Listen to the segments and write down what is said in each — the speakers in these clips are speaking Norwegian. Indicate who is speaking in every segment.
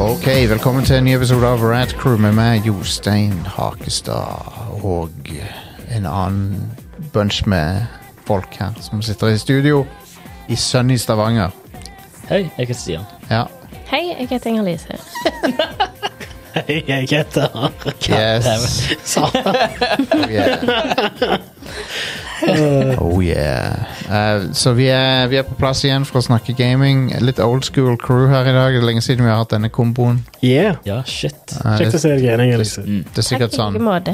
Speaker 1: Ok, velkommen til en ny episode av Rad Crew med meg, Jostein Hakestad og en annen bunch med folk her som sitter i studio i sunny Stavanger.
Speaker 2: Hei, jeg heter Stian.
Speaker 1: Ja,
Speaker 3: Hei, jeg heter Inger-Lise.
Speaker 2: Hei, jeg heter
Speaker 1: yes, oh yeah. Oh yeah. Eh, så vi er, vi er på plass igjen for å snakke gaming. Litt old school crew her i dag. Det er lenge siden vi har hatt denne komboen.
Speaker 4: Yeah.
Speaker 2: Ja, shit.
Speaker 1: Eh,
Speaker 4: Kjekt å
Speaker 1: det,
Speaker 4: se deg igjen, Inger Lise.
Speaker 1: det er sikkert
Speaker 3: Takk i
Speaker 1: sånn,
Speaker 3: like måte.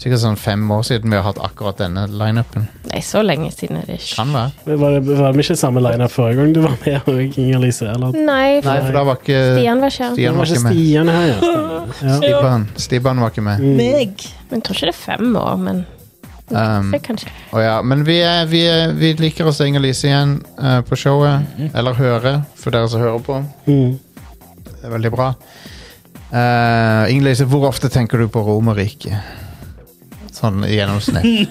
Speaker 1: sikkert sånn fem år siden vi har hatt akkurat denne lineupen.
Speaker 3: Nei, så lenge siden er det ikke.
Speaker 1: Kan være.
Speaker 4: Men Var, det- var vi ikke samme line-up forrige gang du var med òg, Inger Lise? Eller?
Speaker 3: Nei,
Speaker 1: Nei, for da var ikke
Speaker 3: Stian var ikke her.
Speaker 4: Det
Speaker 1: Stian
Speaker 4: var
Speaker 1: var
Speaker 4: ikke
Speaker 1: ikke med.
Speaker 4: Stian her, ja. stemmer. ja.
Speaker 1: Stibban, Stibban var ikke med.
Speaker 5: Meg.
Speaker 3: Men jeg tror ikke det er fem år, men
Speaker 1: Um,
Speaker 3: det kanskje.
Speaker 1: å ja. Men vi, er, vi, er, vi liker å se Inger-Lise igjen eh, på showet. Eller høre, for dere som hører på.
Speaker 4: Mm.
Speaker 1: Det er veldig bra. Uh, Inger-Lise, hvor ofte tenker du på Romerriket? Sånn i gjennomsnitt.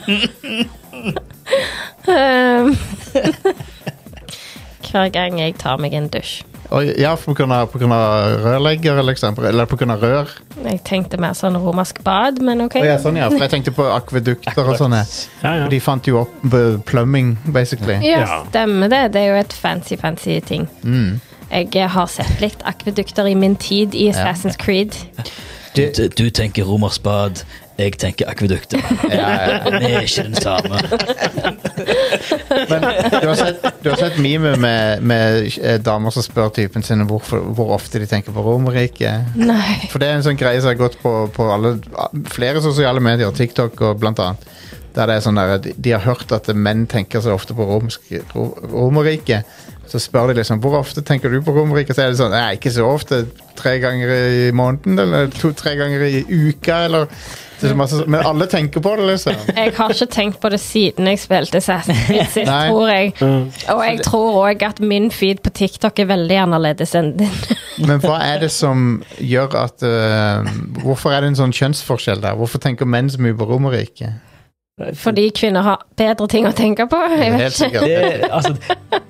Speaker 3: Um, Hver gang jeg tar meg en dusj.
Speaker 1: Og, ja, for på grunn av, på grunn av rørlegger, eller, eksempel, eller på grunn av rør.
Speaker 3: Jeg tenkte mer sånn romersk bad, men ok.
Speaker 1: Å ja, sånn, ja. For jeg tenkte på akvedukter og sånne.
Speaker 4: ja, ja.
Speaker 1: Og de fant jo opp eh, plumbing, basically.
Speaker 3: Ja,
Speaker 4: Ja.
Speaker 3: stemmer det. Det er jo et fancy, fancy ting.
Speaker 1: Mm.
Speaker 3: Jeg eh, har sett litt akvedukter i min tid i Assassin's Creed.
Speaker 2: Du, du tenker romersk bad, jeg tenker akvedukter. Vi er ikke den samme.
Speaker 1: Men du har sett, du har sett meme med, med eh, damer som spør typen sin hvorfor, hvor ofte de tenker på Romerriket.
Speaker 3: Nei.
Speaker 1: For det er en sånn greie som har gått på, på alle, flere sosiale medier, TikTok og blant annet. Der det er sånn der, de- De har hørt at menn tenker så ofte på romsk, ro, Romerriket. Så spør de liksom hvor ofte tenker du på Romerriket. Så er det sånn nei, ikke så ofte. Tre ganger i måneden eller to-tre ganger i uka eller det er så masse, Men alle tenker på det, liksom.
Speaker 3: Jeg har ikke tenkt på det siden jeg spilte Assassin's Creed sist,
Speaker 1: Nei.
Speaker 3: tror jeg.
Speaker 4: Mm.
Speaker 3: Og jeg tror òg at min feed på TikTok er veldig annerledes enn din.
Speaker 1: Men hva er det som gjør at eh, Hvorfor er det en sånn kjønnsforskjell der? Hvorfor tenker menn så mye på Romerriket?
Speaker 3: Fordi kvinner har bedre ting å tenke på. Jeg vet
Speaker 1: Helt
Speaker 3: ikke.
Speaker 1: sikkert.
Speaker 5: Det, altså,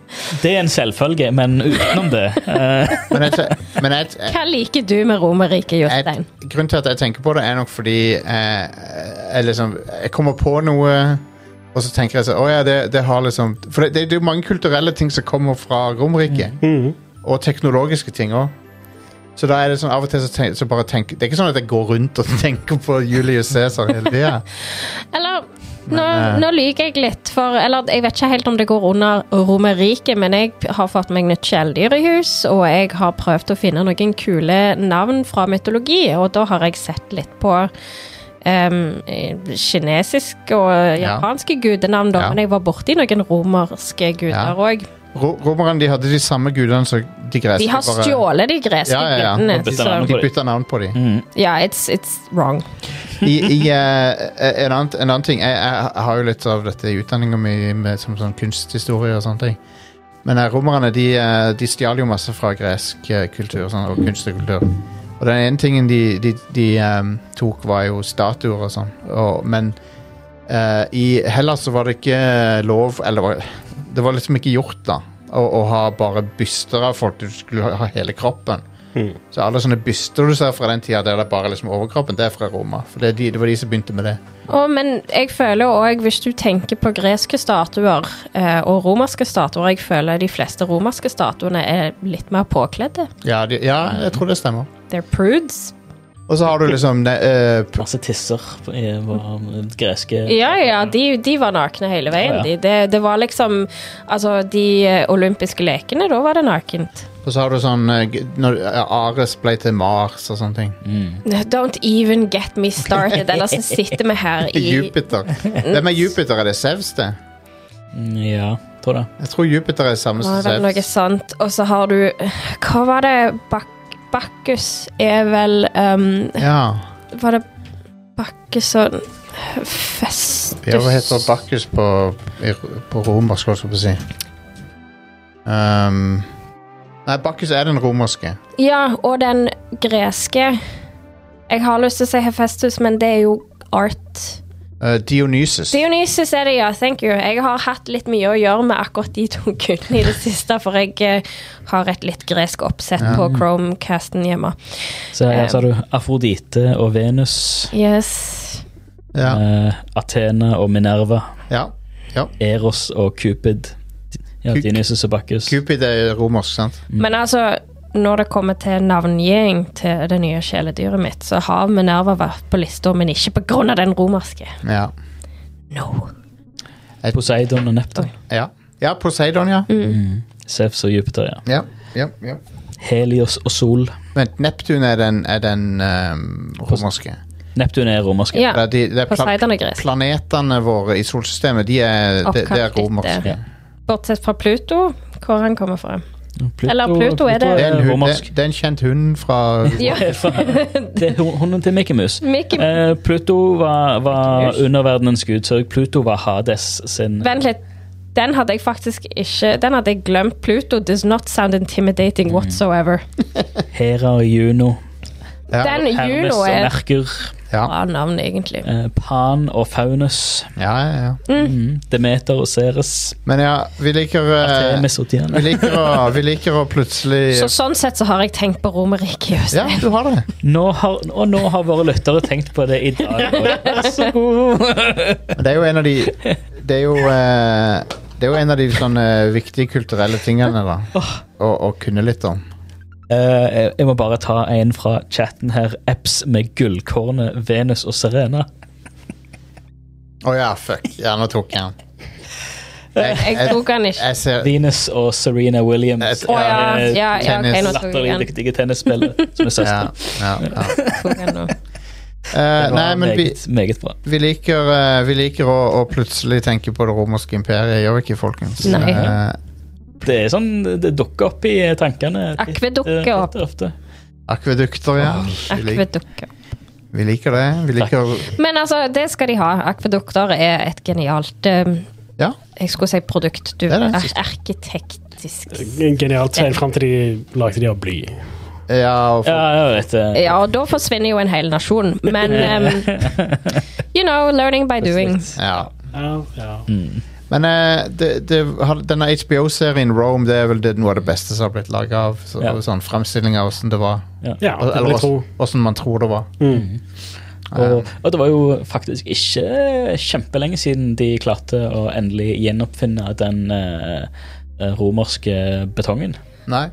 Speaker 5: det er en selvfølge, men utenom det eh,
Speaker 1: Men, jeg, men jeg, jeg,
Speaker 3: Hva liker du med Romerriket,
Speaker 1: jeg,
Speaker 3: Jostein?
Speaker 1: grunnen til at jeg tenker på det, er nok fordi eh, jeg liksom Jeg kommer på noe, og så tenker jeg sånn Å ja, det, det har liksom For det, det, er jo mange kulturelle ting som kommer fra Romerriket.
Speaker 4: Mm.
Speaker 1: Og teknologiske ting òg. Så da er det sånn av og til så, tenk, så bare tenk, Det er ikke sånn at jeg går rundt og tenker på Julius Cæsar hele tida.
Speaker 3: Eller nå, nå lyver jeg litt, for Eller jeg vet ikke helt om det går under Romerriket, men jeg har fått meg nytt kjæledyr i hus, og jeg har prøvd å finne noen kule navn fra mytologi, og da har jeg sett litt på em, kinesiske og
Speaker 1: Ja.
Speaker 3: japanske gudenavn, da,
Speaker 1: Ja.
Speaker 3: men jeg var borti noen romerske
Speaker 1: Ja.
Speaker 3: guder òg.
Speaker 1: Ro Romerne de hadde de samme gudene som de greske.
Speaker 3: De har
Speaker 1: bare-
Speaker 3: stjålet de greske
Speaker 1: Ja, ja, ja.
Speaker 3: gudene.
Speaker 5: Og bytta
Speaker 3: så-
Speaker 5: navn.
Speaker 1: De bytta navn på dem.
Speaker 3: Ja, it's, it's wrong.
Speaker 1: I, i, eh, en, annen, en annen ting jeg, jeg har jo litt av dette i utdanninga mi med- som sånn kunsthistorie og sånne ting. Men eh, romerne de, eh, de stjal jo masse fra gresk eh, kultur sånn, og kunst og kultur. Og den ene tingen de, de, de eh, tok, var jo statuer og sånn. Og, men eh, i Hellas så var det ikke lov Eller det var- det var liksom ikke gjort, da. Å, å ha bare byster av folk. Du skulle ha hele kroppen. Så alle sånne byster du ser fra den tida der det er bare liksom overkroppen, det er fra Roma. For det, er de, det var de som begynte med det.
Speaker 3: Å, men jeg føler òg, hvis du tenker på greske statuer eh, og romerske statuer Jeg føler de fleste romerske statuene er litt mer påkledde.
Speaker 1: Ja, de, ja jeg tror det stemmer.
Speaker 3: They're prudes.
Speaker 1: Og så har du liksom ne, eh, p-
Speaker 5: Masse tisser på- i- på greske
Speaker 3: Ja, ja, de, de var nakne hele
Speaker 5: Ja,
Speaker 3: veien.
Speaker 5: ja.
Speaker 3: De, det, det var liksom Altså, de eh, olympiske lekene, da var det nakent.
Speaker 1: Og så har du sånn eh, g- Når eh, Ares ble til Mars og sånne ting. Mm.
Speaker 3: Don't even get me started, ellers så sitter vi her i
Speaker 1: Jupiter. Hvem er Jupiter? Er det Sevs, det?
Speaker 5: Mm, Ja, tror det.
Speaker 1: Jeg tror Jupiter er samme som
Speaker 3: Var det noe
Speaker 1: Sevs.
Speaker 3: sant? Og så har du Hva var det? Bak Bakkus er vel um,
Speaker 1: Ja.
Speaker 3: Var det Bakkus og Festus
Speaker 1: Ja, hva heter Bakkus på, i- på romersk, holdt jeg på å si? Um, nei, Bakkus er den romerske.
Speaker 3: Ja, og den greske. Jeg har lyst til å si Hefestus, men det er jo art.
Speaker 1: Eh, Dionysus.
Speaker 3: Dionysus er det, ja. Thank you. Jeg har hatt litt mye å gjøre med akkurat de to kundene i det siste, for jeg eh, har et litt gresk oppsett på Chromecasten hjemme.
Speaker 5: Så her så har du Afrodite og Venus,
Speaker 3: Yes.
Speaker 1: ja.
Speaker 5: eh, Athena og Minerva,
Speaker 1: ja.
Speaker 5: Eros og Cupid. Ja,
Speaker 1: Ku-
Speaker 5: Dionysus og Bacchus.
Speaker 1: Cupid er romersk, sant?
Speaker 3: Men altså, når det kommer til navngiving til det nye kjæledyret mitt, så har Minerva vært på lista, men ikke på grunn av den romerske.
Speaker 1: Ja.
Speaker 3: No.
Speaker 5: Poseidon og Neptun.
Speaker 1: Ja, ja Poseidon, ja.
Speaker 3: Mm.
Speaker 5: Zeus og Jupiter, ja.
Speaker 1: ja. Ja, ja.
Speaker 5: Helios og Sol.
Speaker 1: Vent, Neptun er den, er den ehm, romerske.
Speaker 5: Neptun er romersk.
Speaker 3: Ja,
Speaker 1: Ja, de, det er pla
Speaker 3: Poseidon er gresk.
Speaker 1: planetene våre i solsystemet, de er, de, de er
Speaker 3: Oppkalt
Speaker 1: romerske.
Speaker 5: Ja.
Speaker 3: etter. Bortsett fra Pluto, hvor han kommer fra.
Speaker 5: Pluto,
Speaker 3: Eller Pluto er det-
Speaker 1: Det er, en hund,
Speaker 5: romersk.
Speaker 1: det, det er en kjent hund fra
Speaker 3: Ja.
Speaker 5: Det er hun- hunden til Mickey Mouse.
Speaker 3: Mickey,
Speaker 5: Eh, Pluto var,
Speaker 3: Mickey
Speaker 5: var
Speaker 3: Mouse.
Speaker 5: underverdenens gud, så Pluto var Hades sin
Speaker 3: vent litt. Den hadde jeg faktisk ikke Den hadde jeg glemt. Pluto does not sound intimidating whatsoever.
Speaker 5: Hera og Juno.
Speaker 1: Ja,
Speaker 3: Den
Speaker 5: Hermes
Speaker 3: Juno
Speaker 5: og
Speaker 3: er et
Speaker 5: Merkur.
Speaker 1: ja,
Speaker 3: bra navn, egentlig.
Speaker 5: eh, Pan og Faunus.
Speaker 1: ja, ja, ja.
Speaker 5: Mm. Demeter og Ceres.
Speaker 1: Men ja, vi liker eh,
Speaker 5: Artemis og
Speaker 1: vi
Speaker 5: Diana.
Speaker 1: liker, å, vi liker å plutselig
Speaker 3: Så sånn sett så har jeg tenkt på Romerriket i høst.
Speaker 1: Ja, du har det.
Speaker 5: Nå har, og nå har våre lyttere tenkt på det i dag. Vær så god!
Speaker 1: Men Det er jo en av de Det er jo, eh, det er jo en av de sånne viktige kulturelle tingene da å, å kunne litt om.
Speaker 5: Eh, jeg må bare ta en fra chatten her. Eps med gullkornet Venus og Serena.
Speaker 1: Å ja, fuck. Ja, nå tok jeg den.
Speaker 3: Jeg tok han ikke.
Speaker 1: Jeg ser
Speaker 5: Venus og Serena Williams.
Speaker 1: Et-
Speaker 3: Å ja,
Speaker 5: Eh,
Speaker 3: ja, ja, ok, nå tok jeg
Speaker 5: Latterlig
Speaker 3: han.
Speaker 5: dyktige tennisspillere som er søstre.
Speaker 1: Ja, ja, ja.
Speaker 3: Tok han nå.
Speaker 1: Eh,
Speaker 5: Det var
Speaker 1: nei, men vi,
Speaker 5: meget, meget bra.
Speaker 1: vi liker, eh, vi liker å, å plutselig tenke på det romerske imperiet, gjør vi ikke, folkens?
Speaker 3: Nei.
Speaker 1: Eh,
Speaker 5: Det er sånn, det dukker opp i tankene. litt,
Speaker 3: Akvedukker
Speaker 5: eh, litt
Speaker 3: opp.
Speaker 5: ofte.
Speaker 1: akvedukter, ja. Vi, lik,
Speaker 3: Akvedukker.
Speaker 1: vi liker det. Vi liker
Speaker 3: Men altså, det skal de ha. Akvedukter er et genialt eh,
Speaker 1: Ja.
Speaker 3: Jeg skulle si produkt. Du
Speaker 1: Det er
Speaker 3: er,
Speaker 1: det.
Speaker 3: arkitektisk
Speaker 4: Genialt helt fram til de lagde de av bly.
Speaker 1: Ja, og
Speaker 5: Ja,
Speaker 1: folk,
Speaker 5: jeg vet det.
Speaker 3: Ja, og da forsvinner jo en hel nasjon, men eh, You know, learning by doing.
Speaker 1: ja.
Speaker 4: Ja, ja.
Speaker 5: Mm.
Speaker 1: Men eh, det, det, har- denne HBO-serien Rome, det er vel det, noe av det beste som har blitt laga av? Så,
Speaker 5: Ja.
Speaker 1: Sånn fremstilling av åssen det var.
Speaker 4: ja det vil
Speaker 1: Eller
Speaker 4: jeg tro.
Speaker 1: åssen man tror det var. Eh,
Speaker 4: Mm.
Speaker 5: Og, og det var jo faktisk ikke kjempelenge siden de klarte å endelig gjenoppfinne den eh, eh, romerske betongen.
Speaker 1: Nei,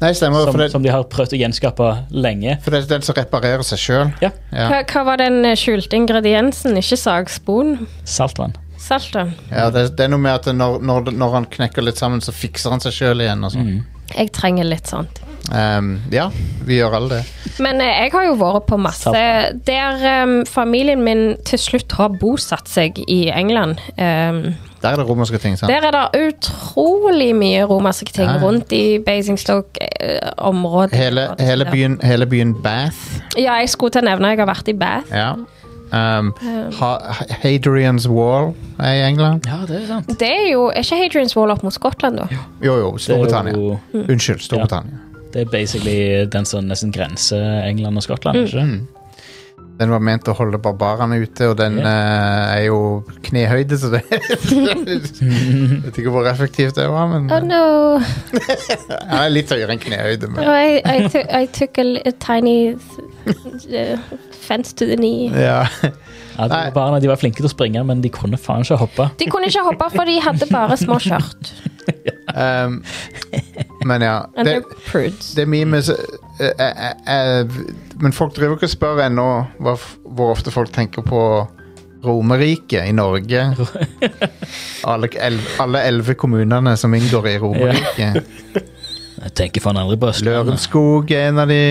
Speaker 1: Nei stemmer.
Speaker 5: Som,
Speaker 1: For det,
Speaker 5: som de har prøvd å gjenskape lenge.
Speaker 1: for det er den som reparerer seg sjøl.
Speaker 5: Ja.
Speaker 1: Ja.
Speaker 3: Hva, hva var den eh, skjulte ingrediensen? Ikke sagspon?
Speaker 5: Saltvann.
Speaker 3: Saltet?
Speaker 1: Ja, det, det er noe med at når, når, når han knekker litt sammen, så fikser han seg sjøl igjen. Og
Speaker 5: Mm.
Speaker 1: sånn.
Speaker 3: Jeg trenger litt sånt.
Speaker 1: Ehm, ja, vi gjør alle det.
Speaker 3: Men eh, jeg har jo vært på masse Der eh, familien min til slutt har bosatt seg i England. eh,
Speaker 1: Der er det romerske ting. sant?
Speaker 3: Der er det utrolig mye romerske ting
Speaker 1: Ja.
Speaker 3: rundt i Basingstoke-området.
Speaker 1: Hele, hele, byen, hele byen Bath.
Speaker 3: Ja, jeg skulle til å nevne jeg har vært i Bath.
Speaker 1: Ja. Ehm, ha, Hadrian's Wall er i England.
Speaker 5: Ja, det er sant.
Speaker 3: Det er jo Er ikke Hadrian's Wall opp mot Skottland, da?
Speaker 1: Jo, jo, Storbritannia.
Speaker 5: Det er, jo,
Speaker 1: Unnskyld, Storbritannia.
Speaker 5: det er basically den som nesten grenser England og Skottland. ikke sant?
Speaker 1: Den var ment å holde barbarene ute, og den eh, er jo knehøyde, så det Jeg vet ikke hvor effektivt det var, men
Speaker 3: Oh
Speaker 1: den
Speaker 3: no,
Speaker 1: er litt høyere enn knehøyde. Men,
Speaker 3: I, I, took, I took a, li- a tiny th- uh, fence to the knee.
Speaker 1: ja.
Speaker 5: Ja, de,
Speaker 1: Nei.
Speaker 5: barna, de var flinke til å springe, men de kunne faen ikke hoppe.
Speaker 3: De kunne ikke hoppe, for de hadde bare små skjørt.
Speaker 1: Ehm, men ja.
Speaker 3: And
Speaker 1: Det,
Speaker 3: they're prudes.
Speaker 1: det memes eh, eh, eh, Men folk driver ikke og spør ennå hva f- hvor ofte folk tenker på Romerriket i Norge. Alle elleve alle elleve kommunene som inngår i Romerriket.
Speaker 2: Jeg tenker faen aldri på Østlandet.
Speaker 1: Lørenskog er en av de.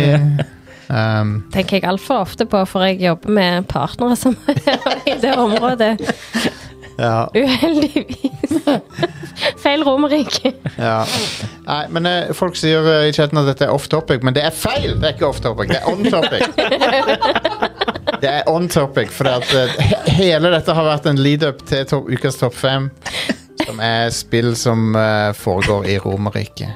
Speaker 1: Um,
Speaker 3: Tenker jeg altfor ofte på, for jeg jobber med partnere som er i det området.
Speaker 1: ja.
Speaker 3: Uheldigvis. Feil Romerike.
Speaker 1: Ja. Nei, men eh, folk sier eh, i chatten at dette er off topic, men det er feil! Det er ikke off topic, det er on topic. Det er on topic, for at, eh, he- hele dette har vært en lead-up til to ukas topp fem. Som er spill som eh, foregår i Romerriket.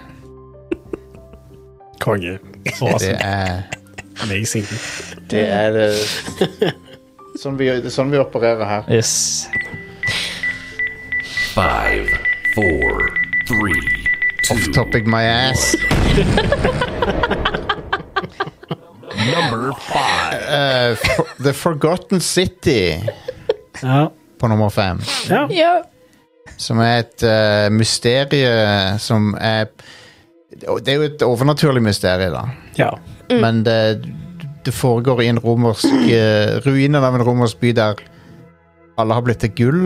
Speaker 4: Konge.
Speaker 1: Det
Speaker 4: Awesome.
Speaker 1: er
Speaker 4: Amazing.
Speaker 1: Det er Sånn vi, det er sånn vi opererer her.
Speaker 5: Yes.
Speaker 6: Five, four, three, two.
Speaker 1: Topic my ass.
Speaker 6: Number five.
Speaker 1: Eh, for, The Forgotten City
Speaker 4: Ja.
Speaker 1: på nummer fem.
Speaker 4: ja.
Speaker 3: Ja.
Speaker 1: Som er et eh, mysterie som er Det er jo et overnaturlig mysterie, da.
Speaker 4: ja.
Speaker 3: Mm.
Speaker 1: Men det, det foregår i en romersk eh, Ruinen av en romersk by der alle har blitt til gull.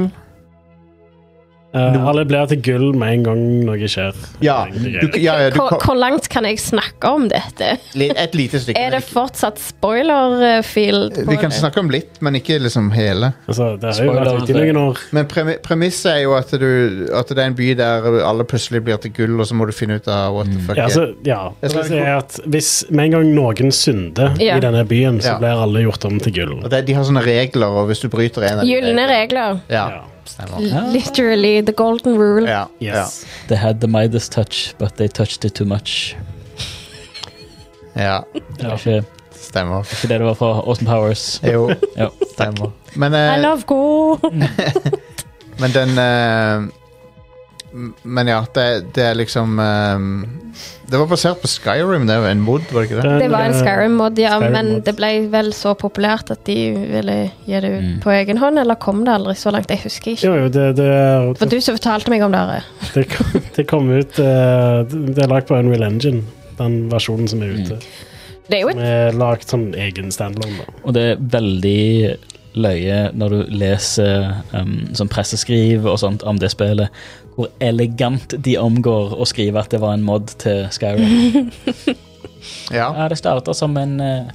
Speaker 4: Eh, alle blir til gull med en gang noe skjer.
Speaker 1: Ja, du, ja, ja du,
Speaker 3: Hvor, hvor langt kan jeg snakke om dette?
Speaker 1: li- Et lite stykke.
Speaker 3: Er det fortsatt spoiler-field?
Speaker 1: Vi kan snakke om litt, men ikke liksom hele.
Speaker 4: Altså, det har jo
Speaker 5: Spoiler.
Speaker 4: vært ute i noen år.
Speaker 1: Men premi- premisset er jo at, du, at det er en by der alle plutselig blir til gull, og så må du finne ut av what the fuck.
Speaker 4: Ja,
Speaker 1: er-
Speaker 4: altså, ja.
Speaker 1: Jeg skal-
Speaker 4: Det er at hvis med en gang noen synder
Speaker 3: Ja.
Speaker 4: i denne byen, så
Speaker 1: Ja.
Speaker 4: blir alle gjort om til gull.
Speaker 1: og det, de har sånne regler, og hvis du bryter en av de
Speaker 3: Gylne regler.
Speaker 1: Ja,
Speaker 4: Ja.
Speaker 1: stemmer.
Speaker 3: Literally the golden rule.
Speaker 1: Ja, ja,
Speaker 4: Yes.
Speaker 5: They had the Midas touch, but they touched it too much.
Speaker 1: ja,
Speaker 5: Det var ikke,
Speaker 1: stemmer.
Speaker 5: ikke det det var fra Austin Powers.
Speaker 1: Jo,
Speaker 5: Ja.
Speaker 1: stemmer. Men,
Speaker 3: I
Speaker 1: eh,
Speaker 3: love go!
Speaker 1: men den eh, m- Men ja, det, det er liksom eh, Det var basert på Skyrim, det er jo en mod, var det ikke det?
Speaker 4: Den,
Speaker 3: Det var en
Speaker 4: eh,
Speaker 3: Skyrim-mod, ja,
Speaker 4: Skyrim-mod.
Speaker 3: men det ble vel så populært at de ville gi det ut
Speaker 5: Mm.
Speaker 3: på egen hånd, eller kom det aldri så langt? Jeg husker ikke.
Speaker 4: Jo, jo, det, det,
Speaker 3: Det var du som fortalte meg om det. Are.
Speaker 4: det, kom, det kom ut eh, Det er lagd på Unreal Engine, den versjonen som er ute.
Speaker 3: Mm. Det er jo et
Speaker 4: Som er lagd sånn egen standalone. da.
Speaker 5: Og det er veldig løye når du leser um, sånn presseskriv og sånt om det spillet, hvor elegant de omgår å skrive at det var en mod til Skyrim.
Speaker 1: Ja.
Speaker 5: Ja, det starta som en eh,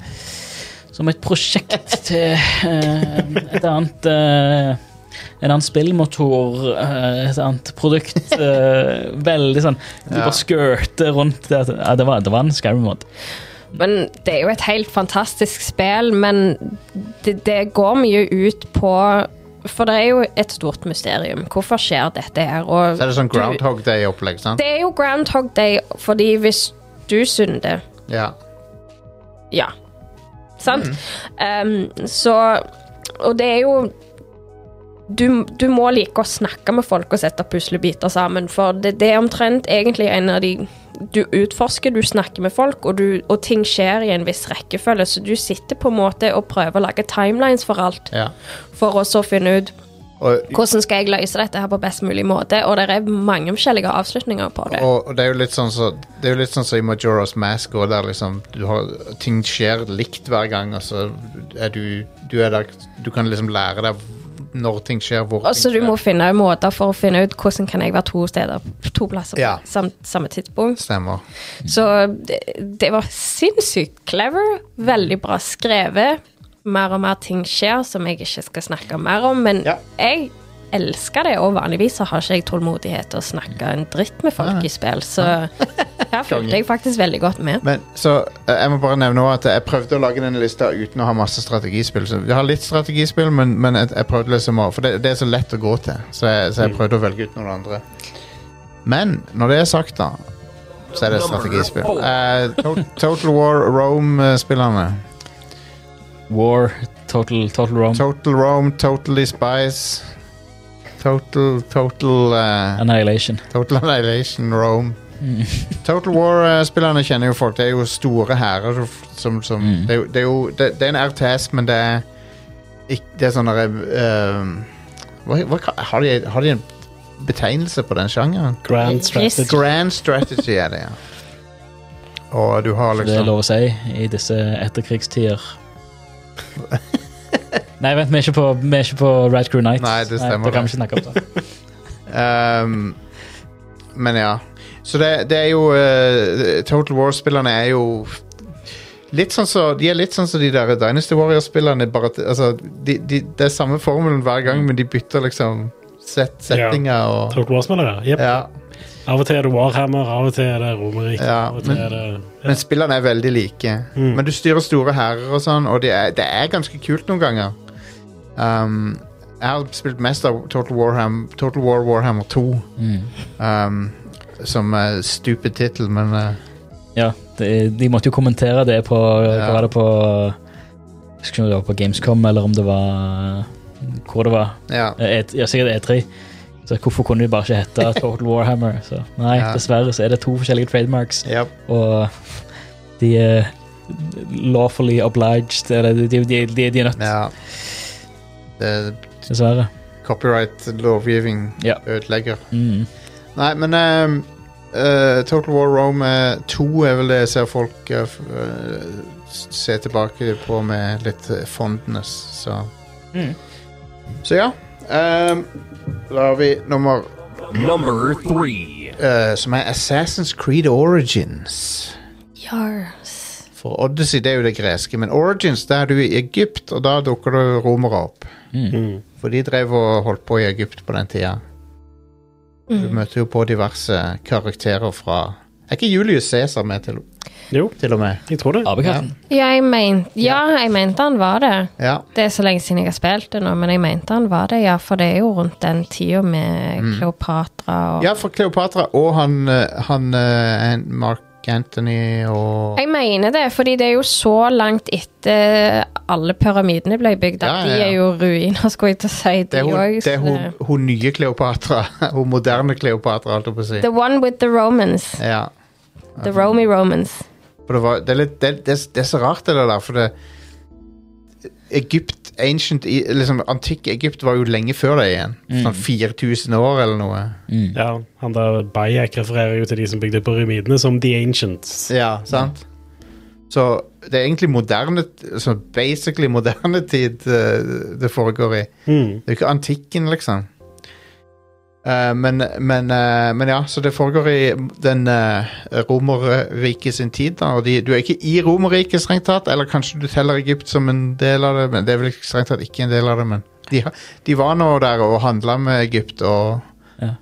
Speaker 5: som et prosjekt til eh, et annet eh, en annen spillmotor, eh, et annet produkt. eh, veldig sånn De
Speaker 1: Ja.
Speaker 5: bare skørter rundt det. at- Ja, det, var, det var en Skyrim-mod.
Speaker 3: Men det er jo et helt fantastisk spill, men det, det går mye ut på For det er jo et stort mysterium. Hvorfor skjer dette her? Og
Speaker 1: Så er det sånn
Speaker 3: du-
Speaker 1: Groundhog Day-opplegg, sant?
Speaker 3: Det er jo Groundhog Day, fordi hvis du synder
Speaker 1: Ja.
Speaker 3: Ja. Sant? Um, så Og det er jo du, du må like å snakke med folk og sette puslebiter sammen, for det, det er omtrent egentlig en av de Du utforsker, du snakker med folk, og, du, og ting skjer i en viss rekkefølge, så du sitter på en måte og prøver å lage timelines for alt,
Speaker 1: ja.
Speaker 3: for å så finne ut
Speaker 1: Og
Speaker 3: hvordan skal jeg løse dette her på best mulig måte, og det er mange forskjellige avslutninger på det.
Speaker 1: Og, og det er jo litt sånn så, Det er jo litt sånn som i Majora's Mask også, der liksom du har, ting skjer likt hver gang. Og så er du, du er der Du kan liksom lære deg når ting skjer, hvor ting
Speaker 3: Og så Altså, du
Speaker 1: skjer.
Speaker 3: må finne måter for å finne ut hvordan kan jeg være to steder, to plasser på
Speaker 1: Ja.
Speaker 3: sam, samme tidspunkt.
Speaker 1: Stemmer.
Speaker 3: Så det, det var sinnssykt clever, veldig bra skrevet. Mer og mer ting skjer som jeg ikke skal snakke mer om, men
Speaker 1: Ja.
Speaker 3: jeg elsker det, og vanligvis så har ikke jeg tålmodighet til å snakke en dritt med
Speaker 1: Ah.
Speaker 3: folk i spill, så her fulgte jeg faktisk veldig godt med.
Speaker 1: Men så eh, Jeg må bare nevne også at jeg prøvde å lage denne lista uten å ha masse strategispill. Så jeg har litt strategispill, men, men jeg, jeg prøvde liksom å For det, det er så lett å gå til, så jeg, så jeg prøvde å velge ut noen andre. Men når det er sagt, da, så er det strategispill. Eh, to Total War Rome-spillerne.
Speaker 5: War, total, total rom.
Speaker 1: Total Rome, Totally Spice Total Total eh,
Speaker 5: Annihilation.
Speaker 1: Total Annihilation Rome Total War-spillerne kjenner jo folk Det er jo store herrer som, som,
Speaker 5: Mm.
Speaker 1: det, er jo- det er jo det, det er en RTS, men det er ikk- Det er sånn der, eh, hva, hva, ka- har, de, har de en betegnelse på den sjangeren?
Speaker 4: Grand
Speaker 3: Yes.
Speaker 4: Strategy.
Speaker 1: Grand Strategy er det, ja Og du har
Speaker 5: Det er
Speaker 1: liksom
Speaker 5: lov å si i disse etterkrigstider. Nei, vent, vi er ikke på, vi er ikke på Rad Crew Nights.
Speaker 1: Nei, det stemmer
Speaker 5: da kan
Speaker 1: det.
Speaker 5: vi ikke snakke om det.
Speaker 1: Ehm, men ja. Så det, det er jo eh, Total War-spillerne er jo Litt sånn så, De er litt sånn som de der Dynasty Warrior-spillerne. bare at- Altså, de, de, det er samme formelen hver gang, men de bytter liksom set, settinger og
Speaker 4: Total War-spillere. Jep.
Speaker 1: ja.
Speaker 4: Av og til er det Warhammer, av og til er det Romerriket.
Speaker 1: Ja,
Speaker 4: av og
Speaker 1: men-
Speaker 4: til er det
Speaker 1: Men spillerne er veldig like.
Speaker 4: Mm.
Speaker 1: Men du styrer store hærer og sånn, og det er, det er ganske kult noen ganger. Ehm, jeg har spilt mest av Total, Warham, Total War Warhammer 2,
Speaker 5: Mm.
Speaker 1: ehm, som er stupid tittel, men eh,
Speaker 5: Ja, det, de måtte jo kommentere det på, hva
Speaker 1: Ja.
Speaker 5: var det på Jeg husker ikke om det var på Gamescom, eller om det var Hvor det var.
Speaker 1: Ja.
Speaker 5: Eh, E- Ja, sikkert E3. Så hvorfor kunne det bare ikke hete Total Warhammer? Så, nei,
Speaker 1: Ja.
Speaker 5: dessverre så er det to forskjellige trademarks,
Speaker 1: Ja.
Speaker 5: og de er lawfully obliged, eller de, de, de, de, de er nødt,
Speaker 1: ja. Det,
Speaker 5: dessverre.
Speaker 1: Copyright-lovgivning
Speaker 5: Ja.
Speaker 1: ødelegger.
Speaker 5: Mm.
Speaker 1: Nei, men ehm, eh, Total War Rome eh, 2 er vel det jeg ser folk eh, f- eh, se tilbake på med litt eh, fondness, så
Speaker 5: Mm.
Speaker 1: Så ja. ehm, da har vi nummer
Speaker 6: Number three.
Speaker 1: eh, som er Assassin's Creed Origins.
Speaker 3: Yars.
Speaker 1: For Odyssey det er jo det greske, men Origins det er du i Egypt, og da dukker det romere opp.
Speaker 4: Mm.
Speaker 1: For de drev og holdt på i Egypt på den tida. Du
Speaker 3: Mm.
Speaker 1: møter jo på diverse karakterer fra Er ikke Julius Cæsar med, til,
Speaker 4: Jo,
Speaker 1: til og med?
Speaker 4: jeg tror det.
Speaker 5: Apekatten.
Speaker 3: Ja, jeg mente, ja, jeg mente han var det.
Speaker 1: Ja.
Speaker 3: Det er så lenge siden jeg har spilt det nå, men jeg mente han var det, ja. For det er jo rundt den tida med Kleopatra
Speaker 1: Mm.
Speaker 3: og
Speaker 1: Ja, for Kleopatra og han, eh, han eh, An- Mark Anthony og
Speaker 3: Jeg mener det, fordi det er jo så langt etter alle pyramidene ble bygd.
Speaker 1: Ja,
Speaker 3: at
Speaker 1: ja,
Speaker 3: De
Speaker 1: ja.
Speaker 3: er jo ruiner, skulle jeg til å si.
Speaker 1: Det
Speaker 3: De
Speaker 1: er hun,
Speaker 3: også,
Speaker 1: det er
Speaker 3: så
Speaker 1: hun, hun nye Kleopatra. Hun moderne Kleopatra, holdt jeg på å si.
Speaker 3: The one with the Romans.
Speaker 1: Ja.
Speaker 3: The Romy Romans.
Speaker 1: For det, var, det, er litt, det, det, det er så rart, det der, for det Egypt, ancient, i- liksom Antikk Egypt var jo lenge før det igjen. Sånn 4000 år eller noe.
Speaker 2: Mm.
Speaker 4: Ja, han der Bayek refererer jo til de som bygde pyramidene, som The Ancients.
Speaker 1: Ja, sant? Så det er egentlig moderne så Basically moderne tid eh, det foregår i.
Speaker 4: Mm.
Speaker 1: Det er jo ikke antikken, liksom. Eh, men, men, eh, men ja, så det foregår i den uh, Romerriket sin tid, da. Og de, du er ikke i Romerriket, strengt tatt. Eller kanskje du teller Egypt som en del av det, men det er vel strengt tatt ikke en del av det. Men de, ha- de var nå der og handla med Egypt og,
Speaker 5: Ja.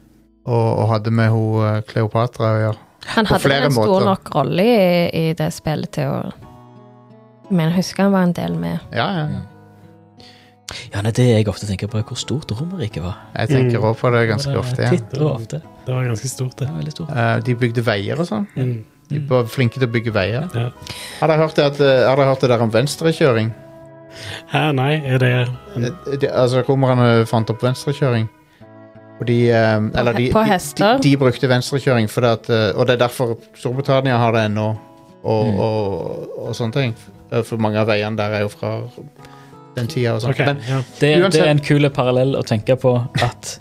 Speaker 1: og, og hadde med hun eh, Kleopatra å gjøre.
Speaker 3: Han
Speaker 1: På
Speaker 3: hadde vel
Speaker 1: flere
Speaker 3: en stor
Speaker 1: måter.
Speaker 3: nok rolle i, i det spillet til å Men jeg husker han var en del med.
Speaker 1: Ja, ja.
Speaker 5: Ja, nei, det er jeg ofte tenker på, er hvor stort Romerriket var.
Speaker 1: Jeg tenker
Speaker 4: Mm.
Speaker 1: òg på det ganske
Speaker 5: Det var
Speaker 1: ofte. Ja.
Speaker 5: Titt og ofte.
Speaker 4: Det var ganske stort, det.
Speaker 5: Det var veldig stort.
Speaker 1: Eh, de bygde veier og sånn.
Speaker 4: Mm.
Speaker 1: De var flinke til å bygge veier.
Speaker 4: Ja.
Speaker 1: Har dere hørt, det at, eh, har dere hørt det der om venstrekjøring?
Speaker 4: Hæ, nei, er det en,
Speaker 1: Eh, de, altså romerne fant opp venstrekjøring. Og de, eh, eller de,
Speaker 3: på
Speaker 1: de, de,
Speaker 3: hester.
Speaker 1: de brukte venstrekjøring, fordi at, eh, og det er derfor Storbritannia har det ennå. Og, og, og, sånne ting. Eh, For mange av veiene der er jo fra den tida. Og sånt.
Speaker 4: Ok,
Speaker 1: Men
Speaker 4: ja.
Speaker 5: Det, det
Speaker 1: Uansett-
Speaker 5: er en kul parallell å tenke på at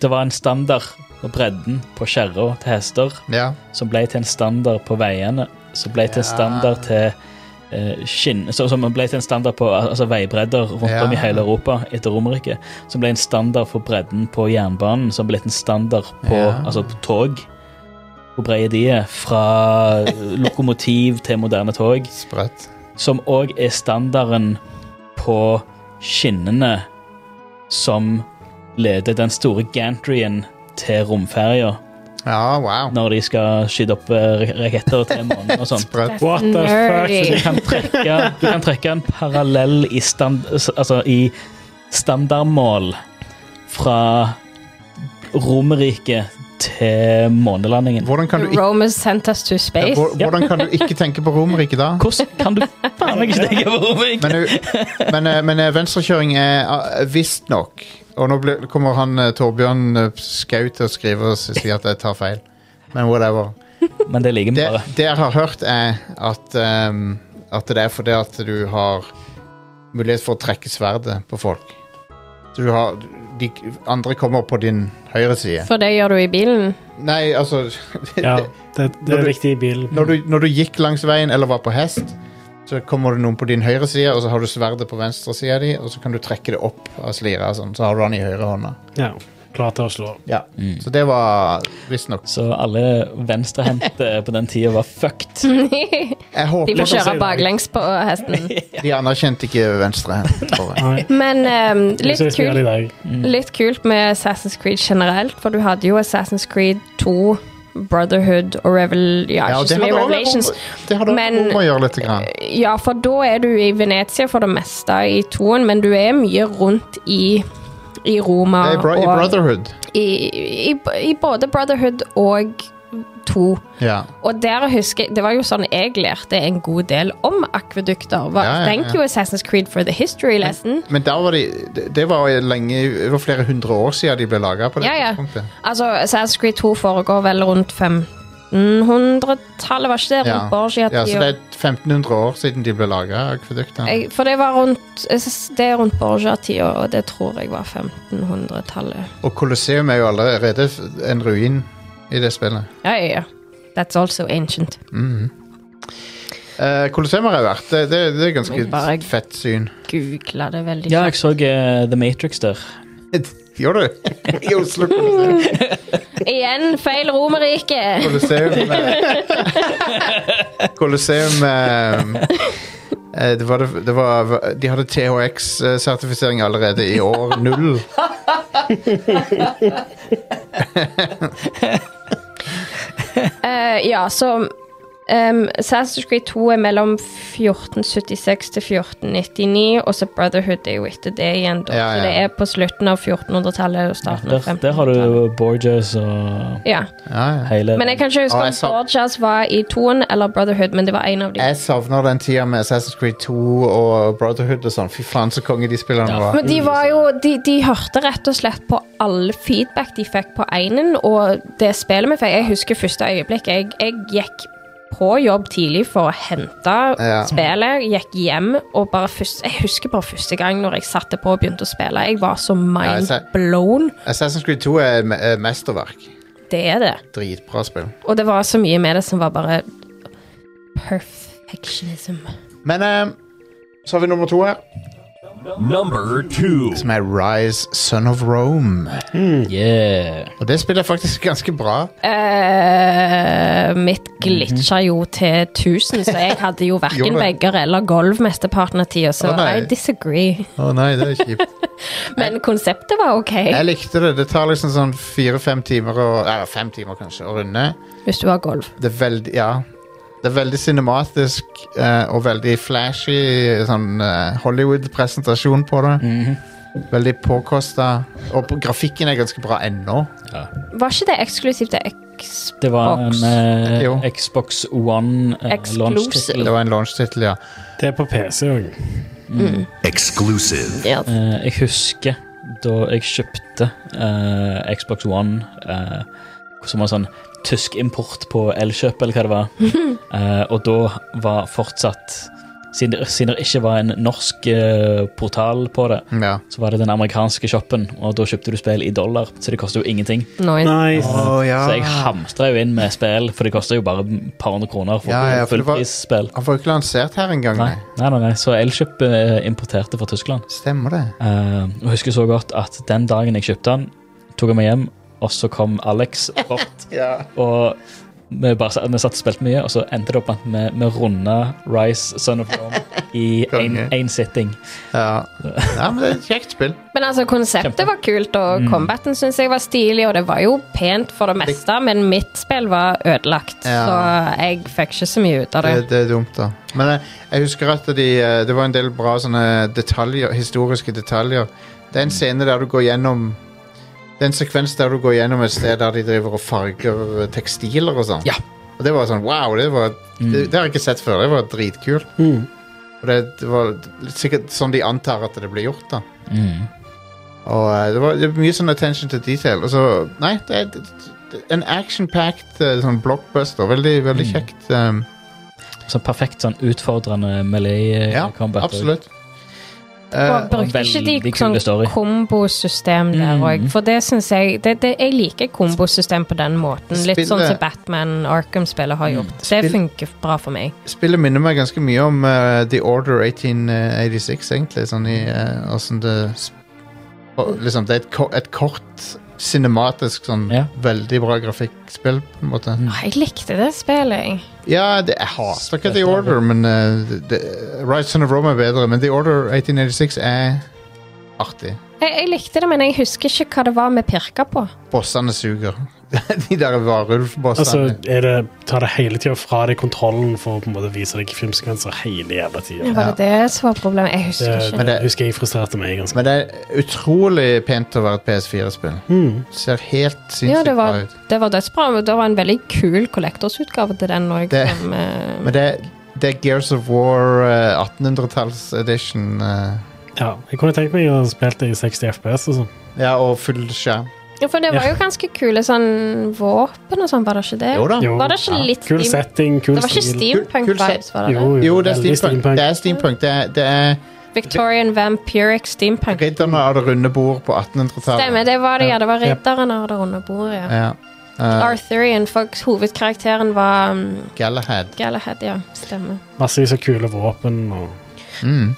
Speaker 5: det var en standard og bredden på skjæra til hester
Speaker 1: ja,
Speaker 5: som ble til en standard på veiene, som ble til en
Speaker 1: Ja.
Speaker 5: standard til eh, skinn, så, som ble til en standard på al- altså veibredder rundt om i
Speaker 1: Ja.
Speaker 5: hele Europa etter Romerriket, som ble en standard for bredden på jernbanen, som ble til en standard på,
Speaker 1: Ja.
Speaker 5: altså på tog. Hvor brede de er. Fra lokomotiv til moderne tog
Speaker 1: sprøtt.
Speaker 5: som òg er standarden på skinnene som leder den store gantryen til romferja
Speaker 1: Ja, wow.
Speaker 5: når de skal skyte opp eh, raketter til månen og sånn.
Speaker 1: Sprøtt.
Speaker 4: What the
Speaker 5: Du
Speaker 4: fuck?
Speaker 3: Nerdy.
Speaker 5: kan trekke, du kan trekke en parallell i, stand, altså i standardmål fra Romerriket til månelandingen.
Speaker 1: Hvordan kan, du
Speaker 3: The
Speaker 1: ikke,
Speaker 3: Romans sent us to
Speaker 1: ja,
Speaker 3: space.
Speaker 1: hvor- hvordan kan du ikke tenke på Romerriket da?
Speaker 5: Hvordan kan du faen meg ikke tenke på Romerriket?
Speaker 1: Men, u- men, eh, men eh, venstrekjøring er eh, visstnok Og nå ble, kommer han eh, Torbjørn eh, Skau til å skrive og s- si at jeg tar feil. Men whatever.
Speaker 5: Men det liker vi
Speaker 1: Det,
Speaker 5: bare.
Speaker 1: det jeg har hørt, er at, ehm, at det er fordi at du har mulighet for å trekke sverdet på folk. Så du har De andre kommer på din høyre side.
Speaker 3: For det gjør du i bilen.
Speaker 1: Nei, altså
Speaker 4: Ja, det, det
Speaker 1: Når
Speaker 4: er
Speaker 1: du-
Speaker 4: viktig i bilen.
Speaker 1: når du, når du gikk langs veien eller var på hest, så kommer det noen på din høyre side, og så har du sverdet på venstre side av di, og så kan du trekke det opp av slira, sånn, så har du den i høyre hånda.
Speaker 4: Ja, klar til å slå.
Speaker 1: Ja. Så det var visstnok
Speaker 5: Mm. Så alle venstrehendte på den tida var fucked.
Speaker 3: De
Speaker 1: Jeg
Speaker 3: får
Speaker 1: håper
Speaker 4: si
Speaker 3: kjøre
Speaker 4: det.
Speaker 3: baklengs på hesten.
Speaker 1: de anerkjente ikke venstre hen, tror jeg.
Speaker 4: Nei,
Speaker 3: Men ehm,
Speaker 4: det
Speaker 3: litt
Speaker 4: synes vi
Speaker 3: kult
Speaker 4: gjør i dag. Mm.
Speaker 3: Litt kult med Assassin's Creed generelt, for du hadde jo Assassin's Creed 2, Brotherhood og Revel... Ja,
Speaker 1: Ja, og det
Speaker 3: ikke så mye
Speaker 1: hadde også
Speaker 3: Revelations.
Speaker 1: med- det hadde
Speaker 3: men-
Speaker 1: også med å gjøre litt. Grann.
Speaker 3: Ja, for da er du i Venezia for det meste i toen, men du er mye rundt i, i Roma
Speaker 1: Det er bro I
Speaker 3: og
Speaker 1: Brotherhood.
Speaker 3: i, i, i både Brotherhood og 2.
Speaker 1: Ja.
Speaker 3: Og der husker jeg, Det var jo sånn jeg lærte en god del om akvedukter. Var,
Speaker 1: Ja, ja, ja.
Speaker 3: Thank you, Assassin's Creed, for the history lesson.
Speaker 1: Men der var de, det- det var jo lenge, det var flere hundre år siden de ble laga på det
Speaker 3: Ja, ja.
Speaker 1: tidspunktet.
Speaker 3: Altså, Assassin's Creed 2 foregår vel rundt 1500-tallet, var ikke det? Rundt Borgia-tida.
Speaker 1: ja, så det er 1500 år siden de ble laga, akveduktene.
Speaker 3: Jeg- For det var rundt jeg synes Det er rundt Borgia-tida, og det tror jeg var 1500-tallet.
Speaker 1: Og Colosseum er jo allerede f- en ruin i det spillet. Mhm.
Speaker 3: Ja, ja, ja. That's also ancient.
Speaker 1: Eh, Colosseum har jeg vært. Det, det, det er ganske
Speaker 3: Men bare-
Speaker 1: fett syn.
Speaker 3: Googla det veldig
Speaker 5: Ja, jeg
Speaker 3: kjapt.
Speaker 5: så eh, The Matrix der.
Speaker 1: Gjør du? I Oslo Colosseum.
Speaker 3: Igjen feil Romerriket!
Speaker 1: Colosseum eh, Colosseum eh, eh, det var, det, det var, de hadde THX-sertifisering allerede i år null.
Speaker 3: Eh, ja, så um, Assassin's Creed 2 er mellom 1476 til 1499, og så Brotherhood er jo etter det igjen. Da.
Speaker 1: Ja, ja.
Speaker 3: Så det er på slutten av 1400-tallet og starten av
Speaker 5: Der, der har
Speaker 3: 1500-tallet.
Speaker 5: du Borges og
Speaker 3: Ja.
Speaker 1: Ja, ja.
Speaker 5: hele
Speaker 3: Men jeg kan ikke huske
Speaker 1: Ja,
Speaker 3: om
Speaker 1: jeg sa-
Speaker 3: Borgias var i toen eller Brotherhood, men det var en av de.
Speaker 1: Jeg savner den tida med Assassin's Creed 2 og Brotherhood og sånn. Fy faen, så konge de spillene var.
Speaker 3: Men de var jo de, de hørte rett og slett på all feedback de fikk på einen, og det spillet vi fikk Jeg husker første øyeblikk. Jeg, jeg gikk på jobb tidlig for å hente
Speaker 1: Ja.
Speaker 3: spillet. Gikk hjem og bare først Jeg husker bare første gang når jeg satte på og begynte å spille. Jeg var så
Speaker 1: jeg
Speaker 3: mind
Speaker 1: ser-
Speaker 3: blown.
Speaker 1: Assassin's Creed 2 er me- er mesterverk.
Speaker 3: Det er det.
Speaker 1: Dritbra spill.
Speaker 3: Og det var så mye med det som var bare perfectionism.
Speaker 1: Men eh, så har vi nummer to her,
Speaker 6: Number two.
Speaker 1: som er Rise Son of Rome.
Speaker 5: Mm.
Speaker 2: Yeah.
Speaker 1: Og det spiller faktisk ganske bra.
Speaker 3: Eh, mitt
Speaker 1: Mhm.
Speaker 3: glitcha jo til 1000, så jeg hadde jo
Speaker 1: Gjorde
Speaker 3: verken
Speaker 1: det?
Speaker 3: vegger eller gulv mesteparten av tida, så
Speaker 1: Å, nei.
Speaker 3: I disagree.
Speaker 1: Å nei, det er kjipt.
Speaker 3: Men konseptet var OK,
Speaker 1: Jeg likte det. Det tar liksom sånn fire-fem timer å Eller fem timer, kanskje, å runde.
Speaker 3: hvis du har gulv.
Speaker 1: Det er veldig Ja. Det er veldig cinematisk eh, og veldig flashy sånn eh, Hollywood-presentasjon på det. Veldig påkosta. Og på, grafikken er ganske bra ennå.
Speaker 3: Var ikke det eksklusivt til X...
Speaker 5: Det var
Speaker 3: Xbox.
Speaker 5: en eh,
Speaker 1: Jo.
Speaker 5: Xbox One eh,
Speaker 3: Exclusive.
Speaker 5: launch-tittel.
Speaker 1: Det var en launch-tittel, ja.
Speaker 4: Det er på PC òg.
Speaker 1: Mm.
Speaker 6: Exclusive.
Speaker 3: Mm, Ja.
Speaker 5: Eh, jeg husker da jeg kjøpte eh, Xbox One, eh, som var sånn tysk import på Elkjøp, eller hva det var. Eh, og da var fortsatt Siden det, siden det ikke var en norsk eh, portal på det,
Speaker 1: ja.
Speaker 5: så var det den amerikanske shoppen, og da kjøpte du spill i dollar, så det koster jo ingenting.
Speaker 3: Noise.
Speaker 4: Nice.
Speaker 5: Så
Speaker 1: Ah.
Speaker 5: jeg hamstra jo inn med spill, for det koster jo bare et par hundre kroner for
Speaker 1: Ja, ja, for det var-
Speaker 5: fullprisspill.
Speaker 1: Han får jo ikke lansert her engang.
Speaker 5: Nei,
Speaker 1: Nei.
Speaker 5: nei, nei, nei. Så Elkjøp eh, importerte fra Tyskland.
Speaker 1: Stemmer det.
Speaker 5: Eh, og jeg husker så godt at den dagen jeg kjøpte den, tok jeg meg hjem, og så kom Alex bort. Og vi, bare, satt- vi satt og spilte mye, og så endte det opp med at vi, vi runda Rise Son of Rome i
Speaker 1: Konge.
Speaker 5: én sitting.
Speaker 1: Ja. ja, men det er et kjekt spill.
Speaker 3: Men altså, konseptet var kult, og
Speaker 1: Mm.
Speaker 3: combaten syns jeg var stilig, og det var jo pent for det meste, men mitt spill var ødelagt,
Speaker 1: Ja.
Speaker 3: så jeg fikk ikke så mye ut av det.
Speaker 1: Det, det er dumt, da. Men jeg, jeg husker at de, eh, det var en del bra sånne detaljer, historiske detaljer. Det er en scene der du går gjennom Det er en sekvens der du går gjennom et sted der de driver og farger eh, tekstiler og sånn.
Speaker 5: Ja.
Speaker 1: Og det var sånn wow, det, var, det, det har jeg ikke sett før. Det var dritkult.
Speaker 4: Mm.
Speaker 1: Og det, det var sikkert sånn de antar at det ble gjort, da. Mm. Og eh, det var det var mye sånn attention to detail. Og så, nei, det er det- det- en action-packed eh, sånn blockbuster. Veldig, veldig
Speaker 5: Mm.
Speaker 1: kjekt. Um,
Speaker 5: Så perfekt sånn utfordrende
Speaker 1: ja,
Speaker 5: melee-combat.
Speaker 1: absolutt.
Speaker 3: Og
Speaker 1: Eh,
Speaker 3: brukte ikke
Speaker 5: veldig
Speaker 3: de
Speaker 5: kule
Speaker 3: sånn
Speaker 5: story.
Speaker 3: kombosystem der
Speaker 5: Mm.
Speaker 3: òg, for det syns jeg det, det, Jeg liker kombosystem på den måten.
Speaker 1: Spillet-
Speaker 3: Litt
Speaker 1: Mm.
Speaker 3: sånn som Batman Arkham-spillet har gjort.
Speaker 1: Spill-
Speaker 3: Det funker bra for meg.
Speaker 1: spillet minner meg ganske mye om eh, The Order 1886, egentlig. Sånn i eh, åssen det sp- og Liksom, det er et, ko- et kort, cinematisk, sånn
Speaker 5: Ja.
Speaker 1: veldig bra grafikkspill, på en måte.
Speaker 3: Å, Jeg likte det spillet, jeg.
Speaker 1: Ja, det, jeg hater ikke The Order, men uh, Right Son of Rome er bedre. Men The Order 1886 er artig.
Speaker 3: jeg. Jeg likte det, men jeg husker ikke hva det var vi pirka på.
Speaker 1: Bossene suger. de der varulvbossene.
Speaker 4: Altså, er det, tar det hele tida fra deg kontrollen for å på en måte vise deg filmsekvenser hele jævla tida.
Speaker 3: Var det det som var problemet? Jeg husker
Speaker 4: Det,
Speaker 3: ikke.
Speaker 1: Men det-
Speaker 4: husker jeg frustrerte meg ganske.
Speaker 1: Men det er utrolig pent å være et PS4-spill.
Speaker 4: Mm.
Speaker 1: Ser helt sinnssykt
Speaker 3: Ja, det var,
Speaker 1: bra ut.
Speaker 3: det var dødsbra. men Det var en veldig kul kollektorsutgave til den òg.
Speaker 1: Det-
Speaker 3: Uh,
Speaker 1: Men det, det er Gears of War eh, 1800-talls edition. eh,
Speaker 4: Ja, jeg kunne tenkt meg å spille det i 60 FPS og sånn.
Speaker 1: ja, og full skjerm.
Speaker 3: ja, for det var jo ganske kule sånn våpen og sånn, var det ikke det?
Speaker 1: Jo da.
Speaker 4: Jo,
Speaker 3: Var det ikke litt
Speaker 4: kul
Speaker 3: steam?
Speaker 4: setting, kul
Speaker 3: Det var ikke
Speaker 4: stil.
Speaker 1: Kul- kul
Speaker 3: steampunk-vibes, var det
Speaker 4: Jo,
Speaker 3: det?
Speaker 4: jo,
Speaker 1: Jo, det er
Speaker 4: veldig
Speaker 1: steampunk. Det er steampunk. Det er, det er
Speaker 3: Victorian Vampiric Steampunk.
Speaker 1: ridderne av det runde bord på
Speaker 3: Stemmer,
Speaker 1: 1800-tallet.
Speaker 3: det var det, ja. Det var
Speaker 4: Ja.
Speaker 3: ridderen av det runde bordet, ja.
Speaker 1: Ja. Uh,
Speaker 3: Arthurian, folks hovedkarakteren var um,
Speaker 1: Galahad.
Speaker 3: Galahad, ja. Stemmer.
Speaker 4: Massevis av kule våpen og
Speaker 1: Mm.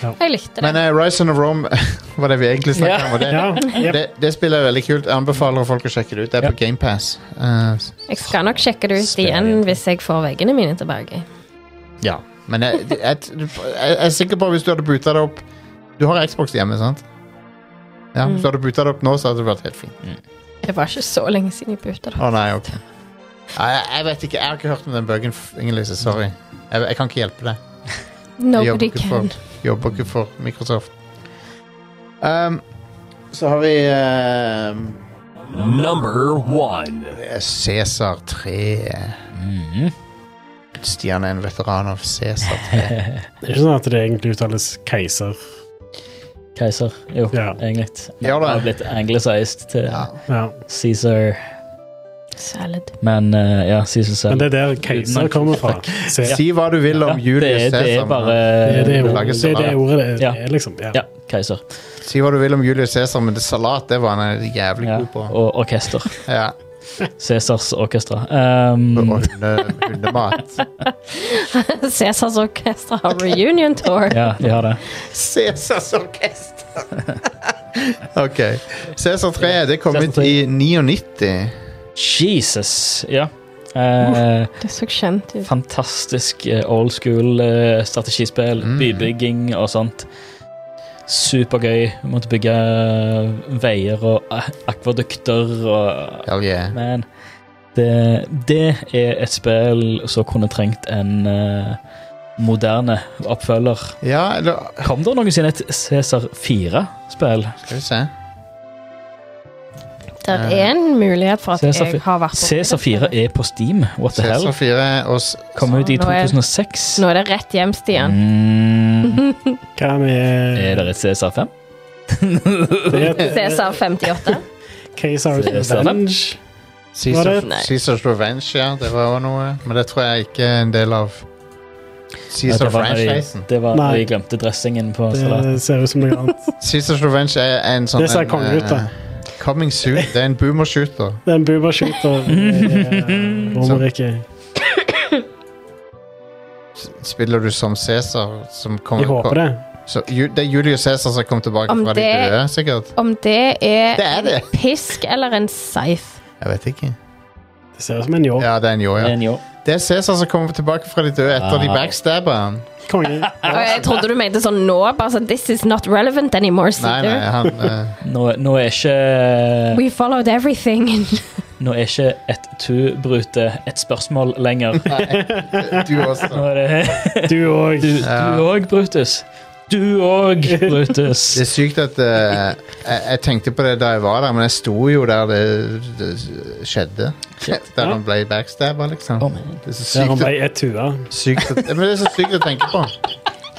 Speaker 3: Jeg likte det.
Speaker 1: Men uh, Rise of Rome var det vi egentlig snakket om. Og det,
Speaker 4: Ja, jep.
Speaker 1: det, det spillet er veldig kult. Jeg anbefaler folk å sjekke det ut. Det er på GamePass. Uh,
Speaker 3: Jeg skal nok sjekke det ut
Speaker 2: Spennende.
Speaker 3: igjen hvis jeg får veggene mine tilbake.
Speaker 1: ja. Men jeg, jeg, jeg, jeg er sikker på at hvis du hadde buta det opp Du har Xbox hjemme, sant? Ja,
Speaker 5: Mm.
Speaker 1: Hvis du hadde buta det opp nå, så hadde det vært helt fint.
Speaker 3: Det var ikke så lenge siden jeg bytta det.
Speaker 1: Å nei, ok. Nei, jeg, jeg vet ikke. Jeg har ikke hørt om den buggen, Inger-Lise. Sorry. Jeg, jeg kan ikke hjelpe deg. Jeg jobber
Speaker 3: Nobody
Speaker 1: ikke for,
Speaker 3: can.
Speaker 1: jobber ikke for Microsoft. Um, så har vi um,
Speaker 6: Number one.
Speaker 1: Cæsar 3.
Speaker 5: Mm.
Speaker 2: Mhm.
Speaker 1: Stian er en veteran av Cæsar 3.
Speaker 4: Det er ikke sånn at det egentlig uttales keiser.
Speaker 5: Keiser. Jo,
Speaker 4: Ja.
Speaker 5: egentlig. Det
Speaker 1: Ja, da.
Speaker 5: har blitt anglicized til
Speaker 1: Ja.
Speaker 4: Ja.
Speaker 5: Caesar.
Speaker 3: Salad.
Speaker 5: Men eh, ja, Caesar
Speaker 4: Men
Speaker 5: selv.
Speaker 4: det er der keiser kommer fra. Se,
Speaker 1: Si hva du vil om
Speaker 5: det,
Speaker 1: Julius
Speaker 5: er, det er
Speaker 1: Cæsar.
Speaker 5: bare
Speaker 1: men-
Speaker 4: det er det ordet
Speaker 1: lager
Speaker 4: det, er det,
Speaker 1: salat.
Speaker 4: ordet det
Speaker 5: Ja.
Speaker 4: er, liksom. Ja.
Speaker 5: Ja, Keiser.
Speaker 1: Si hva du vil om Julius Cæsar, men det salat det var han jævlig
Speaker 5: Ja.
Speaker 1: god på.
Speaker 5: Og orkester.
Speaker 1: Ja.
Speaker 5: Cæsars orkestra. Um,
Speaker 4: Mm.
Speaker 1: Og hunde, hundemat.
Speaker 3: Cæsars orkester har reunion tour.
Speaker 5: ja, de har det.
Speaker 1: Cæsars orkester! OK. Cæsar 3 det kom ut
Speaker 5: Cæsar 3.
Speaker 1: i 99.
Speaker 5: Jesus! Ja. Eh,
Speaker 3: Det så kjent ut.
Speaker 5: fantastisk eh, old school eh, strategispill.
Speaker 1: Mm.
Speaker 5: Bybygging og sånt. Supergøy. Vi Måtte bygge veier og eh, akvadukter og
Speaker 1: Hell yeah.
Speaker 5: Men det, det er et spill som kunne trengt en eh, moderne oppfølger.
Speaker 1: Ja, eller
Speaker 5: Kom det noensinne et Cæsar 4-spill?
Speaker 1: Skal vi se.
Speaker 3: Det er en mulighet for at
Speaker 5: Cæsar
Speaker 3: jeg har vært på
Speaker 5: Cæsar 4 er på Steam. What the
Speaker 1: Cæsar
Speaker 5: hell?
Speaker 1: 4 og s-
Speaker 5: Kom ut i
Speaker 3: Nå er-
Speaker 5: 2006.
Speaker 3: Nå er det rett hjem, Stian.
Speaker 5: Mm,
Speaker 4: Hva med
Speaker 5: er det et Cæsar 5?
Speaker 3: Cæsar 58.
Speaker 4: Keiser's
Speaker 5: Cæsar.
Speaker 4: Revenge? Var
Speaker 1: Caesar,
Speaker 4: det-
Speaker 3: Nei.
Speaker 1: Caesar's Revenge, ja. Det var også noe. Men det tror jeg ikke er en del av
Speaker 5: Ja,
Speaker 1: Caesar
Speaker 5: det var når de-
Speaker 1: franchisen.
Speaker 5: Det var når
Speaker 4: Nei.
Speaker 5: de glemte dressingen på salaten.
Speaker 4: Det ser ut som noe annet.
Speaker 1: Caesar's Revenge er en sånn
Speaker 4: Det ser
Speaker 1: en,
Speaker 4: kongen ut, da.
Speaker 1: eh, Coming soon. Det er en boomershooter.
Speaker 4: Det er en booberskyter i Romerriket.
Speaker 1: S- Spiller du som Cæsar? som kommer-
Speaker 4: Jeg håper det.
Speaker 1: Så, Ju- det er Julius Cæsar som kom tilbake
Speaker 3: Om
Speaker 1: fra de
Speaker 3: det-
Speaker 1: døde, sikkert?
Speaker 3: Om det er,
Speaker 1: Det er det.
Speaker 3: en pisk eller en scythe.
Speaker 1: Jeg vet ikke.
Speaker 4: Det ser ut som en ljå.
Speaker 1: Ja, det er en jo,
Speaker 5: Det er
Speaker 1: ja.
Speaker 5: en jo.
Speaker 1: Det er Cæsar som kommer tilbake fra de døde etter de
Speaker 5: Wow.
Speaker 1: backstabba han.
Speaker 4: Konge.
Speaker 3: Og jeg trodde du mente sånn nå, bare sånn This is not relevant anymore,
Speaker 1: Nei, nei,
Speaker 3: sier du.
Speaker 1: han eh,
Speaker 5: Nå, nå er ikke
Speaker 3: We followed everything.
Speaker 5: Nå er ikke et tu-brute et spørsmål lenger.
Speaker 1: Du også.
Speaker 5: Nå er det
Speaker 4: Du òg.
Speaker 5: Du
Speaker 1: Ja.
Speaker 5: du òg, Brutus. Du òg, Brutus.
Speaker 1: Det er sykt at eh, jeg, jeg tenkte på det da jeg var der, men jeg sto jo der det, det skjedde. Der han ble backstabba, liksom.
Speaker 5: Å, men.
Speaker 1: Det er så
Speaker 4: Der han
Speaker 1: sykt,
Speaker 4: ble et tua.
Speaker 1: å- sykt, å- men det er så sykt å tenke på.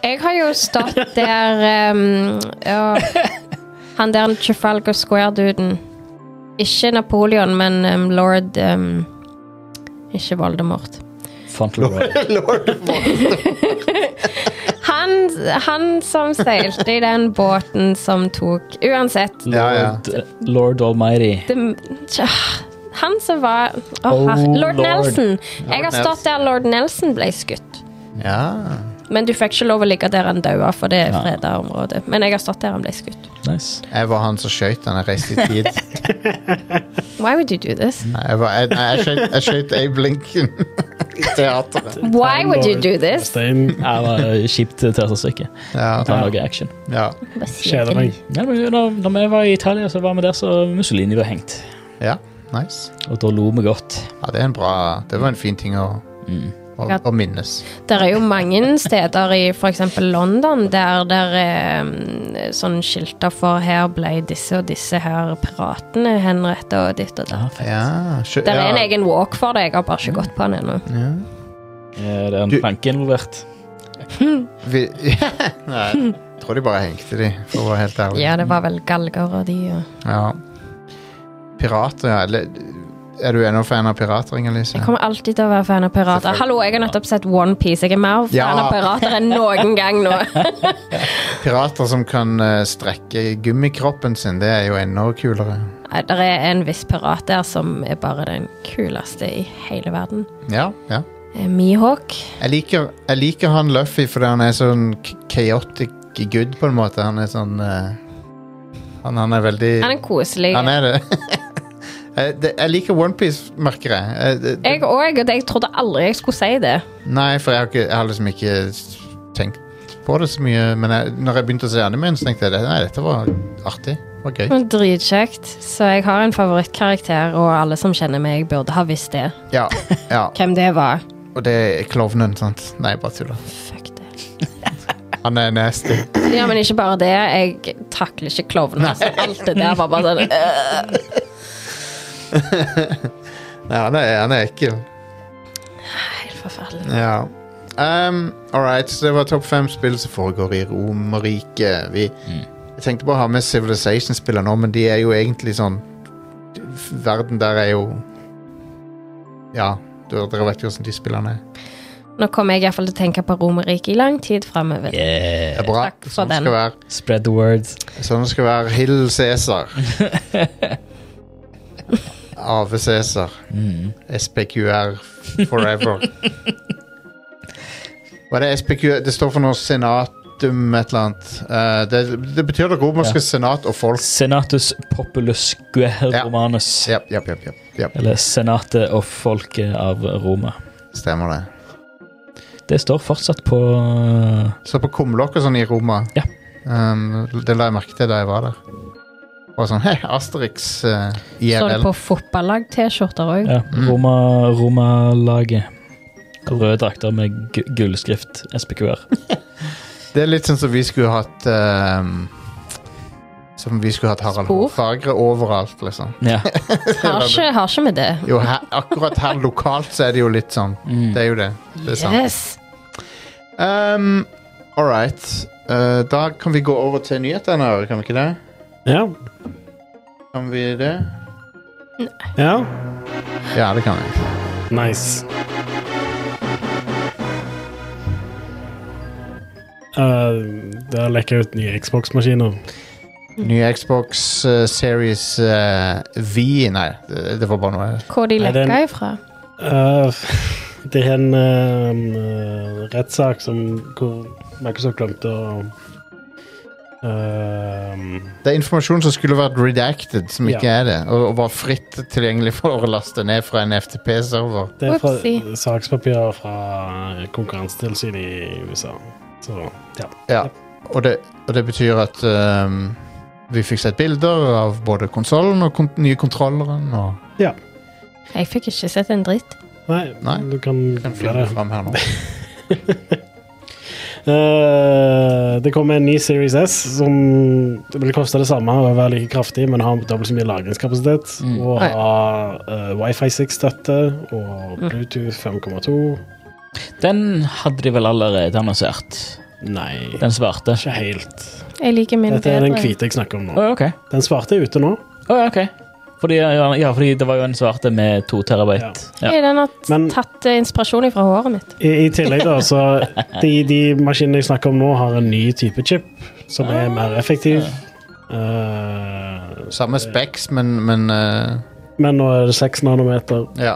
Speaker 3: Jeg har jo stått der um, ja, Han der Trafalgar Square-duden. Ikke Napoleon, men um, lord um, Ikke Voldemort.
Speaker 5: Fauntleroy.
Speaker 1: Lord of War.
Speaker 3: Han, han som seilte i den båten som tok Uansett
Speaker 1: Ja, ja.
Speaker 5: Lord, Lord Almighty.
Speaker 3: det, tja, Han som var Åh,
Speaker 5: Oh,
Speaker 3: herre- Lord
Speaker 5: Lord.
Speaker 3: Nelson. Jeg har
Speaker 1: Nelson.
Speaker 3: stått der lord Nelson ble skutt.
Speaker 1: Ja.
Speaker 3: Men du fikk ikke lov å ligge der han daua, for det er
Speaker 5: Ja.
Speaker 3: freda område. Men jeg har stått der han ble skutt.
Speaker 5: Nice.
Speaker 1: Jeg var han som skøyt han. Jeg reiste i tid.
Speaker 3: Why would you do this?
Speaker 1: Nei, Jeg, var- jeg, nei, jeg skøyt- jeg skøyt Abe Lincoln i teateret.
Speaker 3: Why would you do this?
Speaker 4: Stein
Speaker 5: Ja, Det var kjipt teaterstykke. Ta
Speaker 1: Ja,
Speaker 5: noe action.
Speaker 1: ja.
Speaker 3: Bare si
Speaker 4: kjeder
Speaker 3: det.
Speaker 4: meg.
Speaker 5: Ja, men da, da vi var i Italia, så var vi der så Mussolini var hengt.
Speaker 1: ja. Nice.
Speaker 2: Og da lo vi godt.
Speaker 1: Ja, det er en bra Det var en fin ting å,
Speaker 2: Mm.
Speaker 1: å,
Speaker 3: Ja.
Speaker 1: å minnes.
Speaker 3: Det er jo mange steder i f.eks. London der det er mm, sånn skilter for 'her ble disse og disse her piratene henrettet' og ditt og datt.
Speaker 2: Ja, fett.
Speaker 1: Ja, sjø,
Speaker 3: Det er en
Speaker 1: ja,
Speaker 3: egen walk for det, jeg har bare ikke gått på den ennå.
Speaker 1: ja.
Speaker 2: Eh, Det er en
Speaker 1: Du-
Speaker 2: planke involvert.
Speaker 1: Vi, Nei, jeg tror de bare hengte de, for å være helt ærlig.
Speaker 3: Ja, det var vel galger og de og
Speaker 1: Ja. Pirater, ja. Eller er du ennå fan av pirater, Inger-Lise?
Speaker 3: Jeg kommer alltid til å være fan av pirater.
Speaker 1: Selvfølgelig.
Speaker 3: Hallo, jeg har nettopp sett Onepiece. Jeg er mer fan
Speaker 1: Ja.
Speaker 3: av pirater enn noen gang nå.
Speaker 1: Pirater som kan eh, strekke gummikroppen sin, det er jo enda kulere.
Speaker 3: Nei, Det er en viss pirat der som er bare den kuleste i hele verden.
Speaker 1: Ja, ja.
Speaker 3: Eh, Mihawk.
Speaker 1: Jeg liker, jeg liker han Luffy fordi han er sånn k- chaotic good, på en måte. Han er sånn eh, han, han er veldig
Speaker 3: Han er koselig.
Speaker 1: Han er det. Eh, det. Jeg liker OnePiece, merker jeg. Eh, det- det-
Speaker 3: Jeg òg, og jeg trodde aldri jeg skulle si det.
Speaker 1: Nei, for jeg har, ikke, jeg har liksom ikke s- tenkt på det så mye. Men jeg, når jeg begynte å se animen, så tenkte jeg det, nei, dette var artig. Det var gøy.
Speaker 3: Men Dritkjekt. Så jeg har en favorittkarakter, og alle som kjenner meg, burde ha visst det.
Speaker 1: Ja, ja.
Speaker 3: Hvem det var.
Speaker 1: Og det er klovnen, sant? Nei, bare tuller.
Speaker 3: Fuck det.
Speaker 1: Han er nasty.
Speaker 3: Ja, men ikke bare det. Jeg takler ikke klovner. Så alt det der var bare sånn øh.
Speaker 1: Nei, han er, han er ekkel.
Speaker 3: Helt forferdelig.
Speaker 1: Ja. Um, all right, så det var topp fem spill som foregår i Romerriket. Vi Jeg tenkte på å ha med Civilization-spiller nå, men de er jo egentlig sånn f- Verden der er jo Ja, du- dere vet jo hvordan de spillerne er.
Speaker 3: Nå kommer jeg iallfall til å tenke på Romerriket i lang tid framover.
Speaker 1: Det er
Speaker 2: Yeah.
Speaker 1: bra.
Speaker 3: Takk for
Speaker 1: Sånn det
Speaker 3: den.
Speaker 1: skal være.
Speaker 2: Spread the word.
Speaker 1: Sånn det skal være. Hill Cæsar. Ave Cæsar.
Speaker 2: Mm.
Speaker 1: SPQR forever. Hva er det SPQ? Det står for noe senatum et eller annet. Eh, det, det betyr det romerske
Speaker 2: Ja.
Speaker 1: senat og folk.
Speaker 2: Senatus populus guer
Speaker 1: Ja.
Speaker 2: romanus.
Speaker 1: Japp, japp, japp, japp, japp.
Speaker 2: Eller senatet og folket av Roma.
Speaker 1: Stemmer det.
Speaker 2: Det står fortsatt på eh,
Speaker 1: Så på kumlokk og sånn i Roma.
Speaker 2: Ja.
Speaker 1: Um, det la jeg merke til da jeg var der. Og sånn Hei, Asterix eh,
Speaker 3: Står det
Speaker 1: IRL.
Speaker 3: Sånn på fotballag-T-skjorter òg?
Speaker 2: ja,
Speaker 1: Mm.
Speaker 2: Roma, Roma-laget. Røde drakter med gu- gullskrift SPQR.
Speaker 1: Det er litt sånn som vi skulle hatt ehm, Som vi skulle hatt Harald
Speaker 3: Spor.
Speaker 1: Hårfagre overalt, liksom.
Speaker 2: Ja.
Speaker 3: Har ikke, har ikke med det.
Speaker 1: Jo, her, akkurat her lokalt så er det jo litt sånn.
Speaker 2: Mm.
Speaker 1: Det er jo det. Det er sant.
Speaker 3: Yes.
Speaker 1: Um, All right. Eh, da kan vi gå over til nyhetene, kan vi ikke det?
Speaker 4: Ja.
Speaker 1: Kan vi det?
Speaker 4: ja.
Speaker 1: Ja, det kan vi.
Speaker 4: Nice. Eh, det har lekket ut nye Xbox-maskiner.
Speaker 1: Nye Xbox eh, Series eh, V Nei, det, det var bare noe
Speaker 3: Hvor de
Speaker 4: Nei, den-
Speaker 3: lekka ifra.
Speaker 4: Eh, det er en uh, rettssak som hvor Microsoft glemte å eh,
Speaker 1: Det er informasjon som skulle vært redacted, som ikke
Speaker 4: Ja.
Speaker 1: er det. Og, og var fritt tilgjengelig for å laste ned fra en FTP-server.
Speaker 4: Det er
Speaker 3: Whoopsie.
Speaker 4: fra sakspapirer fra Konkurransetilsynet i USA. Så ja.
Speaker 1: Ja. Og, det, og det betyr at ehm, vi fikk sett bilder av både konsollen og kon nye kontrolleren. Og
Speaker 3: Jeg fikk ikke sett en dritt.
Speaker 4: Nei,
Speaker 1: Nei.
Speaker 4: du kan
Speaker 1: kan
Speaker 4: gjøre
Speaker 1: finne
Speaker 4: det.
Speaker 1: fram her nå.
Speaker 4: Eh, det kommer en ny Series S som det vil koste det samme og være like kraftig, men har dobbelt så mye lagringskapasitet.
Speaker 2: Mm.
Speaker 4: Og
Speaker 3: Nei.
Speaker 4: har eh, Wifi 6-støtte og Bluetooth 5,2.
Speaker 2: Den hadde de vel allerede annonsert.
Speaker 4: Nei,
Speaker 2: Den svarte.
Speaker 4: ikke helt.
Speaker 3: Jeg liker min
Speaker 4: Dette er den
Speaker 3: bedre.
Speaker 4: hvite jeg snakker om
Speaker 2: Å,
Speaker 4: nå.
Speaker 2: ok.
Speaker 4: Den svarte er ute nå,
Speaker 2: Å, ja, ok. Fordi, ja, ja, fordi det var jo en svarte med to terabyte. Ja.
Speaker 3: Hey, Den har
Speaker 4: Men-
Speaker 3: tatt eh, inspirasjon fra håret mitt.
Speaker 4: I, I tillegg da, så de, de maskinene jeg snakker om nå, har en ny type chip som er mer effektiv. Eh,
Speaker 1: Samme specs, men, men eh,
Speaker 4: men nå er det 6 nanometer.
Speaker 1: ja.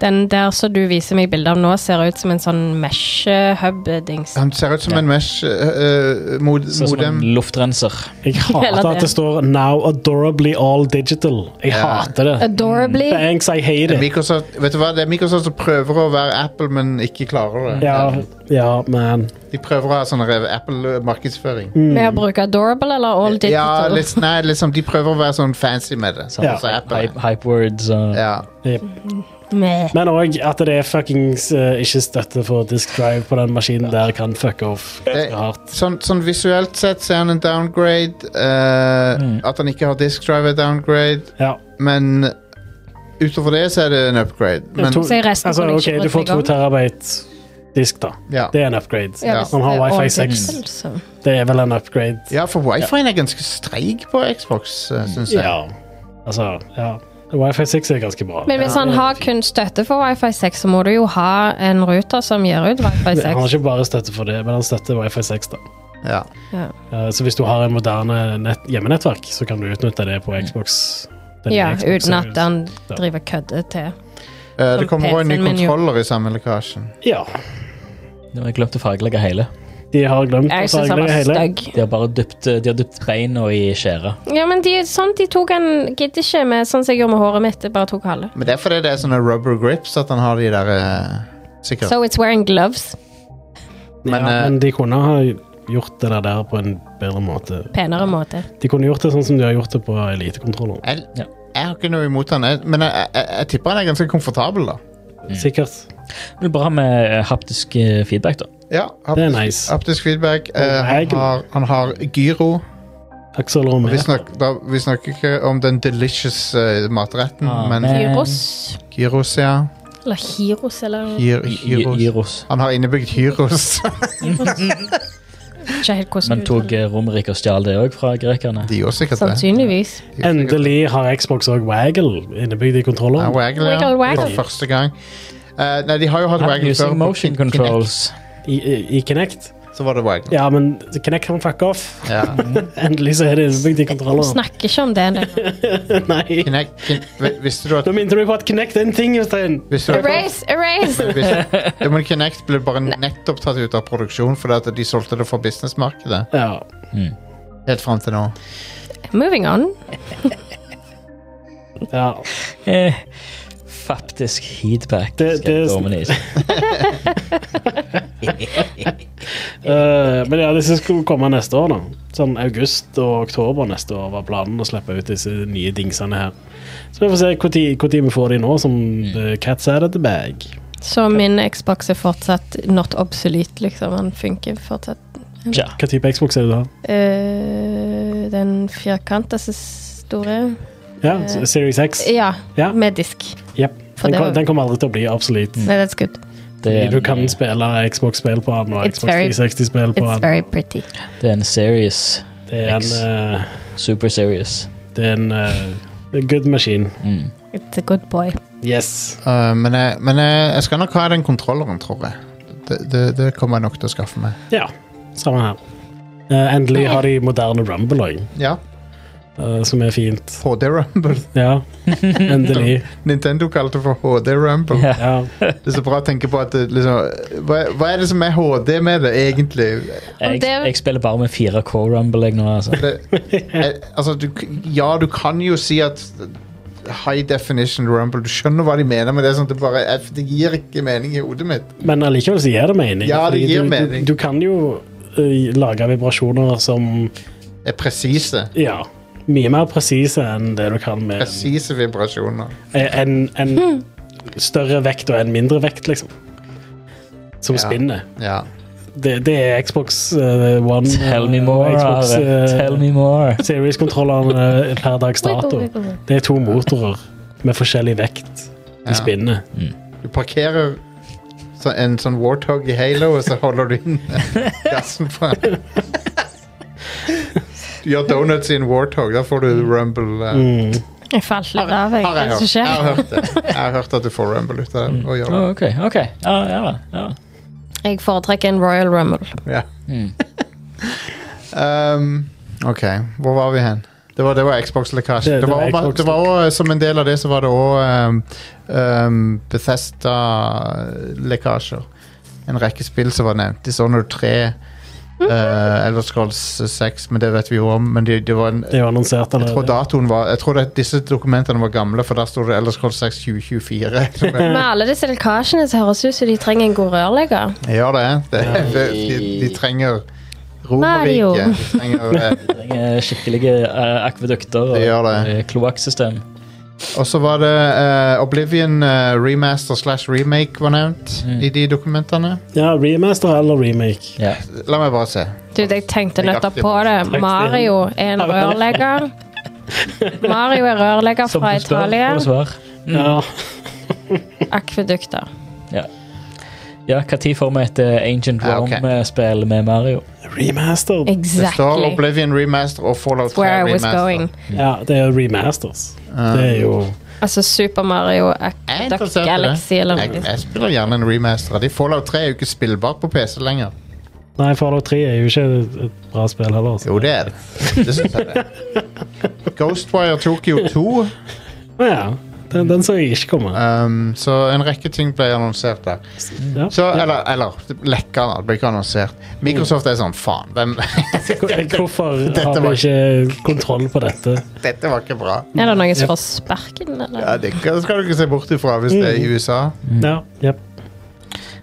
Speaker 3: Den der som du viser meg bilde av nå, ser ut som en sånn mesh-hub-dings.
Speaker 1: Han ser ut som
Speaker 5: Ja.
Speaker 1: en mesh eh, eh, mod,
Speaker 5: Ser ut som en
Speaker 1: modem.
Speaker 5: luftrenser.
Speaker 4: Jeg hater
Speaker 3: Eller
Speaker 4: at
Speaker 3: det.
Speaker 4: det står 'Now adorably all digital'. Jeg
Speaker 1: Ja.
Speaker 4: hater det.
Speaker 3: Adorably.
Speaker 4: Thanks, I hate it.
Speaker 1: Microsoft, vet du hva? Det er Microsoft som prøver å være Apple, men ikke klarer det.
Speaker 4: Ja, ja man.
Speaker 1: De prøver å ha sånn rev- Apple-markedsføring.
Speaker 4: Mm.
Speaker 3: Med å bruke adorable eller all
Speaker 1: Ja,
Speaker 3: digital.
Speaker 1: litt, nei, liksom, de prøver å være sånn fancy med det. Sånn,
Speaker 4: Ja.
Speaker 1: som Apple.
Speaker 5: Hype, hype words og
Speaker 1: Ja.
Speaker 3: Meh.
Speaker 4: Men òg at det er fuckings eh, ikke støtte for disk drive på den maskinen der kan fucke off
Speaker 1: Det-
Speaker 4: ganske hardt.
Speaker 1: Sånn, sånn visuelt sett så er han en downgrade. eh,
Speaker 5: Mm.
Speaker 1: At han ikke har disk drive er downgrade.
Speaker 4: Ja.
Speaker 1: Men utover det så er det en upgrade. Men,
Speaker 4: To-
Speaker 3: Så i resten
Speaker 4: altså,
Speaker 3: kunne jeg
Speaker 4: ok,
Speaker 3: ikke
Speaker 4: du
Speaker 3: brydd
Speaker 4: får
Speaker 3: meg
Speaker 4: to
Speaker 3: om.
Speaker 4: terabyte disk, da.
Speaker 1: ja.
Speaker 4: Det er en upgrade.
Speaker 1: Ja.
Speaker 3: hvis
Speaker 4: Han har
Speaker 3: det er
Speaker 4: wifi
Speaker 3: all
Speaker 4: 6.
Speaker 3: digital, så-
Speaker 4: Det er vel en upgrade.
Speaker 1: ja, for wifien er ganske streig på Xbox, eh, syns jeg.
Speaker 4: Ja. Altså, ja. Wifi 6 er ganske bra.
Speaker 3: Men hvis han har kun støtte for wifi 6, så må du jo ha en ruter som gir ut wifi
Speaker 4: Han har
Speaker 3: 6.
Speaker 4: ikke bare støtte for det, men han støtter wifi 6, da.
Speaker 1: Ja.
Speaker 3: Ja.
Speaker 4: Eh, Så hvis du har en moderne nett, hjemmenettverk, så kan du utnytte det på Xbox. Den
Speaker 3: ja,
Speaker 4: nye Xbox
Speaker 3: uten
Speaker 4: Series.
Speaker 3: at han driver kødde til.
Speaker 1: Eh, det
Speaker 3: Som
Speaker 1: kommer òg en ny
Speaker 3: PC-en min jo.
Speaker 1: kontroller i samme lekkasjen.
Speaker 4: Ja.
Speaker 5: De har glemt å fargelegge hele.
Speaker 4: De har glemt å
Speaker 3: Jeg syns han
Speaker 4: fargelegge
Speaker 3: var
Speaker 4: hele.
Speaker 3: stygg.
Speaker 5: De har bare dypt, de har dypt beina i skjæret.
Speaker 3: Ja, men de, sånn, de tok han gidder ikke med sånn som jeg gjorde med håret mitt. Jeg bare tok halve.
Speaker 1: Men det er fordi det er sånne rubber grips at han har de der eh, Sikkert.
Speaker 3: So it's wearing gloves.
Speaker 1: Men,
Speaker 4: ja,
Speaker 1: eh,
Speaker 4: men de kunne ha gjort det der på en bedre måte.
Speaker 3: Penere måte.
Speaker 4: De kunne gjort det sånn som de har gjort det på elitekontroller.
Speaker 1: jeg,
Speaker 5: Ja.
Speaker 1: jeg har ikke noe imot han, jeg- men jeg, jeg, jeg tipper han er ganske komfortabel, da.
Speaker 4: Sikkert.
Speaker 5: Men bra med haptisk eh, feedback, da.
Speaker 1: Ja,
Speaker 4: Det er
Speaker 1: haptisk,
Speaker 4: nice.
Speaker 1: haptisk feedback. eh,
Speaker 4: Og
Speaker 1: han,
Speaker 4: regel.
Speaker 1: har, han har gyro.
Speaker 4: Akselrom
Speaker 1: Og Vi
Speaker 4: er
Speaker 1: snakker, da, vi snakker ikke om den delicious eh, matretten,
Speaker 5: Ah,
Speaker 1: men
Speaker 5: men-
Speaker 3: Hyros.
Speaker 1: gyros, ja.
Speaker 3: Eller Hyros, eller
Speaker 1: Gyr,
Speaker 5: Gyros.
Speaker 1: gyros. Han har innebygd hyros.
Speaker 3: Ikke helt hvordan
Speaker 5: Men
Speaker 3: du
Speaker 5: tok
Speaker 3: uttaler det.
Speaker 5: eh, Romerike og stjal det òg fra grekerne?
Speaker 1: De gjør sikkert
Speaker 3: Sånn
Speaker 1: det.
Speaker 3: Sannsynligvis.
Speaker 1: De gjorde sikkert det.
Speaker 4: Endelig har Xbox òg Waggle innebygd i
Speaker 1: Ja,
Speaker 4: kontrolleren.
Speaker 1: waggle, ja.
Speaker 3: Wiggle, waggle.
Speaker 1: For første gang. Eh, nei, de har jo hatt
Speaker 5: I'm
Speaker 1: waggle før.
Speaker 5: using
Speaker 1: på
Speaker 5: motion
Speaker 1: Kin- Kinect,
Speaker 5: controls.
Speaker 4: I, i- I Kinect.
Speaker 1: Så var det waggle.
Speaker 4: Ja, men Kinect kan fuck off.
Speaker 1: Ja.
Speaker 4: Endelig så er det innebygd i kontrolleren.
Speaker 3: Snakker ikke om det. det.
Speaker 4: Nei.
Speaker 1: Kinect, kin, vi- visste du at
Speaker 4: Nå minte du meg på at Kinect er en ting, Jostein.
Speaker 1: visste du at
Speaker 3: Erase, erase!
Speaker 1: hvis- Ja, men Kinect ble bare nettopp tatt ut av produksjon fordi at de solgte det for businessmarkedet.
Speaker 4: Ja.
Speaker 1: Helt fram til nå.
Speaker 3: Moving on.
Speaker 4: ja.
Speaker 5: Eh, Faktisk feedback.
Speaker 4: Det-
Speaker 5: skal jeg
Speaker 4: det-
Speaker 5: dominere.
Speaker 4: Eh, men ja, disse skulle komme neste år, da. Sånn august og oktober neste år var planen å slippe ut disse nye dingsene her. Så vi får se når vi får de nå, som eh, cats out of the bag.
Speaker 3: Så min Xbox er fortsatt not obsolete, liksom. Han funker fortsatt.
Speaker 5: Tja.
Speaker 4: Hva type Xbox er det du har?
Speaker 3: Eh, den firkanta så store
Speaker 4: Ja, s- Series X?
Speaker 3: Eh, Ja,
Speaker 4: Ja. Mm.
Speaker 3: med disk.
Speaker 4: Yep.
Speaker 3: For
Speaker 4: Den,
Speaker 3: det
Speaker 4: kom,
Speaker 3: var-
Speaker 4: den kommer aldri til å bli obsolet.
Speaker 3: Nei, that's good.
Speaker 5: Det er
Speaker 4: Du kan
Speaker 5: en, eh,
Speaker 4: spille Xbox-spill på den, og
Speaker 3: It's
Speaker 4: Xbox
Speaker 3: very-
Speaker 4: 360-spill på
Speaker 3: It's
Speaker 4: den.
Speaker 3: very pretty.
Speaker 5: det er en serious.
Speaker 4: Det er en,
Speaker 5: X.
Speaker 4: eh,
Speaker 5: Super serious.
Speaker 4: det er en eh, det er en good machine.
Speaker 5: Mm.
Speaker 3: It's a good boy.
Speaker 4: Yes.
Speaker 1: Eh, men jeg, men jeg, jeg skal nok ha den kontrolleren, tror jeg. Det, det, det kommer jeg nok til å skaffe meg.
Speaker 4: Ja, samme her. Eh, endelig har de moderne Rumble òg,
Speaker 1: Ja,
Speaker 4: som er fint.
Speaker 1: HD Rumble.
Speaker 4: Ja, endelig.
Speaker 1: Nintendo kalte det for HD Rumble.
Speaker 4: Ja.
Speaker 1: Det er så bra å tenke på at det, liksom, hva, hva er det som er HD med det, egentlig?
Speaker 5: Jeg,
Speaker 3: det-
Speaker 5: jeg spiller bare med 4K Rumble jeg nå, altså.
Speaker 1: Det, eh, altså, du, k- ja, du kan jo si at high definition rumble Du skjønner hva de mener med det, sånn at det bare eh, det gir ikke mening i hodet mitt.
Speaker 4: Men allikevel så gir det mening.
Speaker 1: Ja, det
Speaker 4: fordi
Speaker 1: gir
Speaker 4: du,
Speaker 1: mening.
Speaker 4: Du, du kan jo eh, lage vibrasjoner som
Speaker 1: Det er presise.
Speaker 4: Ja, mye mer presise enn det du kan med en,
Speaker 1: Presise vibrasjoner.
Speaker 4: en, en
Speaker 3: Hmm.
Speaker 4: større vekt og en mindre vekt, liksom. Som
Speaker 1: Ja.
Speaker 4: spinner.
Speaker 1: Ja.
Speaker 4: Det, det er Xbox eh, One
Speaker 5: Tell me
Speaker 4: eh,
Speaker 5: more,
Speaker 4: Xbox
Speaker 5: Are. Tell me more.
Speaker 4: Series-kontrollene eh, per dags dato.
Speaker 3: Wiggle, wiggle.
Speaker 4: Det er to motorer med forskjellig vekt. De
Speaker 1: Ja.
Speaker 4: spinner.
Speaker 1: Du parkerer så en sånn warthog i Halo, og så holder du inn gassen på den. Du gjør donuts i en warthog, da får du rumble. eh,
Speaker 4: Mm.
Speaker 3: Jeg falt litt av, jeg.
Speaker 1: Har jeg
Speaker 3: Hva er det som
Speaker 1: hørt. Jeg har
Speaker 3: skjer?
Speaker 1: hørt det. Jeg har hørt at du får rumble ut av det. Og gjør
Speaker 5: Å,
Speaker 1: det.
Speaker 5: Oh, ok, ok. Ja, ja, vel, ja. Mm.
Speaker 3: Jeg foretrekker en Royal Rumble.
Speaker 1: Ja. Um, OK, Ehm, hvor var vi hen? Det var, det var Xbox-lekkasje.
Speaker 4: Det-
Speaker 1: Det,
Speaker 4: det
Speaker 1: var
Speaker 4: var
Speaker 1: også-
Speaker 4: Xbox.
Speaker 1: det var også, Som en del av det så var det òg um, um, Bethesda-lekkasjer. En rekke spill som var nevnt. Dishonored 3, uh, Elder Scrolls 6, men det vet vi jo om. Men det, det var en,
Speaker 4: Det er jo annonsert
Speaker 1: jeg tror
Speaker 4: allerede.
Speaker 1: datoen var Jeg tror at disse dokumentene var gamle, for der sto det Elder Scrolls 6 2024. Så det-
Speaker 3: Med alle disse lekkasjene så høres det ut som de trenger en god rørlegger.
Speaker 1: Ja, det er det. er- De, de trenger
Speaker 3: Mario.
Speaker 1: Romerriket. De trenger eh,
Speaker 5: Jeg trenger skikkelige eh, akvedukter og
Speaker 1: Det gjør det.
Speaker 5: eh, kloakksystem.
Speaker 1: Og så var det eh, Oblivion eh, remaster slash remake var nevnt i de dokumentene.
Speaker 4: Ja, remaster eller remake.
Speaker 5: Ja.
Speaker 1: La meg bare se.
Speaker 3: Du, jeg tenkte nettopp på det. Mario er en rørlegger. Mario er rørlegger
Speaker 5: Som
Speaker 3: fra
Speaker 5: du spør,
Speaker 3: Italia.
Speaker 5: får du svar.
Speaker 4: Ja,
Speaker 3: Akvedukter.
Speaker 5: Ja, når får vi et eh, Ancient
Speaker 1: Ja, ok.
Speaker 5: Rome-spill med Mario?
Speaker 4: remaster.
Speaker 1: Det står
Speaker 3: Exactly.
Speaker 1: Oblivion remaster og Fallout 3
Speaker 3: Where I was
Speaker 1: remaster.
Speaker 3: going.
Speaker 4: Ja, det er jo remasters.
Speaker 1: Eh,
Speaker 4: Det er jo
Speaker 3: Altså Super Mario
Speaker 1: jeg er
Speaker 3: Aqueduct
Speaker 1: interessert i det.
Speaker 3: Galaxy eller
Speaker 1: jeg,
Speaker 3: noe.
Speaker 1: jeg spiller gjerne en remaster. av De Fallout 3 er jo ikke spillbart på PC lenger.
Speaker 4: Nei, Fallout 3 er jo ikke et- et bra spill heller. altså. Så.
Speaker 1: Jo, det er det. det, synes jeg det. er. Ghostwire Tokyo 2.
Speaker 4: Men Ja, den, den så jeg ikke komme.
Speaker 1: Um, så en rekke ting ble annonsert der.
Speaker 4: Ja.
Speaker 1: Så, eller, eller lekka, da. Det ble ikke annonsert. Microsoft er sånn, faen. Hvem?
Speaker 4: Hvorfor har
Speaker 1: Dette var-
Speaker 4: vi
Speaker 1: Mm.
Speaker 4: ikke kontroll på dette?
Speaker 1: Dette var ikke bra.
Speaker 3: Er det noen som får sparken,
Speaker 1: Ja,
Speaker 3: eller?
Speaker 1: det kan- skal du ikke se bort ifra hvis det er i USA.
Speaker 4: Ja, jep.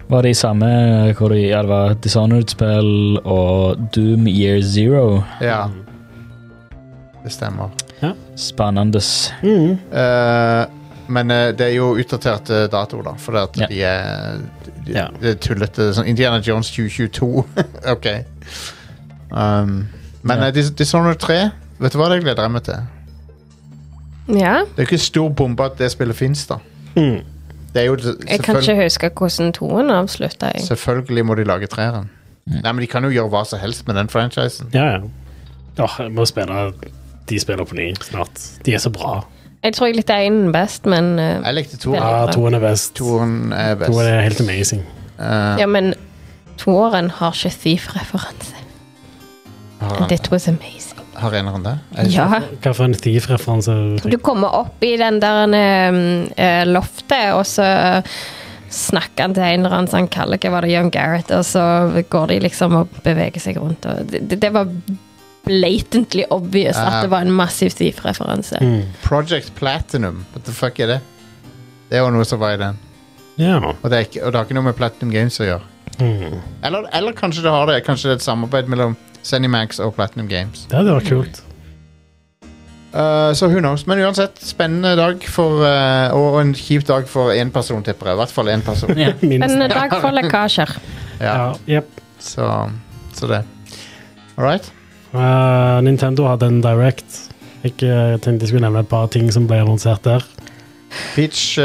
Speaker 5: Var det i samme eh, hvor de, ja, det var Dishonored-spill og Doom Year Zero?
Speaker 1: Ja. Det stemmer.
Speaker 5: Spennende.
Speaker 4: Mhm.
Speaker 1: Eh, men eh, det er jo utdaterte datoer, da. For at
Speaker 5: Ja.
Speaker 1: de er de,
Speaker 4: Ja.
Speaker 1: Det er tullete. Sånn Indiana Jones 2022. ok. Um, men
Speaker 5: Ja.
Speaker 1: eh, Dis- Dishonored 3 Vet du hva det gleder jeg meg til?
Speaker 3: Ja.
Speaker 1: Det er jo ikke stor bombe at det spillet fins, da.
Speaker 4: Mhm.
Speaker 1: Det er jo
Speaker 3: Jeg kan
Speaker 1: selvfølgelig,
Speaker 3: ikke huske hvordan toen avslutta. jeg.
Speaker 1: selvfølgelig må de lage treeren. Nei, men De kan jo gjøre hva som helst med den franchisen.
Speaker 4: Ja, ja. Åh, jeg må spille De spiller på ny snart. De er så bra.
Speaker 3: Jeg tror jeg likte én best, men eh,
Speaker 1: Jeg likte toeren.
Speaker 3: Ja.
Speaker 4: Ja, toen er best. Toen
Speaker 1: Toeren er best.
Speaker 4: er helt amazing.
Speaker 1: Eh,
Speaker 3: Ja, men toåren har ikke Thief-referanse.
Speaker 1: har,
Speaker 3: That was amazing.
Speaker 1: har eneren det? Er det-
Speaker 3: Ja.
Speaker 4: Hva for en Thief-referanse?
Speaker 3: Du kommer opp i den der um, eh, loftet, og så eh, snakker han til en eller annen som han kaller hva var det, Young Garrett, og så går de liksom og beveger seg rundt. Og det, det- det var blatantly obvious
Speaker 1: Ja. Mm.
Speaker 3: at det var en massiv Thief-referanse.
Speaker 4: Mhm.
Speaker 1: Project Platinum. What the fuck er det? Det er jo noe som var i den.
Speaker 4: Ja.
Speaker 1: Og det, er ikke, og det har ikke noe med Platinum Games å gjøre.
Speaker 4: Mhm.
Speaker 1: Eller, eller kanskje det har det. Kanskje det er et samarbeid mellom Zenimax og Platinum Games.
Speaker 4: Det hadde vært kult.
Speaker 1: Eh, så who knows. Men uansett, spennende dag for eh, Og og en kjip dag for én person, tipper jeg. I hvert fall én person.
Speaker 5: Ja.
Speaker 4: Minst.
Speaker 3: Men eh, dag for lekkasjer.
Speaker 1: Ja,
Speaker 4: Ja, jep.
Speaker 1: så, så det. All right.
Speaker 4: Eh, Nintendo hadde en Direct. Jeg eh, tenkte jeg skulle nevne et par ting som ble annonsert der.
Speaker 1: Peach eh,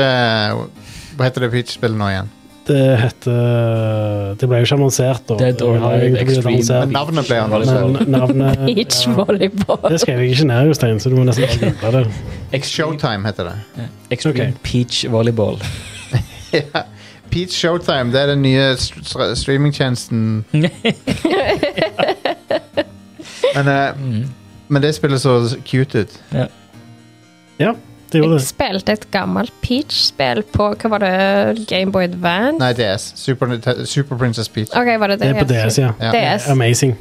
Speaker 1: Hva heter det Peach-spillet nå igjen?
Speaker 4: Det heter Det ble jo ikke annonsert, da.
Speaker 5: Dead or
Speaker 4: Det har
Speaker 5: Alive
Speaker 4: egentlig blitt
Speaker 5: Extreme.
Speaker 1: Men
Speaker 4: annonsert,
Speaker 1: navnet ble annonsert.
Speaker 4: Men navnet
Speaker 3: Beach
Speaker 4: ja,
Speaker 3: volleyball.
Speaker 4: Det skrev jeg ikke ned, Jostein, så du må nesten bare google det.
Speaker 5: Extreme,
Speaker 1: Showtime heter det.
Speaker 5: Extreme Peach Volleyball.
Speaker 1: Ja. Peach Showtime, det er den nye st st- streamingtjenesten. Men, eh,
Speaker 5: Mm.
Speaker 1: men det spiller så cute ut.
Speaker 4: Ja, det gjorde
Speaker 3: Jeg
Speaker 4: det.
Speaker 3: spilte et gammelt Peach-spill på hva var det, Gameboy Advance?
Speaker 1: Nei, DS. Super, Nite- Super Princess Peach.
Speaker 3: Ok, var det
Speaker 4: Det
Speaker 3: det?
Speaker 4: er på DS, ja.
Speaker 1: Ja.
Speaker 3: DS.
Speaker 4: Amazing.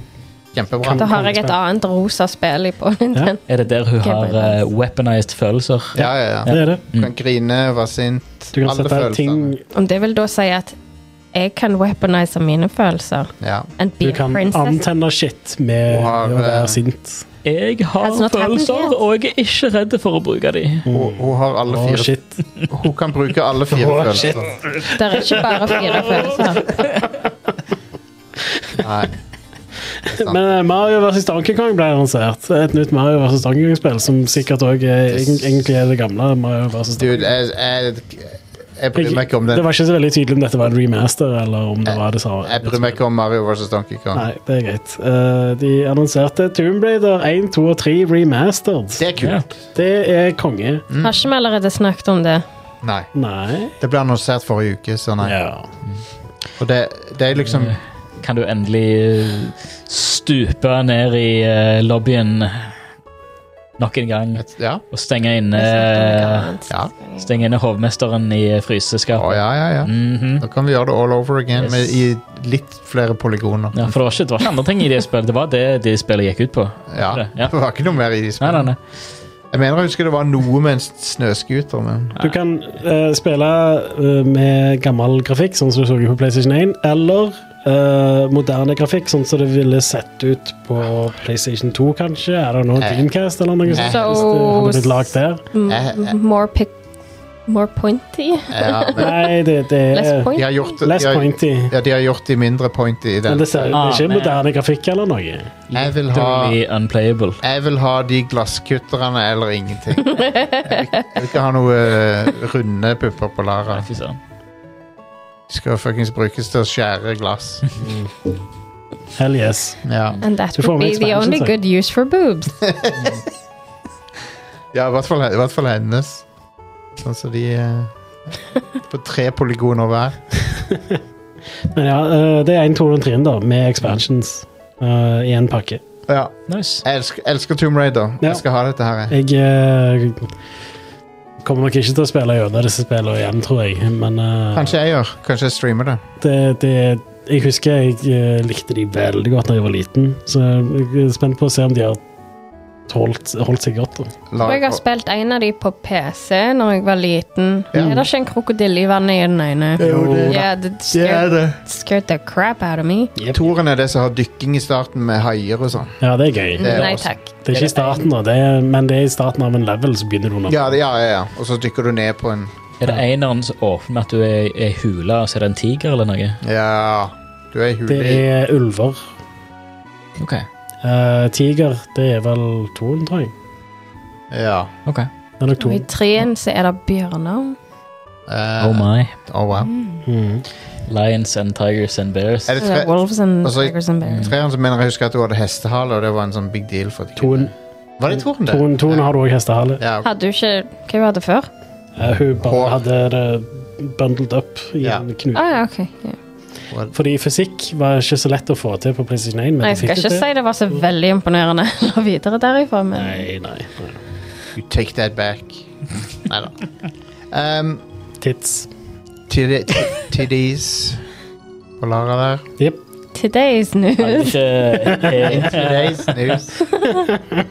Speaker 1: Kjempebra.
Speaker 3: Da har jeg et annet rosa spill i på Nintendo.
Speaker 5: Er det der hun har eh, weaponized følelser?
Speaker 1: Ja, ja, ja.
Speaker 4: Det er det.
Speaker 1: Du kan grine, være sint.
Speaker 4: Du kan
Speaker 1: alle
Speaker 4: sette ting
Speaker 1: følelsene.
Speaker 3: Om det vil da si at jeg kan weaponize mine følelser
Speaker 1: Ja.
Speaker 3: and be
Speaker 4: Du
Speaker 3: a
Speaker 4: kan
Speaker 3: princess.
Speaker 4: antenne shit med
Speaker 1: Og har,
Speaker 4: å være
Speaker 1: eh,
Speaker 4: sint.
Speaker 5: Jeg har
Speaker 3: Has not happened
Speaker 5: følelser,
Speaker 3: yet.
Speaker 5: og jeg er ikke redd for å bruke de.
Speaker 1: Hun, hun har alle
Speaker 4: Å,
Speaker 1: fire
Speaker 4: shit.
Speaker 1: Hun kan bruke alle fire
Speaker 4: Å,
Speaker 1: følelser.
Speaker 4: shit.
Speaker 3: Det er ikke bare fire følelser.
Speaker 1: Nei.
Speaker 4: Men eh, Mario vs. Donkey Kong ble annonsert. Et nytt Mario vs. Donkey Kong-spill, som sikkert òg egentlig er det gamle Mario vs. Donkey
Speaker 1: Dude, jeg, jeg, jeg bryr meg ikke om
Speaker 4: Det
Speaker 1: den.
Speaker 4: var ikke så veldig tydelig om dette var en remaster, eller om det var det samme.
Speaker 1: Jeg bryr meg ikke om Mario vs. Donkey Kong.
Speaker 4: Nei, det er greit. Eh, de annonserte Tomb Raider 1, 2 og 3 remastered.
Speaker 1: Det er
Speaker 5: Ja.
Speaker 1: kult.
Speaker 4: Det er konge.
Speaker 3: Har ikke vi allerede snakket om det?
Speaker 1: Nei.
Speaker 4: Nei.
Speaker 1: Det ble annonsert forrige uke, så nei.
Speaker 4: Ja.
Speaker 1: Og det, det er liksom
Speaker 5: Eh. Kan du endelig eh, stupe ned i eh, lobbyen nok en gang.
Speaker 1: Et, ja.
Speaker 5: Og stenge inne
Speaker 1: ja.
Speaker 5: Stenge inne hovmesteren i fryseskapet.
Speaker 1: Å, ja, ja, ja.
Speaker 5: Mhm.
Speaker 1: Da kan vi gjøre det all over again
Speaker 5: Yes.
Speaker 1: med i litt flere polygoner.
Speaker 5: ja, For det var, ikke, det var ikke andre ting i det spillet. Det var det det spillet gikk ut på.
Speaker 1: Ja.
Speaker 5: Ja.
Speaker 1: Det var ikke noe mer i de
Speaker 5: Nei, nei,
Speaker 1: spillene.
Speaker 5: nei.
Speaker 1: Jeg mener jeg husker det var noe med en s- snøscooter, men
Speaker 4: Du kan eh, spille eh, med gammel grafikk, sånn som du så på PlayStation 1, eller eh, moderne grafikk, sånn som det ville sett ut på PlayStation 2, kanskje. Er det noe
Speaker 1: Eh.
Speaker 4: Dreamcast eller noe sånt?
Speaker 3: Så-
Speaker 4: Hvis det hadde blitt lagd der.
Speaker 1: Eh, eh.
Speaker 3: M- More pic... More pointy?
Speaker 1: ja. men
Speaker 4: Nei, det, det
Speaker 3: Less
Speaker 4: er
Speaker 1: De
Speaker 3: point?
Speaker 1: har gjort det,
Speaker 4: Less
Speaker 1: de har,
Speaker 4: pointy.
Speaker 1: ja, de har gjort de mindre pointy i
Speaker 4: Men
Speaker 1: den.
Speaker 4: det ser det
Speaker 5: Ah,
Speaker 4: er ikke
Speaker 5: men-
Speaker 4: moderne grafikk eller noe.
Speaker 1: Jeg vil ha
Speaker 5: Totally unplayable.
Speaker 1: Jeg vil ha de glasskutterne eller ingenting. Jeg vil, jeg vil ikke ha noe eh, runde pupper på Lara.
Speaker 5: Nei, fy søren.
Speaker 1: De skal fuckings brukes til å skjære glass.
Speaker 4: Hell yes.
Speaker 1: Ja,
Speaker 3: And that
Speaker 4: Du får
Speaker 3: would
Speaker 4: med
Speaker 3: be the
Speaker 4: expansion,
Speaker 3: only
Speaker 4: så.
Speaker 3: good use for boobs.
Speaker 1: ja i, hvert fall, i hvert fall hennes. Sånn som de eh, På tre polygoner hver.
Speaker 4: Men ja, eh, det er 1, 2 og 3 da, med expansions eh, i en pakke.
Speaker 1: Ja,
Speaker 5: Nice.
Speaker 1: jeg elsker, elsker Tomb Raider.
Speaker 4: Ja.
Speaker 1: Jeg skal ha dette her. jeg.
Speaker 4: Jeg eh, kommer nok ikke til å spille gjennom disse spillene igjen, tror jeg, men eh,
Speaker 1: Kanskje jeg gjør. Kanskje jeg streamer det.
Speaker 4: det, det Jeg husker jeg eh, likte de veldig godt da jeg var liten, så jeg er spent på å se om de har holdt, holdt seg godt. Da.
Speaker 1: La-
Speaker 3: Og jeg har spilt en av de på PC når jeg var liten.
Speaker 1: Ja.
Speaker 3: Er det ikke en krokodille i vannet i den ene?
Speaker 1: Jo, det-
Speaker 3: Yeah, that
Speaker 1: det er
Speaker 3: scared,
Speaker 1: det.
Speaker 3: scared the crap out of me.
Speaker 1: Toren er det som har dykking i starten med haier og sånn.
Speaker 4: Ja, det er gøy.
Speaker 1: Det er
Speaker 3: Nei
Speaker 1: awesome.
Speaker 3: takk.
Speaker 4: Det er ikke i starten, da, det er, men det er i starten av en level, så begynner du under.
Speaker 1: Ja, det- ja, ja, ja. Og så dykker du ned på en
Speaker 5: Er det eneren som åpner med at du er i ei hule, og så er det en tiger eller noe?
Speaker 1: Ja, du er i
Speaker 4: Det
Speaker 1: hule i
Speaker 4: er ulver.
Speaker 5: Ok,
Speaker 4: Eh, tiger, det er vel toen, tror jeg.
Speaker 1: Ja.
Speaker 5: ok.
Speaker 4: Det er nok
Speaker 3: Og i
Speaker 4: toen.
Speaker 3: treen så er det bjørner.
Speaker 1: Eh,
Speaker 5: Oh my.
Speaker 1: oh, wow.
Speaker 4: Mm.
Speaker 5: Lions and tigers and bears.
Speaker 1: Er det
Speaker 3: Så det
Speaker 1: tre,
Speaker 3: er wolves and
Speaker 1: Og så i-
Speaker 3: tigers and bears.
Speaker 1: treeren som mener jeg husker at hun hadde hestehale, og det var en sånn big deal for de
Speaker 4: Toen,
Speaker 1: kunne- Var det toren, det?
Speaker 4: toen, toen har du òg hestehale.
Speaker 1: Ja, ok.
Speaker 3: Hadde du ikke Hva var det før?
Speaker 4: Eh, hun bare
Speaker 1: Hår.
Speaker 4: hadde det bundled up i
Speaker 1: Ja.
Speaker 4: en knute.
Speaker 3: Å Ah, ja, OK. Ja.
Speaker 4: Fordi fysikk var ikke så lett å få til på PlayStation 1. Men
Speaker 3: Nei,
Speaker 4: de
Speaker 3: jeg skal
Speaker 4: fikk
Speaker 3: ikke
Speaker 4: det
Speaker 3: si
Speaker 4: til.
Speaker 3: det var så veldig imponerende eller videre derifra, men
Speaker 4: Nei, nei. nei.
Speaker 1: You take that back. Nei da. Um,
Speaker 4: Tits.
Speaker 1: tiddi- Tiddies og Lara der.
Speaker 4: Jepp.
Speaker 3: today's
Speaker 5: Hadde
Speaker 3: news
Speaker 5: ikke-
Speaker 1: Tiddies, news.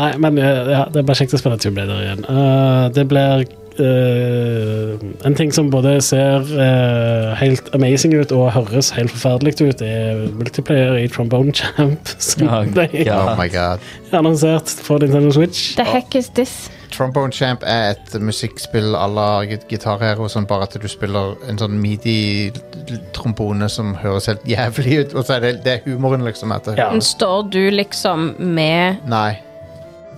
Speaker 4: Nei, men eh, ja, det er bare kjekt å spille Tomb Raider igjen. Eh, det blir eh, En ting som både ser eh, helt amazing ut og høres helt forferdelig ut, er multiplayer i Trombone Champ, som
Speaker 5: Ja,
Speaker 4: ble
Speaker 5: ja.
Speaker 1: Oh my god.
Speaker 4: annonsert for Nintendo Switch.
Speaker 3: The heck is this?
Speaker 1: Trombone Champ er et musikkspill à la git- Guitar Hero, sånn bare at du spiller en sånn midi-trombone som høres helt jævlig ut, og så er det, det er humoren, liksom. At det,
Speaker 4: Ja.
Speaker 3: Står du liksom med
Speaker 1: Nei.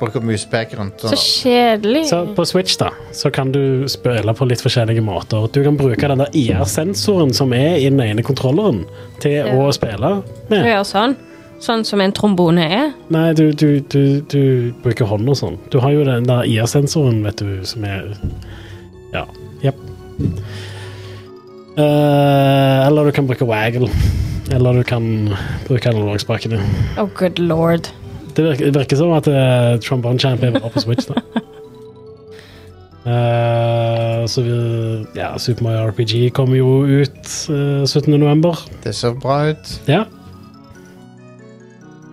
Speaker 1: Bruker muspekeren til
Speaker 3: Så kjedelig.
Speaker 4: Sånn. Så på Switch da, så kan du spille på litt forskjellige måter. Du kan bruke den der IR-sensoren som er i den ene kontrolleren, til
Speaker 3: Ja.
Speaker 4: å spille
Speaker 3: Du
Speaker 4: med.
Speaker 3: gjør sånn. Sånn som en trombone er.
Speaker 4: Nei, du, du, du, du bruker hånd og sånn. Du har jo den der IR-sensoren, vet du, som er Ja. Jepp. Eh, eller du kan bruke waggle. Eller du kan bruke analogspakene.
Speaker 3: Oh, good lord.
Speaker 4: Det virker, det virker som at uh, Trombone Champ er bra på Switch, da. Eh, så vi, ja, Super Mario RPG kommer jo ut uh, 17.11.
Speaker 1: Det ser bra ut.
Speaker 4: Ja,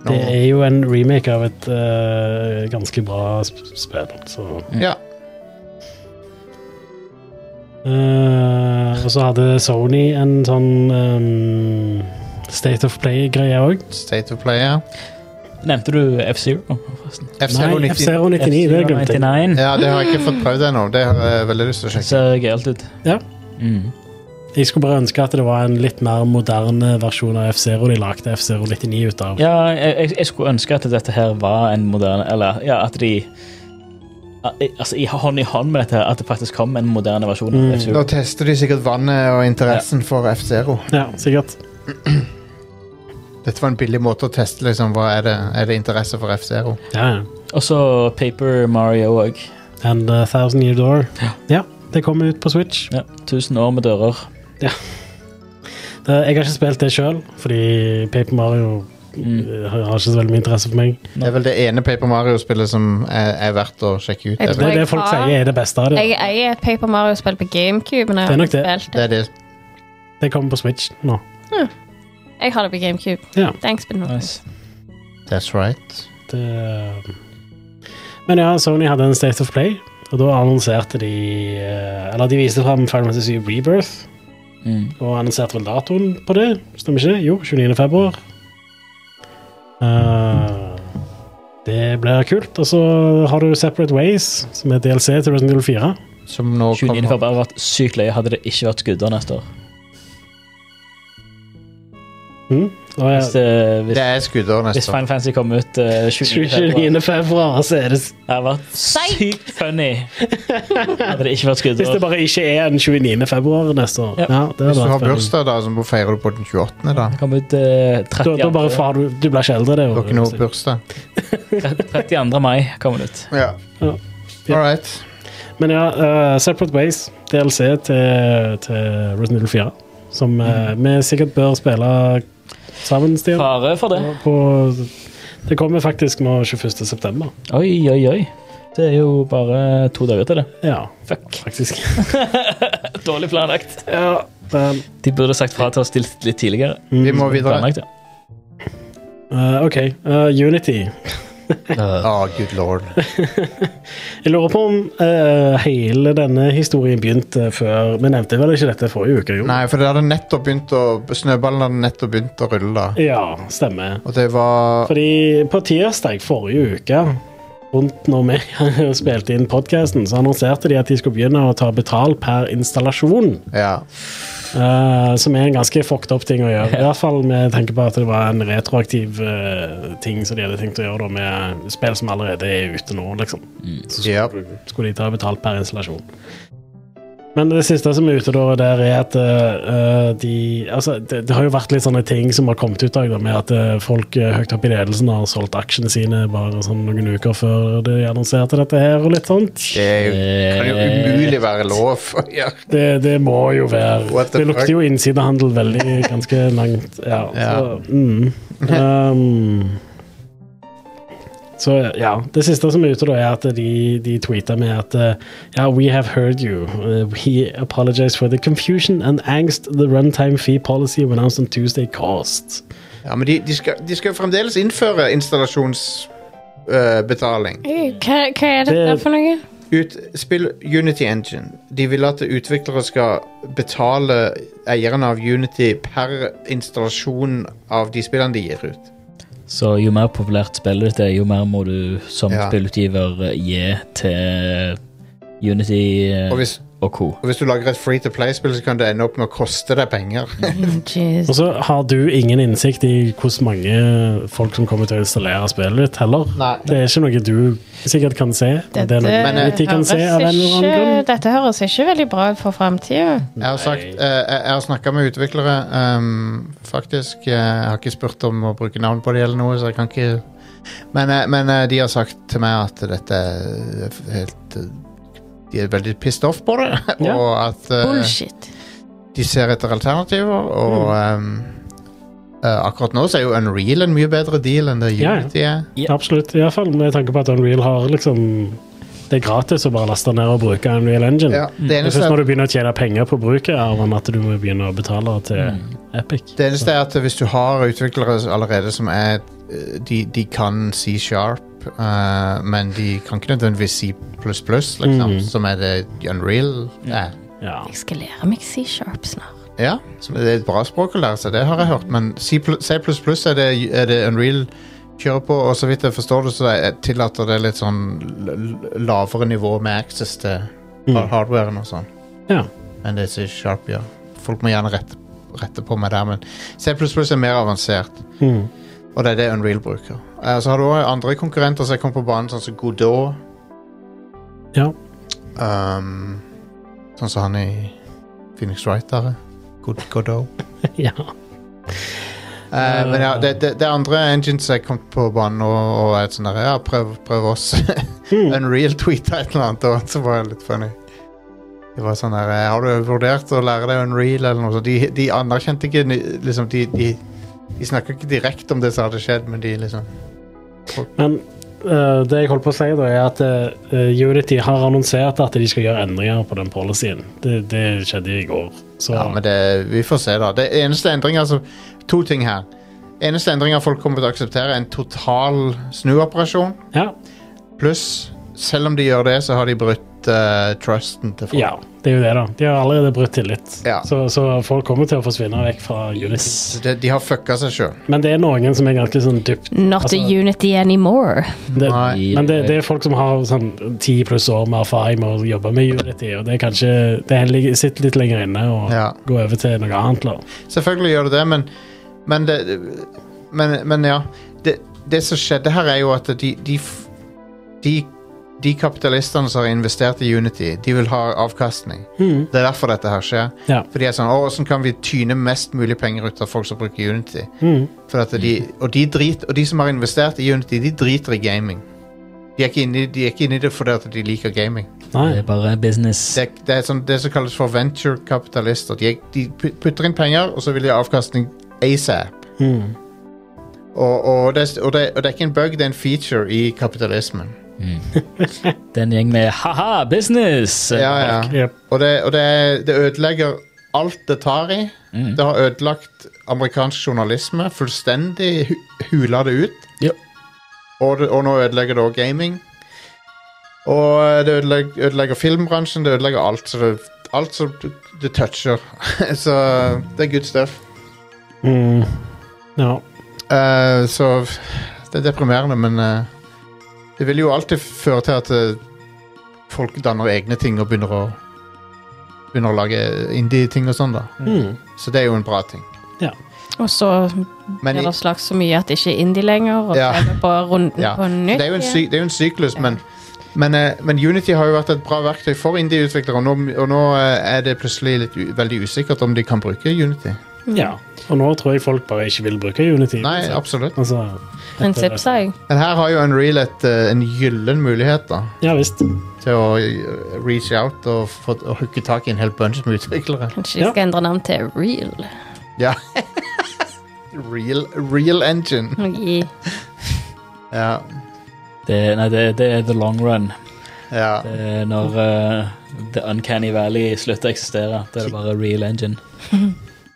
Speaker 1: Nå-
Speaker 4: det er jo en remake av et eh, ganske bra sp spill. Så.
Speaker 1: Ja.
Speaker 4: Eh, og så hadde Sony en sånn ehm, State of Play-greie òg.
Speaker 1: State of Play, ja.
Speaker 5: Nevnte du F-Zero? forresten?
Speaker 1: F-Zero
Speaker 4: Nei,
Speaker 1: 90.
Speaker 4: F-Zero 99. Det glemte jeg.
Speaker 5: 99.
Speaker 1: Ja, det har jeg ikke fått prøvd ennå. Det har jeg veldig lyst til å
Speaker 5: Det
Speaker 1: sjekke.
Speaker 5: ser gøyalt ut.
Speaker 4: Ja.
Speaker 5: Mm.
Speaker 4: Jeg skulle bare ønske at det var en litt mer moderne versjon av F-Zero de lagde F-Zero 99 ut av.
Speaker 5: Ja, jeg, jeg- jeg skulle ønske at dette her var en moderne Eller ja, at de at- Altså, i hånd i hånd med dette, her, at det faktisk kom en moderne versjon. av
Speaker 4: Mm.
Speaker 5: F-Zero.
Speaker 1: Nå tester de sikkert vannet og interessen for F-Zero.
Speaker 4: Ja, sikkert.
Speaker 1: Dette var en billig måte å teste liksom, hva er det er det interesse for F-Zero.
Speaker 4: Ja, ja.
Speaker 5: Og så Paper Mario òg.
Speaker 4: And a Thousand Year Door. Ja. det kommer ut på Switch.
Speaker 5: Ja, 1000 år med dører.
Speaker 4: Eh, Det, jeg har ikke spilt det sjøl, fordi Paper Mario
Speaker 5: Mm.
Speaker 4: eh, har har ikke så veldig mye interesse for meg.
Speaker 1: Det er vel det ene Paper Mario-spillet som er, er verdt å sjekke ut.
Speaker 3: Jeg
Speaker 1: er
Speaker 4: Det
Speaker 1: vel-
Speaker 4: er det folk sier er det beste av det.
Speaker 3: Jeg eier et Paper Mario-spill på GameCube. men jeg
Speaker 4: Det er
Speaker 3: har
Speaker 4: nok
Speaker 3: ikke
Speaker 4: det.
Speaker 3: spilt
Speaker 1: Det er det.
Speaker 4: Det kommer på Switch nå.
Speaker 3: Jeg har det på GameCube.
Speaker 4: Ja.
Speaker 3: Thanks, but no
Speaker 5: Nice.
Speaker 1: That's right.
Speaker 4: Det... eh, Men ja, Sony hadde en State of Play, og da annonserte de eh, Eller de viste fram Final Fantasy 7 Rebirth,
Speaker 5: Mm.
Speaker 4: og annonserte vel datoen på det, stemmer ikke det? Jo, 29. februar. Eh, det blir kult. Og så har du Separate Ways, som er DLC til Resident Evil 4.
Speaker 1: Som nå
Speaker 5: 29.
Speaker 1: kommer
Speaker 5: februar hadde vært sykt løye hadde det ikke vært skudder neste år.
Speaker 4: Mm. Og jeg,
Speaker 5: Hvis, eh, hvis,
Speaker 1: Det er skuddår
Speaker 5: hvis
Speaker 1: neste år.
Speaker 5: Final Fantasy kom ut eh, 29. februar,
Speaker 4: 29. februar, så er det s-
Speaker 5: det hadde vært sykt funny. Hadde det ikke vært
Speaker 4: Hvis det
Speaker 5: skudder.
Speaker 4: bare ikke er en 29. februar neste år.
Speaker 5: Ja.
Speaker 4: Ja,
Speaker 1: Hvis
Speaker 4: det hadde
Speaker 1: du
Speaker 4: vært
Speaker 1: har
Speaker 4: spennende.
Speaker 1: bursdag, da, så feirer du på den 28. da.
Speaker 5: Det kom ut eh,
Speaker 4: da, da bare
Speaker 5: 30.
Speaker 4: far, du, du blir ikke eldre, det. er
Speaker 1: Du
Speaker 4: jo-
Speaker 1: har ikke noe bursdag.
Speaker 5: 32. mai kom det ut.
Speaker 1: Ja.
Speaker 4: Ja.
Speaker 1: All right.
Speaker 4: Men ja, eh, Separate Ways, DLC til, til Resident Evil 4, som eh, vi sikkert bør spille sammen, Stian.
Speaker 5: Fare for det.
Speaker 4: På, det kommer faktisk nå 21. september.
Speaker 5: Oi, oi, oi. Det er jo bare to dager til det.
Speaker 4: Ja,
Speaker 5: Fuck.
Speaker 4: faktisk.
Speaker 5: Dårlig planlagt.
Speaker 4: ja, men,
Speaker 5: De burde sagt fra til oss stilt litt tidligere.
Speaker 1: Vi
Speaker 4: Mm.
Speaker 1: må videre.
Speaker 5: Planlagt, ja.
Speaker 4: eh, OK, eh, Unity.
Speaker 1: Å, good lord.
Speaker 4: Jeg lurer på om eh, hele denne historien begynte før Vi nevnte vel ikke dette forrige uke, jo?
Speaker 1: Nei, for det hadde nettopp begynt å Snøballen hadde nettopp begynt å rulle, da.
Speaker 4: Ja, stemmer.
Speaker 1: Og det var
Speaker 4: Fordi på tirsdag forrige uke, rundt når vi spilte inn podkasten, så annonserte de at de skulle begynne å ta betal per installasjon.
Speaker 1: Ja.
Speaker 4: eh, som er en ganske fucked up ting å gjøre. I hvert fall med tanke på at det var en retroaktiv eh, ting som de hadde tenkt å gjøre da, med spill som allerede er ute nå, liksom. Så
Speaker 1: Yep.
Speaker 4: skulle de ta betalt per installasjon. Men det siste som er ute da, der er at eh, de Altså, det, det har jo vært litt sånne ting som har kommet ut i dag, da, med at eh, folk eh, høyt opp i ledelsen har solgt aksjene sine bare sånn noen uker før de annonserte dette her, og litt sånt.
Speaker 1: Det er jo, kan jo umulig være lov å gjøre.
Speaker 4: Det, det må jo være
Speaker 1: What the
Speaker 4: Det lukter
Speaker 1: fuck?
Speaker 4: jo innsidehandel veldig ganske langt. Ja.
Speaker 1: Ja.
Speaker 4: Så, mm. um, så ja. Det siste som er ute, da, er at de, de tweeta med at eh, Ja, we have heard you. Eh, we apologize for the confusion and angst the runtime fee policy we announced on Tuesday caused.
Speaker 1: Ja, Men de, de, skal, de skal jo fremdeles innføre installasjonsbetaling.
Speaker 3: Hva, hva er dette
Speaker 4: Det-
Speaker 3: for noe?
Speaker 1: Ut, spill Unity Engine. De vil at utviklere skal betale eierne av Unity per installasjon av de spillene de gir ut.
Speaker 2: Så jo mer populært spillet ditt er, jo mer må du som
Speaker 1: Ja.
Speaker 2: spillutgiver eh, gi til Unity eh,
Speaker 1: Og hvis,
Speaker 2: og co.
Speaker 1: og hvis du lager et free to play-spill, så kan det ende opp med å koste deg penger.
Speaker 4: Og så har du ingen innsikt i hvordan mange folk som kommer til å installere spillet ditt, heller.
Speaker 1: Nei.
Speaker 4: Det er ikke noe du sikkert kan se. og Det er noe
Speaker 1: Men, eh,
Speaker 4: Unity kan se av en eller annen grunn.
Speaker 3: ikke, dette høres ikke veldig bra ut for framtida.
Speaker 1: Jeg har, sagt, eh, jeg jeg har snakka med utviklere, ehm, faktisk. Eh, Jeg har ikke spurt om å bruke navn på de eller noe, så jeg kan ikke Men, eh, men eh, de har sagt til meg at dette er f- helt eh, De er veldig pissed off på det,
Speaker 4: Ja.
Speaker 1: og at eh,
Speaker 3: Bullshit.
Speaker 1: de ser etter alternativer, og
Speaker 4: Mm.
Speaker 1: ehm, eh, akkurat nå så er jo Unreal en mye bedre deal enn det
Speaker 4: Ja, ja.
Speaker 1: Unity er.
Speaker 2: Ja.
Speaker 4: Absolutt. Iallfall med tanke på at Unreal har liksom Det er gratis å bare laste ned og bruke Unreal Engine.
Speaker 1: Ja, det,
Speaker 4: Mm. Det er
Speaker 1: eneste
Speaker 4: først
Speaker 1: er,
Speaker 4: når du begynner å tjene penger på bruket av den at du må begynne å betale til
Speaker 5: Mm.
Speaker 2: Mm.
Speaker 4: Epic.
Speaker 1: det eneste er at hvis du har utviklere allerede som er eh, De, de kan si sharp, eh, men de kan ikke nødvendigvis si pluss pluss, liksom,
Speaker 4: Mhm.
Speaker 1: som er det Unreal er.
Speaker 4: Ja.
Speaker 3: Jeg skal lære meg C-sharp snart.
Speaker 1: Ja, så det er et bra språk å lære seg, det har jeg hørt, men C++ er det, er det Unreal kjører på, og så vidt jeg forstår det, så er- tillater det litt sånn l- l- lavere nivå med access til har-
Speaker 4: Mm.
Speaker 1: hardwaren og sånn.
Speaker 4: Ja.
Speaker 1: Enn det C Sharp gjør. Folk må gjerne rette, rette på meg der, men C++ er mer avansert,
Speaker 4: Mm.
Speaker 1: og det er det Unreal bruker. Eh, Så har du også andre konkurrenter som kommer på banen, sånn som Godot.
Speaker 4: Ja.
Speaker 1: Um, sånn som han i Phoenix Wright der. er. God- Godot.
Speaker 4: ja.
Speaker 1: Eh, men ja, det, det, det andre engines jeg kom på banen og, og er sånn der, ja, prøv, prøv oss.
Speaker 4: Mm.
Speaker 1: Unreal tweeta et eller annet, og så var det litt funny. Det var sånn der, eh, har du vurdert å lære deg Unreal eller noe sånt? De, de anerkjente ikke ni- liksom, de, de De snakker ikke direkte om det som hadde skjedd, men de liksom
Speaker 4: Men eh, det jeg holdt på å si, da, er at eh, Unity har annonsert at de skal gjøre endringer på den policyen. Det, det skjedde i går. Så
Speaker 1: Ja, men det, vi får se, da. Det eneste endringer som To ting her. Eneste endringer folk kommer til å akseptere, er en total snuoperasjon.
Speaker 4: ja,
Speaker 1: Pluss, selv om de gjør det, så har de brutt eh, trusten til folk.
Speaker 4: ja, det er jo det, da. De har allerede brutt tillit.
Speaker 1: Ja.
Speaker 4: Så, så folk kommer til å forsvinne vekk fra Unity.
Speaker 1: Så De, de har fucka seg sjøl.
Speaker 4: Men det er noen som er ganske sånn dypt
Speaker 3: Not
Speaker 4: Altså-
Speaker 3: a unity anymore.
Speaker 4: det,
Speaker 1: Nei.
Speaker 4: Men det, det er folk som har sånn ti pluss år med erfaring med å jobbe med Unity, og det er kanskje Det ligger- sitter litt lenger inne å
Speaker 1: Ja.
Speaker 4: gå over til noe annet. Da.
Speaker 1: Selvfølgelig gjør det det, men Men, det, men, men ja. Det, det som skjedde her, er jo at de De, f- de, de kapitalistene som har investert i Unity, de vil ha avkastning.
Speaker 4: Hmm,
Speaker 1: Det er derfor dette her skjer.
Speaker 4: Ja.
Speaker 1: For de er sånn, «Å, hvordan kan vi tyne mest mulig penger ut av folk som bruker Unity?
Speaker 4: Mhm.
Speaker 1: For at de, og, de drit, og de som har investert i Unity, de driter i gaming. De er ikke inne, i- de er ikke inne i det fordi at de liker gaming.
Speaker 4: Nei.
Speaker 2: Det er bare business.
Speaker 1: Det, er- det er sånn, det som kalles for venturekapitalister. De, er- de pu- putter inn penger, og så vil de ha avkastning asap.
Speaker 4: Mhm.
Speaker 1: Og, og, det, og, det, og det er ikke en bug, det er en feature i kapitalismen.
Speaker 2: Mm. Den gjeng med ha-ha, business!
Speaker 1: Ja, ja.
Speaker 4: Jep.
Speaker 1: Og det, og det, er- det ødelegger alt det tar i.
Speaker 2: Mm.
Speaker 5: Mm.
Speaker 1: Det har ødelagt amerikansk journalisme. Fullstendig hu hula det ut.
Speaker 2: Ja.
Speaker 1: Og, det, og nå ødelegger det òg gaming. Og eh, det ødelegger, ødelegger filmbransjen. Det ødelegger alt som det, alt som det toucher. så det er good stuff.
Speaker 4: Mhm. Ja.
Speaker 1: Eh, så det er deprimerende, men eh, det vil jo alltid føre til at eh, folk danner egne ting og begynner å Begynner å lage indie-ting og sånn, da.
Speaker 4: Mhm.
Speaker 1: Så det er jo en bra ting.
Speaker 3: Og så
Speaker 1: Men
Speaker 3: blir
Speaker 1: i,
Speaker 3: det slags så mye at det ikke er indie lenger, og
Speaker 1: Ja.
Speaker 3: så er det bare runden
Speaker 1: Ja,
Speaker 3: på nytt.
Speaker 1: det er jo en,
Speaker 3: igjen.
Speaker 1: sy det er jo en syklus, men, men, eh, men Unity har jo vært et bra verktøy for indie-utviklere, og nå, og nå eh, er det plutselig litt u veldig usikkert om de kan bruke Unity.
Speaker 3: Mm.
Speaker 4: ja. Og nå tror jeg folk bare ikke vil bruke Unity.
Speaker 1: Nei,
Speaker 4: så-
Speaker 1: absolutt.
Speaker 4: altså,
Speaker 3: Prinsipp, sa jeg.
Speaker 1: Men her har jo Unreal et, eh, en gyllen mulighet da,
Speaker 4: Ja visst.
Speaker 1: til å eh, reach out og, få, og hooke tak i en hel bunch med utviklere.
Speaker 3: Kanskje
Speaker 4: Ja.
Speaker 3: jeg skal endre navn til Real.
Speaker 1: Ja. Real, real engine.
Speaker 3: I
Speaker 1: Ja.
Speaker 2: Det, nei, det, det er the long run.
Speaker 1: ja.
Speaker 2: Det er når eh, The Uncanny Valley slutter å eksistere. Da er det bare real engine.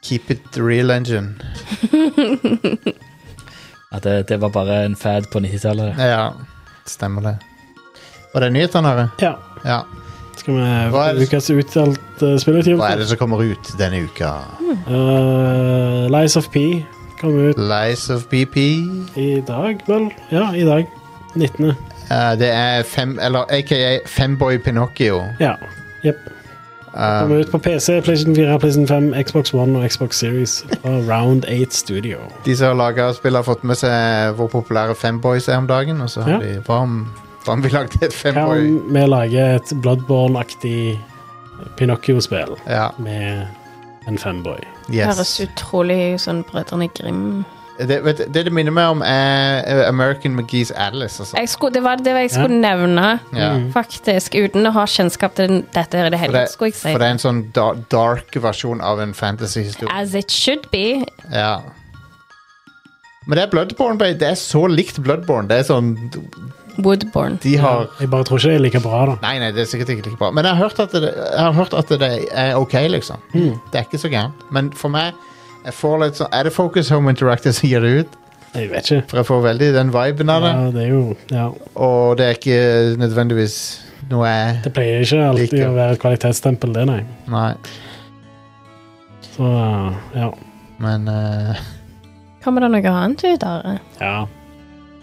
Speaker 1: Keep it the real engine.
Speaker 2: At det, det var bare en fad på 90-tallet.
Speaker 1: Ja, stemmer det. Var det nyhetene, Are?
Speaker 4: Ja.
Speaker 1: Ja.
Speaker 4: Skal
Speaker 1: Hva er
Speaker 4: vi
Speaker 1: det-
Speaker 4: ukas utdelt uh,
Speaker 1: Hva er det
Speaker 4: spillutgivelse?
Speaker 1: som kommer ut denne uka?
Speaker 4: Eh, Lies of P kom ut
Speaker 1: Lies of BP.
Speaker 4: i dag, vel? Ja, i dag. 19.
Speaker 1: Eh, det er fem, eller aka Femboy Pinocchio.
Speaker 4: Ja. Jepp.
Speaker 1: Eh,
Speaker 4: Kommer ut på PC, PlayStation 4, PlayStation 5, Xbox One og Xbox Series fra Round 8 Studio.
Speaker 1: de som har laga spillet, har fått med seg hvor populære Femboys er om dagen. Og så har
Speaker 4: Ja.
Speaker 1: de Hva om, hva om vi lagde et
Speaker 4: Her
Speaker 1: Femboy?
Speaker 4: vi lager et Bloodborne-aktig Pinocchio-spill
Speaker 1: Ja,
Speaker 4: med en femboy.
Speaker 3: høres
Speaker 1: yes.
Speaker 3: utrolig sånn Brødrene Grim
Speaker 1: Det, vet, du, det det minner meg om, er eh, American McGee's Atlas. Altså.
Speaker 3: jeg skulle, Det var det jeg skulle nevne,
Speaker 1: Ja.
Speaker 4: Mm.
Speaker 3: faktisk. Uten å ha kjennskap til den- dette her i det hele
Speaker 1: For det,
Speaker 3: tatt, skulle jeg si.
Speaker 1: for det er en sånn da, dark versjon av en fantasyhistorie.
Speaker 3: As it should be.
Speaker 1: Ja. Men det er Bloodborne, babe. Det er så likt Bloodborne. Det er sånn
Speaker 3: Woodborne.
Speaker 1: De har
Speaker 4: Jeg bare tror ikke det er like bra, da.
Speaker 1: Nei, nei, det er sikkert ikke like bra. Men jeg har hørt at det, jeg har hørt at det er OK, liksom.
Speaker 4: Hmm.
Speaker 1: Det er ikke så gærent. Men for meg jeg får litt sånn, Er det Focus Home Interactive som gir det ut?
Speaker 4: Jeg vet ikke.
Speaker 1: For jeg får veldig den viben av det.
Speaker 4: Ja, det er jo Ja.
Speaker 1: Og det er ikke nødvendigvis noe jeg
Speaker 4: Det pleier ikke alltid
Speaker 1: Like.
Speaker 4: å være et kvalitetstempel, det, nei.
Speaker 1: Nei.
Speaker 4: Så ja.
Speaker 1: Men eh,
Speaker 3: Kommer det noe annet ut, Are?
Speaker 4: ja.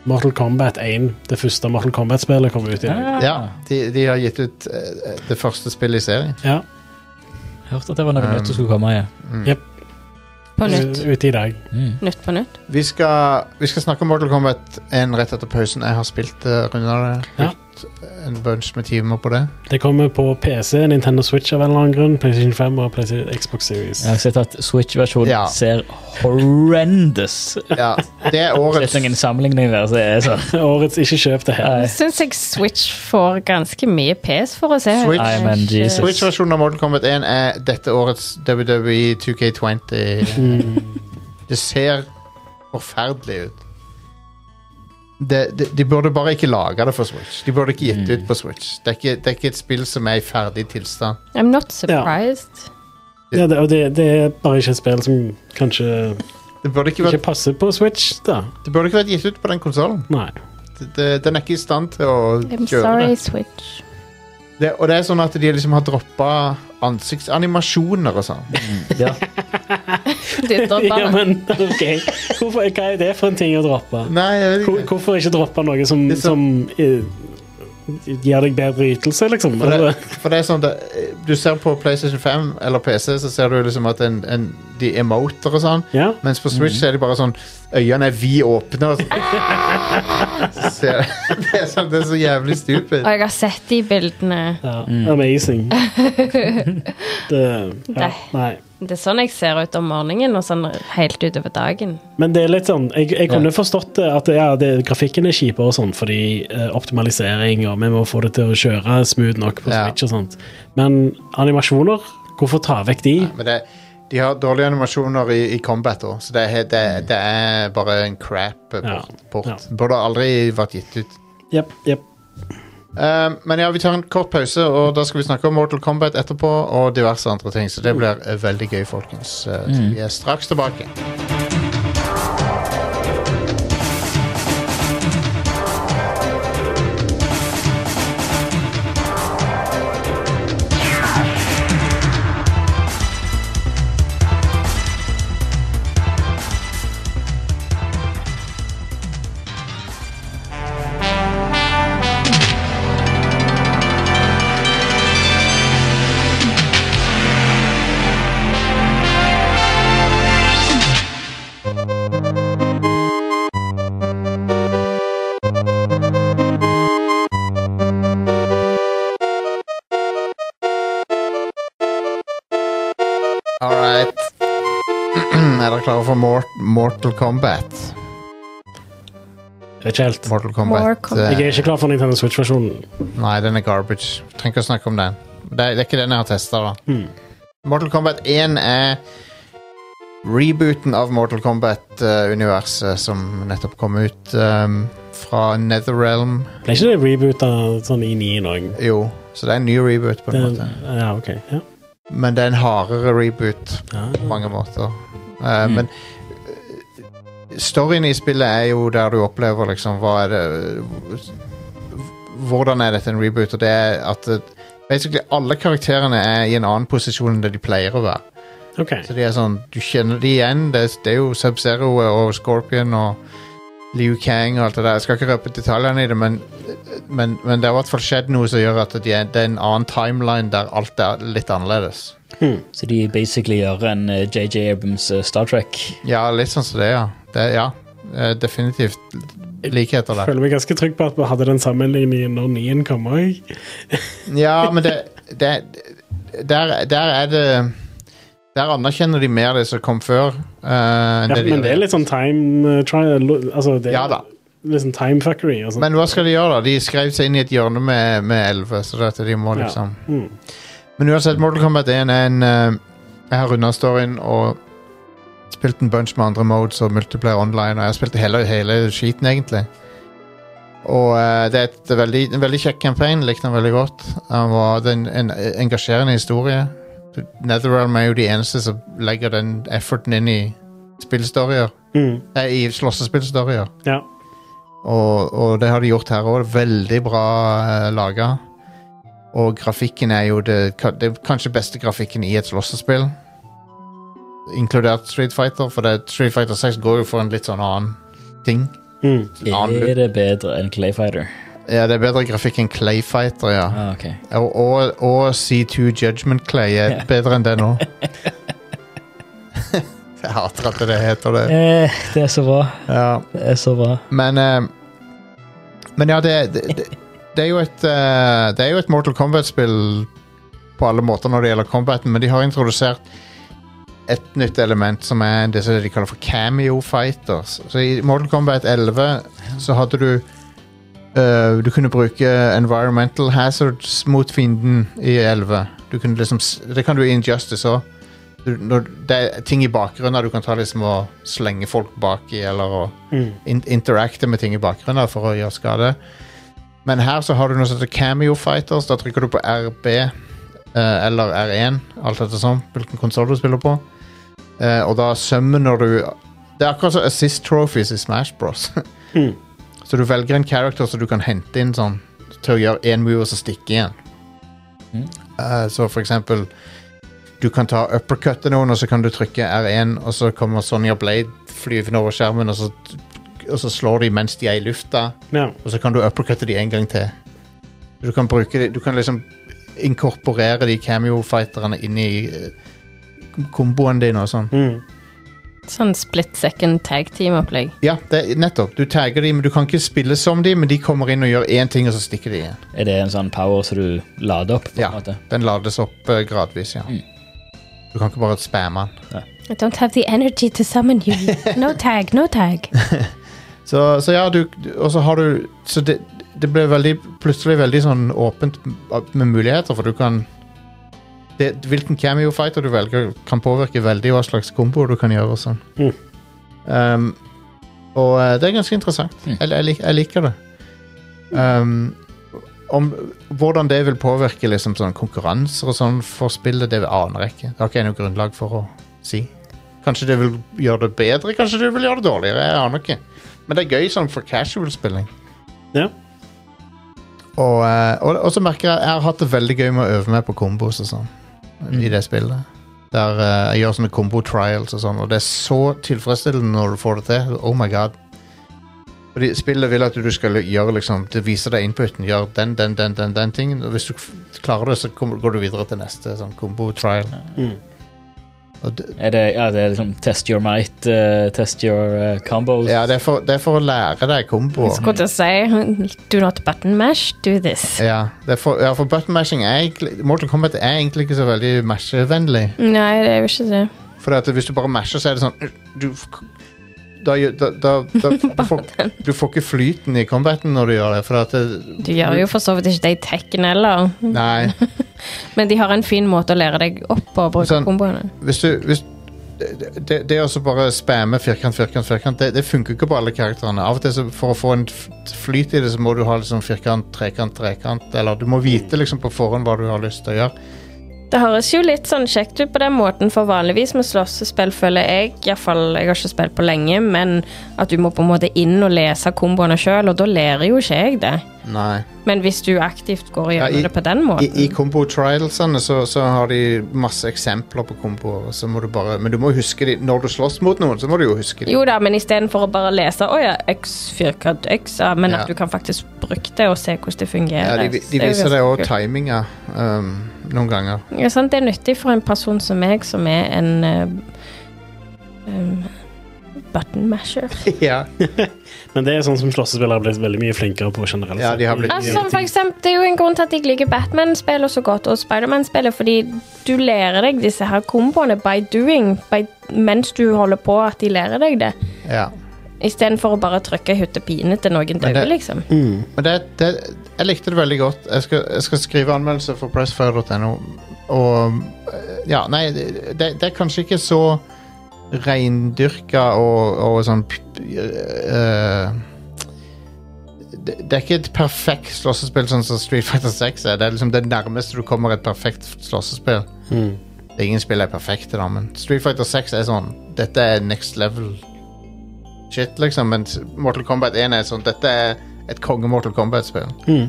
Speaker 4: Mortal Kombat 1, det første Mortal Kombat-spillet, kom ut i dag.
Speaker 1: Ja. De, de har gitt ut eh, det første spillet i serien.
Speaker 4: Ja.
Speaker 2: Hørte at det var noe
Speaker 1: Um,
Speaker 2: nytt som skulle komme. Ja.
Speaker 1: Hmm.
Speaker 3: På nytt.
Speaker 4: Ute Eh, i dag.
Speaker 2: Mm.
Speaker 3: Nytt på nytt.
Speaker 1: Vi skal, vi skal snakke om Mortal Kombat 1 rett etter pausen. Jeg har spilt uh, det.
Speaker 4: Ja.
Speaker 1: Brukt En bunch med timer på det.
Speaker 4: Det kommer på PC, Nintendo Switch av en eller annen grunn, PlayStation 5 og PlayStation Xbox Series.
Speaker 2: Jeg har sett at Switch-versjonen
Speaker 1: Ja.
Speaker 2: ser horrendous ut.
Speaker 1: Ja, det er årets
Speaker 2: Det er noen sammenligninger der, så det er sånn.
Speaker 4: Årets ikke kjøp det her.
Speaker 2: Nei.
Speaker 3: Syns jeg Switch får ganske mye pes for å se.
Speaker 1: Switch-
Speaker 2: Nei, men Jesus.
Speaker 1: Switch-versjonen av Mortal Kombat 1 E Mm. er dette årets WWE 2K20. Det ser forferdelig ut. Det, det, de burde bare ikke lage det for Switch. De burde ikke gitt det ut på Switch. Det er, ikke, det er ikke et spill som er i ferdig tilstand.
Speaker 3: eh, I'm not surprised.
Speaker 4: Ja, det, og det, det er bare ikke et spill som kanskje
Speaker 1: Det burde ikke,
Speaker 4: ikke
Speaker 1: vært,
Speaker 4: passer på Switch, da.
Speaker 1: det burde ikke vært gitt ut på den konsollen.
Speaker 4: Nei.
Speaker 1: Den er ikke i stand til å
Speaker 3: I'm
Speaker 1: kjøre det.
Speaker 3: sorry, Switch.
Speaker 1: det. Og det er sånn at de liksom har droppa ansiktsanimasjoner og sånn.
Speaker 2: Ja.
Speaker 3: De dropper
Speaker 4: Ja,
Speaker 3: det.
Speaker 4: men ok. Hvorfor, hva er det for en ting å droppe?
Speaker 1: Nei, jeg vet
Speaker 4: Hvor,
Speaker 1: ikke.
Speaker 4: hvorfor ikke droppe noe som,
Speaker 1: Det er
Speaker 4: som eh, gir deg bedre ytelse, liksom?
Speaker 1: For det,
Speaker 4: Eller,
Speaker 1: for det er sånn det, Du ser på PlayStation 5 eller PC, så ser du liksom at en, en, de emoter og sånn.
Speaker 4: ja? Mhm.
Speaker 1: Mens på Switch så er det bare sånn Øynene er vidåpne. og så- Så ser- Det, er sånn, det er så jævlig stupid.
Speaker 3: Og jeg har sett de bildene.
Speaker 4: ja. Amazing. Det, ja,
Speaker 3: Nei.
Speaker 4: nei.
Speaker 3: Det er sånn jeg ser ut om morgenen og sånn helt utover dagen.
Speaker 4: Men det er litt sånn, jeg, jeg kunne forstått det at ja, det, grafikken er kjipere og sånn, fordi eh, optimalisering og vi må få det til å kjøre smooth nok på
Speaker 1: Ja.
Speaker 4: Switch og sånt. Men animasjoner, hvorfor ta vekk de?
Speaker 1: Men det, de har dårlige animasjoner i, i combat òg, så det, er- det, er- det er bare en crap eh, port.
Speaker 4: Ja. Ja.
Speaker 1: port. Burde aldri vært gitt ut.
Speaker 4: Jep, jep.
Speaker 1: Eh, men ja, vi tar en kort pause, og da skal vi snakke om Mortal Kombat etterpå, og diverse andre ting, så det blir eh, veldig gøy, folkens. Eh, så Vi er straks tilbake. All right. er dere klare for Mort Mortal Kombat?
Speaker 4: Jeg vet Ikke helt.
Speaker 1: Mortal Kombat.
Speaker 3: More Kombat.
Speaker 1: eh,
Speaker 4: Jeg er ikke klar for Nintendo Switch-versjonen.
Speaker 1: Nei, den er garbage. Trenger ikke å snakke om den. Det er, det er ikke den jeg har testa, da.
Speaker 4: Hmm.
Speaker 1: Mortal Kombat 1 er rebooten av Mortal Kombat-universet eh, som nettopp kom ut um, fra Netherrealm.
Speaker 4: Ble ikke det reboota sånn i 9 òg?
Speaker 1: Jo, så det er en ny reboot, på en måte.
Speaker 4: Ja, ok. Ja. Ah.
Speaker 1: Men det er en hardere reboot
Speaker 4: Ja.
Speaker 1: på mange måter. Eh, Men eh, storyen i spillet er jo der du opplever liksom hva er det Hvordan er dette en reboot? Og det er at eh, basically alle karakterene er i en annen posisjon enn det de pleier å være.
Speaker 4: Ok.
Speaker 1: Så de er sånn, Du kjenner de igjen. Det, er- det er jo Sub-Zero og Scorpion og Liu Kang og alt det der. Jeg skal ikke røpe detaljene i det, men, men, men det har i hvert fall skjedd noe som gjør at de er, det er en annen timeline der alt er litt annerledes.
Speaker 2: Så de basically gjør en eh, JJ Abrams eh, Star Trek.
Speaker 1: Ja, litt sånn som det, ja. Det, ja. Eh, Definitivt likheter der.
Speaker 4: Føler meg ganske trygg på at vi hadde den sammenligningen når 9-en kom òg.
Speaker 1: Ja, men det, det der, der er det Der anerkjenner de mer det som kom før. eh, enn
Speaker 4: Ja,
Speaker 1: det de
Speaker 4: men det er
Speaker 1: gjør.
Speaker 4: litt sånn time eh, trial Altså, det er
Speaker 1: Ja da.
Speaker 4: litt sånn time fuckery og sånn.
Speaker 1: Men hva skal de gjøre, da? De skrev seg inn i et hjørne med, med 11, så dette de må
Speaker 4: Ja.
Speaker 1: liksom
Speaker 4: Mm.
Speaker 1: Men uansett, Mortal Kombat 1 er en eh, Jeg har runda storyen og spilt en bunch med andre modes og multiplayer online, og jeg har spilt hele, hele skiten, egentlig. Og eh, det er et veldig, en veldig kjekk campaign. Likte den veldig godt. Den var det er en, en engasjerende historie. Netherrealm er jo de eneste som legger den efforten inn i spillstorier.
Speaker 4: Mm.
Speaker 1: Nei, Eh, i slåssespillstorier.
Speaker 4: Ja.
Speaker 1: Og, og det har de gjort her òg. Veldig bra uh, laga. Og grafikken er jo det, ka- det er kanskje beste grafikken i et slåssespill. Inkludert Street Fighter, for det, Street Fighter 6 går jo for en litt sånn annen ting.
Speaker 4: Mm.
Speaker 1: Annen,
Speaker 2: Er det bedre enn Clayfighter?
Speaker 1: ja, det er bedre grafikk enn Clay Fighter, ja.
Speaker 2: Ah, ok.
Speaker 1: Og, og, og C2 Judgment Clay er
Speaker 2: Ja.
Speaker 1: bedre enn det nå. Jeg hater at det heter det.
Speaker 2: Eh, det er så bra.
Speaker 1: Ja.
Speaker 2: Det er så bra.
Speaker 1: Men eh, Men ja, det, det, det, det er jo et eh, Det er jo et Mortal Kombat-spill på alle måter når det gjelder combaten, men de har introdusert et nytt element som er det som de kaller for cameo fighters. Så i Mortal Kombat 11 så hadde du eh, Du kunne bruke environmental hazards mot fienden i 11. Du kunne liksom, s- det kan du i Injustice òg. du, når, det er ting i bakgrunnen du kan ta liksom og slenge folk baki, eller å
Speaker 4: Mm.
Speaker 1: in interacte med ting i bakgrunnen for å gjøre skade. Men her så har du noe som heter Cameo Fighters. Da trykker du på RB eh, eller R1, alt etter sånn, hvilken konsoll du spiller på. Eh, og da summoner du Det er akkurat som Assist Trophies i Smash Bros.
Speaker 4: Mm.
Speaker 1: Så du velger en character som du kan hente inn sånn til å gjøre én move og så stikke igjen.
Speaker 2: Mm.
Speaker 1: Eh, så for eksempel du kan ta uppercutte noen, og så kan du trykke R1, og så kommer Sonja Blade flyvende over skjermen, og så, og så slår de mens de er i lufta,
Speaker 4: Ja.
Speaker 1: og så kan du uppercutte de en gang til. Du kan bruke de, Du kan liksom inkorporere de cameo-fighterne inn i eh, komboen din og sånn.
Speaker 4: Mm.
Speaker 3: Sånn split second tag team-opplegg.
Speaker 1: Ja, det, er- nettopp. Du tagger de, men du kan ikke spille som de, men de kommer inn og gjør én ting, og så stikker de igjen.
Speaker 2: Er det en sånn power som du lader opp? på
Speaker 1: Ja.
Speaker 2: en måte?
Speaker 1: Den lades opp eh, gradvis, ja.
Speaker 2: Mm.
Speaker 1: Du kan ikke bare spamme den.
Speaker 3: I don't have the energy to summon you. No tag, no tag.
Speaker 1: Så, så ja, du du- Og så har du Så det, det ble veldig, plutselig veldig sånn åpent med muligheter, for du kan det, Hvilken cameo-fighter du velger, kan påvirke veldig hva slags kombo du kan gjøre og sånn.
Speaker 4: Mm.
Speaker 1: Um, og eh, det er ganske interessant.
Speaker 2: Mm.
Speaker 1: Jeg, jeg, lik, jeg liker det. Um, om hvordan det vil påvirke liksom sånn konkurranser og sånn for spillet, det aner jeg ikke. Det har ikke jeg noe grunnlag for å si. Kanskje det vil gjøre det bedre, kanskje det vil gjøre det dårligere. Jeg aner ikke. Men det er gøy sånn for casual-spilling.
Speaker 4: Ja.
Speaker 1: Og, eh, og, og så merker jeg jeg har hatt det veldig gøy med å øve meg på kombos og sånn i det spillet. Der eh, jeg gjør sånne combo-trials og sånn, og det er så tilfredsstillende når du får det til. Oh my god. Fordi spillet vil at du skal gjøre liksom Det viser deg inputen. Gjør den, den, den, den, den tingen. Og hvis du f- klarer det, så kommer, går du videre til neste sånn combo-trial.
Speaker 4: Mm.
Speaker 1: Og det-
Speaker 2: Er det, ja, det er liksom test your might, eh, test your eh, combos.
Speaker 1: Ja, det er, for, det er for å lære deg komboer.
Speaker 3: Skulle til å si do not button mash, do this.
Speaker 1: Ja, det er for, ja, for button mashing er egentlig Mortal Kombat er egentlig ikke så veldig mashevennlig.
Speaker 3: Nei, det er jo ikke det.
Speaker 1: For at hvis du bare masher, så er det sånn du, da, gjør- da, da, da, du, får, du får ikke flyten i combaten når du gjør det. For at det,
Speaker 3: Du gjør jo for så vidt ikke det i tekken heller,
Speaker 1: Nei.
Speaker 3: men de har en fin måte å lære deg opp på å bruke
Speaker 1: Sånn.
Speaker 3: komboene.
Speaker 1: Hvis du hvis, det, det, det å så bare spamme firkant, firkant, firkant, det, det funker ikke på alle karakterene. Av og til så for å få en f- flyt i det, så må du ha liksom firkant, trekant, trekant. Eller du må vite liksom på forhånd hva du har lyst til å gjøre.
Speaker 3: Det høres jo litt sånn kjekt ut på den måten, for vanligvis med slåssespill føler jeg, iallfall jeg har ikke spilt på lenge, men at du må på en måte inn og lese komboene sjøl, og da lærer jo ikke jeg det.
Speaker 1: Nei.
Speaker 3: Men hvis du aktivt går
Speaker 1: Ja, i-
Speaker 3: gjennom det på den måten
Speaker 1: I, i combo trialsene så, så har de masse eksempler på komboer, og så må du bare, men du må huske de når du slåss mot noen. så må du jo huske de.
Speaker 3: Jo da, men istedenfor å bare lese Å ja, X, firkant, X, ja, men
Speaker 1: Ja.
Speaker 3: at du kan faktisk bruke det og se hvordan det
Speaker 1: Ja,
Speaker 3: fungerer.
Speaker 1: de,
Speaker 3: Så
Speaker 1: de
Speaker 3: er jo
Speaker 1: viser deg
Speaker 3: ganske
Speaker 1: òg
Speaker 3: kult.
Speaker 1: timinga um, noen ganger.
Speaker 3: Ja, sant? Det er nyttig for en person som meg, som er en eh, um, button masher.
Speaker 1: ja.
Speaker 4: Men det er sånn som slåssespillere har blitt veldig mye flinkere på generelt.
Speaker 1: Ja, de har blitt-
Speaker 3: Altså, som for eksempel, det er jo en grunn til at jeg liker Batman-spillet så godt, og Spiderman-spillet, fordi du lærer deg disse her komboene by doing, by, mens du holder på at de lærer deg det,
Speaker 1: ja.
Speaker 3: istedenfor å bare trykke hyttepine til noen
Speaker 1: Men
Speaker 3: døde,
Speaker 1: det-
Speaker 3: liksom.
Speaker 4: Mm.
Speaker 1: Men det, det, jeg likte det veldig godt. Jeg skal, jeg skal skrive anmeldelse for pressfire.no. Og eh, Ja, nei, det, det er kanskje ikke så reindyrka og, og sånn p- eh, det, det er ikke et perfekt slåssespill sånn som Street Fighter 6 er. Det er liksom det nærmeste du kommer et perfekt slåssespill.
Speaker 4: Mm.
Speaker 1: Det er Ingen spill er perfekte, da, men Street Fighter 6 er sånn Dette er next level shit, liksom. Mens Mortal Kombat 1 er sånn Dette er et konge Mortal Kombat-spill.
Speaker 4: Mm.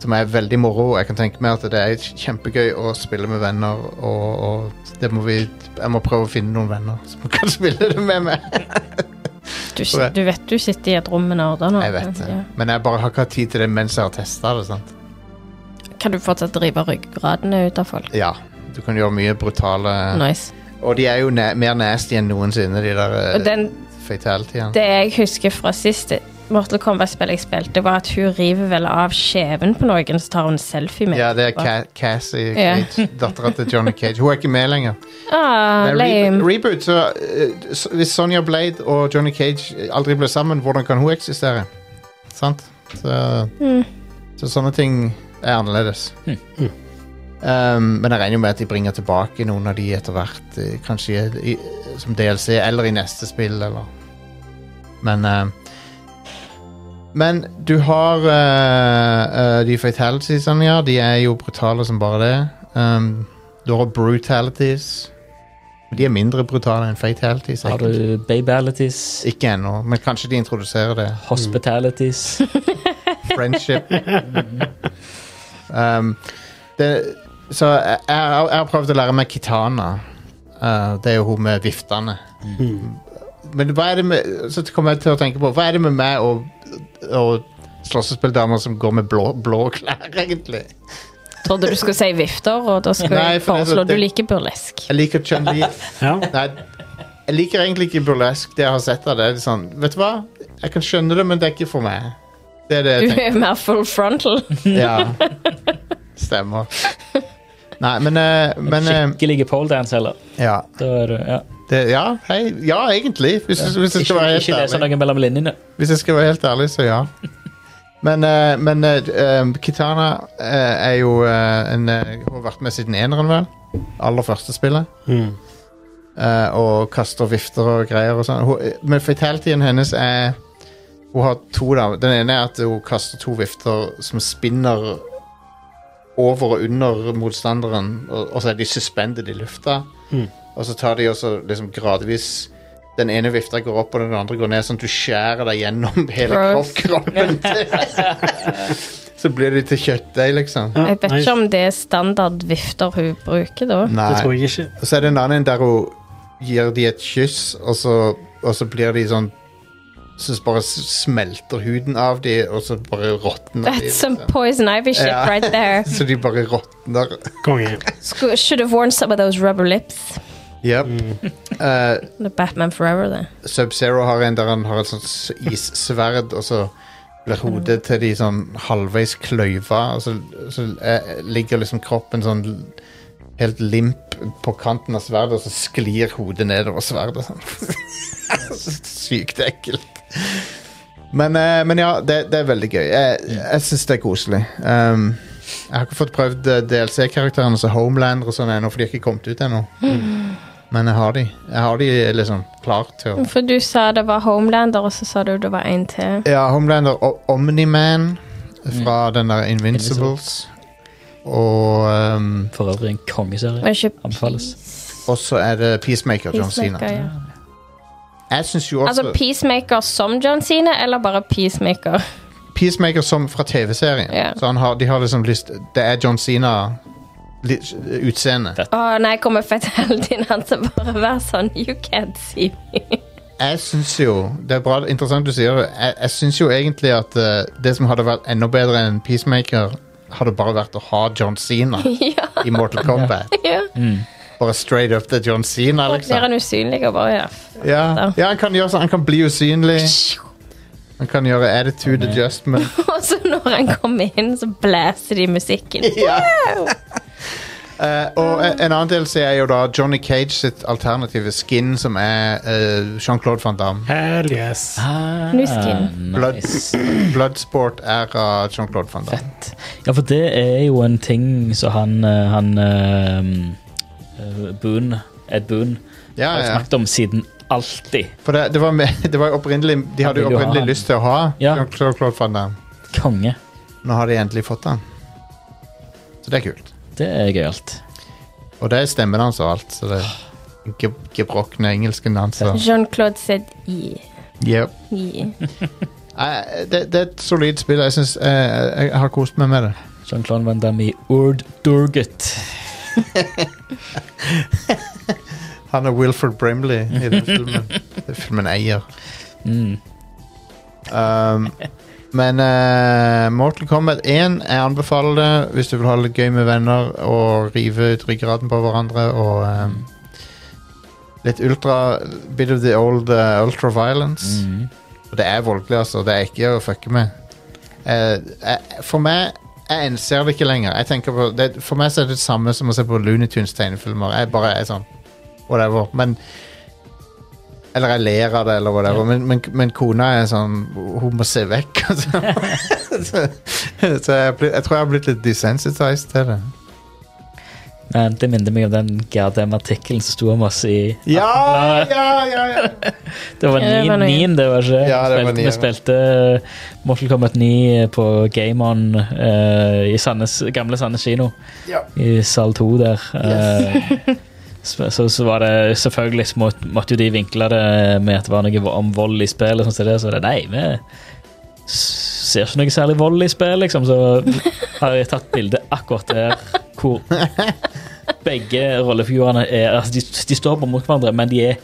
Speaker 1: Som er veldig moro. Jeg kan tenke meg at det er kjempegøy å spille med venner, og, og det må vi Jeg må prøve å finne noen venner som kan spille det med meg.
Speaker 3: Du, sit- du vet du sitter i et rom med nerder nå.
Speaker 1: Jeg vet det.
Speaker 3: Ja.
Speaker 1: Men jeg bare har ikke hatt tid til det mens jeg har testa det. sant?
Speaker 3: Kan du fortsatt drive ryggradene ut av folk?
Speaker 1: Ja. Du kan gjøre mye brutale
Speaker 3: Nice.
Speaker 1: Og de er jo na mer nasty enn noensinne, de der
Speaker 3: Og
Speaker 1: uh,
Speaker 3: den,
Speaker 1: fatalityene.
Speaker 3: det jeg husker fra sist Mortal Kombat-spill jeg spilte, var at hun river vel av skjeven på noen, så tar hun selfie med.
Speaker 1: Ja, det er Ca Cassie
Speaker 3: Ja.
Speaker 1: Cage, dattera til Johnny Cage. Hun er ikke med lenger.
Speaker 3: Ah,
Speaker 1: Men
Speaker 3: lame.
Speaker 1: re reboot, så eh, s- Hvis Sonja Blade og Johnny Cage aldri ble sammen, hvordan kan hun eksistere? Sant? Så,
Speaker 3: Mm.
Speaker 1: så sånne ting er annerledes.
Speaker 2: Hmm.
Speaker 4: Mm.
Speaker 1: Um, men jeg regner jo med at de bringer tilbake noen av de etter hvert. eh, Kanskje i, som DLC eller i neste spill, eller Men eh, Men du har eh, eh, de fatalitiesene, ja. De er jo brutale som bare det. Um, du har brutalities. De er mindre brutale enn fatalities.
Speaker 5: Har
Speaker 1: egentlig.
Speaker 5: du babalities,
Speaker 1: Ikke ennå, men kanskje de introduserer det.
Speaker 5: hospitalities
Speaker 1: friendship. Um, det, så jeg, jeg, jeg har prøvd å lære meg Kitana. Uh, det er jo hun med viftene. Men hva er det med Så kom jeg til å tenke på Hva er det med meg og, og slåssespilldamer som går med blå, blå klær, egentlig?
Speaker 3: Trodde du skulle si vifter, og da skulle
Speaker 1: Nei,
Speaker 3: jeg
Speaker 1: for det- sånn
Speaker 3: foreslå
Speaker 1: det-
Speaker 3: du liker burlesk.
Speaker 1: Jeg liker Chun-Li.
Speaker 4: Ja.
Speaker 1: Nei, jeg liker egentlig ikke burlesk, det jeg har sett av det. det er sånn, vet du hva? Jeg kan skjønne det, men det er ikke for meg. Det er det jeg
Speaker 3: Du
Speaker 1: tenker.
Speaker 3: er mer full frontal.
Speaker 1: Ja. Stemmer. Nei, men, eh, men eh,
Speaker 5: Skikkelige poledance, heller.
Speaker 1: ja.
Speaker 5: Da er du, ja.
Speaker 1: Det, ja, hei, ja, egentlig. Hvis, hvis, jeg skal
Speaker 5: Ikke,
Speaker 1: være helt
Speaker 5: ikke lese
Speaker 1: ærlig.
Speaker 5: noe mellom linjene.
Speaker 1: hvis jeg skal være helt ærlig, så ja. Men, eh, men eh, eh, Kitana eh, er jo eh, en eh, Hun har vært med siden eneren, vel? Aller første spillet.
Speaker 4: Mm.
Speaker 1: eh, og kaster vifter og greier og sånn. Hun- Men fatalityen hennes er Hun har to, da. Den ene er at hun kaster to vifter som spinner over og under motstanderen, og, og så er de suspended i lufta.
Speaker 4: Mhm.
Speaker 1: Og så tar de også liksom gradvis den ene vifta går opp, og den andre går ned, sånn at du skjærer deg gjennom hele
Speaker 3: Gross.
Speaker 1: kropp- kroppen. så blir de til kjøttdeig, liksom.
Speaker 4: Ja,
Speaker 3: Jeg vet
Speaker 4: nei,
Speaker 3: ikke om det er standard vifter hun bruker, da.
Speaker 1: Nei.
Speaker 4: Det tror jeg ikke.
Speaker 1: Og så er det en annen en der hun gir de et kyss, og så, og så blir de sånn Så bare s- smelter huden av de, og så bare råtner de.
Speaker 3: That's some
Speaker 1: liksom.
Speaker 3: poison ivy shit
Speaker 1: Ja.
Speaker 3: right there.
Speaker 1: Så de bare råtner.
Speaker 4: Konge.
Speaker 3: Sku- Should have worn some of those rubber lips.
Speaker 1: Yep. Eh,
Speaker 3: Det er Batman Forever, det.
Speaker 1: Sub-Zero har en der han har et sånt s- issverd, og så blir hodet til de sånn halvveis kløyva, og så, så eh, ligger liksom kroppen sånn l- helt limp på kanten av sverdet, og så sklir hodet nedover sverdet. Sånn. Så Sykt ekkelt. Men, eh, men ja, det, det er veldig gøy. Jeg, jeg syns det er koselig. Um, jeg har ikke fått prøvd eh, DLC-karakterene som Homelander og sånn ennå, for de har ikke kommet ut ennå. Men jeg har de. Jeg har de liksom klar til å
Speaker 3: For du sa det var Homelander, og så sa du det var en til.
Speaker 1: ja, Homelander og Omni-Man fra den der Invincibles. Og um,
Speaker 5: For øvrig en kongeserie.
Speaker 3: Men ikke
Speaker 5: Anbefales.
Speaker 1: og så er det Peacemaker John Cena.
Speaker 3: Peacemaker, ja.
Speaker 1: Jeg syns jo også
Speaker 3: Altså Peacemaker som John Cena, eller bare Peacemaker?
Speaker 1: Peacemaker som fra TV-serien.
Speaker 3: Ja.
Speaker 1: Så han har, de har liksom lyst Det er John Cena litt- eh, utseende.
Speaker 3: Å nei, kommer fatalityen hans til å bare være sånn You can't see me.
Speaker 1: Jeg syns jo Det er bra, interessant du sier det. Jeg, jeg syns jo egentlig at eh, det som hadde vært enda bedre enn Peacemaker, hadde bare vært å ha John Cena
Speaker 3: ja,
Speaker 1: i Mortal Kombat.
Speaker 3: ja.
Speaker 1: Bare straight up til John Cena,
Speaker 3: Da blir
Speaker 1: liksom.
Speaker 3: han usynlig og bare ja.
Speaker 1: Ja, ja han kan gjøre sånn. Han kan bli usynlig. Han kan gjøre attitude adjustment.
Speaker 3: Og så når han kommer inn, så blæser de musikken.
Speaker 1: Eh, og en en annen DLC er jo da Johnny Cage sitt alternative skin, som er eh, Jean-Claude van Damme.
Speaker 4: Hell yes.
Speaker 5: Ah,
Speaker 3: New skin.
Speaker 5: nice.
Speaker 1: Bloodsport er av Jean-Claude van Damme.
Speaker 5: Fett. Ja, for det er jo en ting som han, eh, han eh, eh, Boone, Ed Boone,
Speaker 1: Ah, Ja,
Speaker 5: har
Speaker 1: ja.
Speaker 5: snakket om siden alltid.
Speaker 1: For det, det var, med, det var jo opprinnelig De hadde jo
Speaker 5: ville jo ha
Speaker 1: opprinnelig
Speaker 5: han.
Speaker 1: lyst til å ha
Speaker 5: Ja.
Speaker 1: Jean-Claude van Damme.
Speaker 5: Konge.
Speaker 1: Nå har de endelig fått han. Så det er kult.
Speaker 5: Det er gøyalt.
Speaker 1: Og det er stemmen hans og alt. Så det
Speaker 5: Ah.
Speaker 1: ge- gebrokne engelsken hans. og-
Speaker 3: Jean-Claude said i.
Speaker 1: Yep.
Speaker 3: i.
Speaker 1: Nei, Det, det er et solid spill. Jeg, synes, eh, jeg har kost meg med det.
Speaker 5: Jean-Claude Van Damme i Ord Durgut.
Speaker 1: Han er Wilfred Brimley i den filmen. den filmen eier.
Speaker 5: Mm.
Speaker 1: Um, men eh, Mortal Kombat 1, jeg anbefaler det hvis du vil ha det litt gøy med venner og rive ut ryggraden på hverandre og um, litt ultra Bit of the old uh, ultra violence.
Speaker 5: Mm.
Speaker 1: Og det er voldelig, altså. Det er ikke å fucke med. Eh, jeg- for meg jeg innser det ikke lenger. Jeg tenker på, det, for meg så er det det samme som å se på Looney Tunes tegnefilmer. Jeg bare er sånn whatever. Men Eller jeg ler av det, eller whatever. Men, men, men kona er sånn Hun må se vekk. altså. så så jeg, blir- jeg tror jeg har blitt litt desensitized til det.
Speaker 2: Eh, Det minner meg om den Gardem-artikkelen som sto om oss i
Speaker 1: Ja, ja, ja, ja.
Speaker 2: Det var
Speaker 3: Ja, det var
Speaker 2: 9-9, det var ikke
Speaker 1: Ja, det var
Speaker 2: Spilte- Vi
Speaker 1: nien.
Speaker 2: spilte eh, Mortal Kombat 9 på Game On eh, i Sandnes, gamle Sandnes kino.
Speaker 1: Ja.
Speaker 2: I sal 2 der. Eh, sp- så, så var det selvfølgelig så måtte, måtte jo de vinkle det med at det var noe vo- om vold i spill. Og sånt, som det, så var det nei, vi s- ser ikke noe særlig vold i spill, liksom. Så har jeg tatt bilde akkurat der hvor begge rollefigurene er altså de, de står på mot hverandre, men de er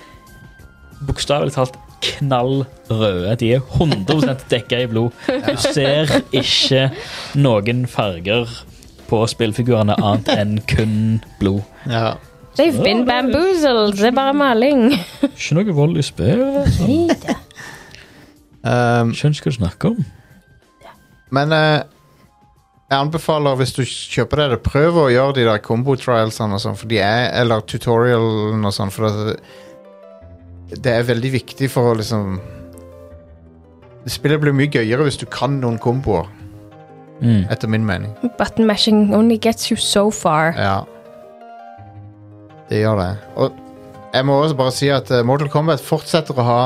Speaker 2: bokstavelig talt knall røde. De er 100 dekka i blod. Du ser ikke noen farger på spillfigurene annet enn kun blod.
Speaker 1: ja.
Speaker 3: They've been bamboozled. Det er bare maling.
Speaker 2: Ikke noe vold i spill.
Speaker 1: Um,
Speaker 2: Skjønner ikke hva du snakker om.
Speaker 1: Men eh, jeg anbefaler, hvis du kjøper det, det, prøv å gjøre de der combo-trialsene og sånn, for de er, eller tutorialen og sånn, for det, det er veldig viktig for å liksom Spillet blir mye gøyere hvis du kan noen komboer,
Speaker 2: Mm.
Speaker 1: etter min mening.
Speaker 3: Button mashing only gets you so far.
Speaker 1: Ja. Det gjør det. Og jeg må også bare si at eh, Mortal Kombat fortsetter å ha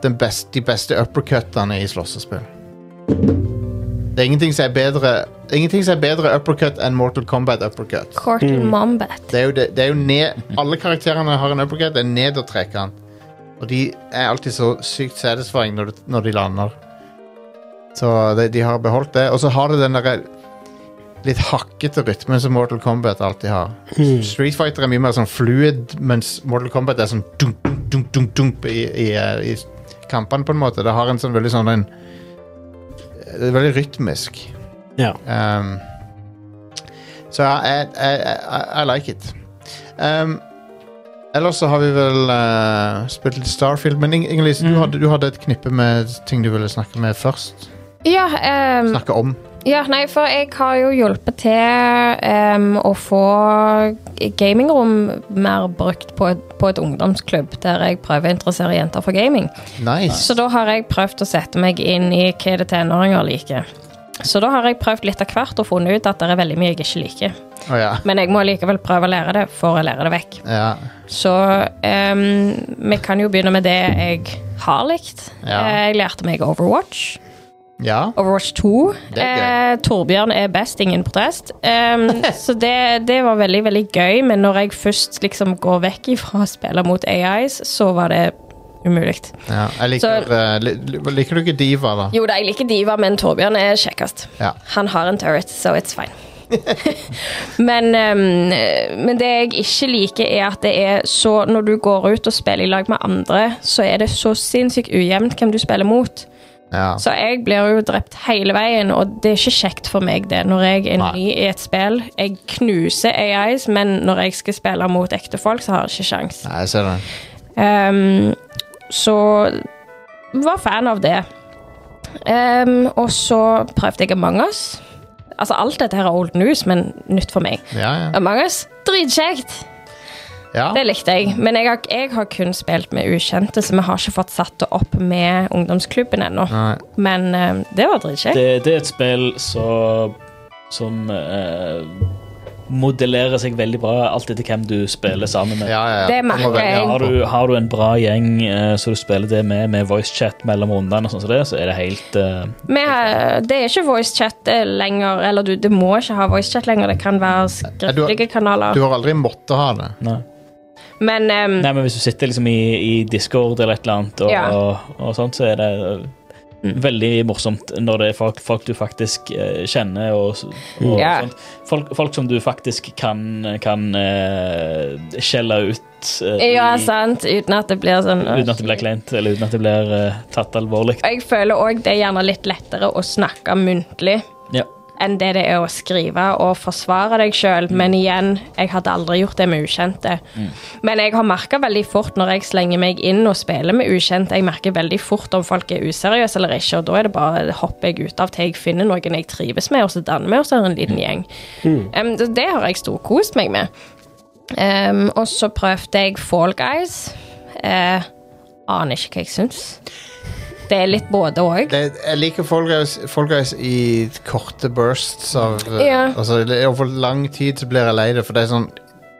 Speaker 1: den best, de beste uppercuttene i slåssespill. Det er ingenting som er bedre Ingenting som er bedre uppercut enn Mortal Kombat uppercut.
Speaker 3: Court and Mombat.
Speaker 1: Det er jo, det, det er jo ned Alle karakterene har en uppercut, det er ned og trekant. Og de er alltid så sykt satisfying når, du- når de lander. Så de, de har beholdt det. Og så har det den derre litt hakkete rytmen som Mortal Kombat alltid har. Street Fighter er mye mer sånn fluid, mens Mortal Kombat er sånn dunk, dunk, dunk, dunk, dunk i, i, eh, i kampene, på en måte. Det har en sånn veldig sånn en, eh, Det er veldig rytmisk.
Speaker 4: Ja.
Speaker 1: Um, så jeg jeg- jeg- I like it. Um, ellers så har vi vel eh, spilt litt Starfield, men Ing- Inger-Lise, du, hadde, du hadde et knippe med ting du ville snakke med først.
Speaker 3: Ja, ehm,
Speaker 1: Snakke om.
Speaker 3: ja, nei, for jeg har jo hjulpet til ehm, å få gamingrom mer brukt på et, på et ungdomsklubb der jeg prøver å interessere jenter for gaming.
Speaker 1: Nice.
Speaker 3: Så da har jeg prøvd å sette meg inn i hva det tenåringer liker. Så da har jeg prøvd litt av hvert og funnet ut at det er veldig mye jeg ikke liker.
Speaker 1: Å ja.
Speaker 3: Men jeg må likevel prøve å lære det for å lære det vekk.
Speaker 1: ja.
Speaker 3: Så ehm, vi kan jo begynne med det jeg har likt.
Speaker 1: Ja.
Speaker 3: Eh, Jeg lærte meg Overwatch.
Speaker 1: Ja.
Speaker 3: Overwatch 2.
Speaker 1: Det er
Speaker 3: Eh,
Speaker 1: gøy.
Speaker 3: Torbjørn er best, ingen protest. Ehm, så det, det var veldig, veldig gøy, men når jeg først liksom går vekk ifra å spille mot AIs, så var det umulig.
Speaker 1: ja. Jeg liker, eh, li, li- liker du ikke Diva, da?
Speaker 3: Jo da, jeg liker Diva, men Torbjørn er kjekkest.
Speaker 1: Ja.
Speaker 3: Han har en turret, so it's fine. men, ehm, men det jeg ikke liker, er at det er så Når du går ut og spiller i lag med andre, så er det så sinnssykt ujevnt hvem du spiller mot.
Speaker 1: Ja.
Speaker 3: Så jeg blir jo drept hele veien, og det er ikke kjekt for meg det når jeg er
Speaker 1: Nei.
Speaker 3: ny i et spill. Jeg knuser AIs, men når jeg skal spille mot ekte folk, så har jeg ikke sjans.
Speaker 1: Nei, jeg ser den.
Speaker 3: Ehm, så var fan av det. Ehm, og så prøvde jeg Among us. Altså, alt dette her er old news, men nytt for meg.
Speaker 1: Ja, ja.
Speaker 3: Among us, dritkjekt!
Speaker 1: ja.
Speaker 3: Det likte jeg. Men jeg har, jeg har kun spilt med ukjente, så vi har ikke fått satt det opp med ungdomsklubben ennå.
Speaker 1: Nei.
Speaker 3: Men ehm, det var dritkjekt.
Speaker 5: Det, det er et spill så, som eh, modellerer seg veldig bra, alt etter hvem du spiller sammen med.
Speaker 1: Ja, ja, ja.
Speaker 3: Det
Speaker 1: må
Speaker 3: merker
Speaker 1: velge
Speaker 3: jeg.
Speaker 1: av
Speaker 5: Har
Speaker 1: på.
Speaker 5: du, har du en bra gjeng eh, så du spiller det med, med voicechat mellom rundene, og sånn som det, så er det helt eh,
Speaker 3: Vi har, det er ikke voicechat eh, lenger, eller du, det må ikke ha voicechat lenger. Det kan være
Speaker 5: Eh,
Speaker 3: skriftlige
Speaker 1: Du
Speaker 3: kanaler.
Speaker 1: har aldri måttet ha det.
Speaker 5: Nei.
Speaker 3: Men ehm,
Speaker 5: Nei, men hvis du sitter liksom i, i Discord eller et eller annet, og,
Speaker 3: Ja.
Speaker 5: og, og sånt, så er det eh, veldig morsomt når det er folk, folk du faktisk eh, kjenner, og, s- og
Speaker 3: Mm. Ja.
Speaker 5: sånt. Folk, folk som du faktisk kan, kan eh, skjelle ut eh, i-
Speaker 3: Ja, sant. Uten at det blir sånn
Speaker 5: uten at det blir kleint, eller uten at det blir eh, tatt alvorlig.
Speaker 3: Og jeg føler òg det er gjerne litt lettere å snakke muntlig
Speaker 5: Ja.
Speaker 3: enn det det er å skrive og forsvare deg sjøl. Men igjen, jeg hadde aldri gjort det med ukjente. Men jeg har merka veldig fort når jeg slenger meg inn og spiller med ukjente, jeg merker veldig fort om folk er useriøse eller ikke, og da er det bare hopper jeg ut av til jeg finner noen jeg trives med, og så danner vi oss en liten gjeng. Em, så det har jeg storkost meg med. Em, og så prøvde jeg Fall Guys. Eh, aner ikke hva jeg syns. Det er litt både òg.
Speaker 1: Det, jeg liker Fall Guys, Fall Guys i korte bursts av eh,
Speaker 3: Ja.
Speaker 1: altså, det- Over lang tid så blir jeg lei det, for det er sånn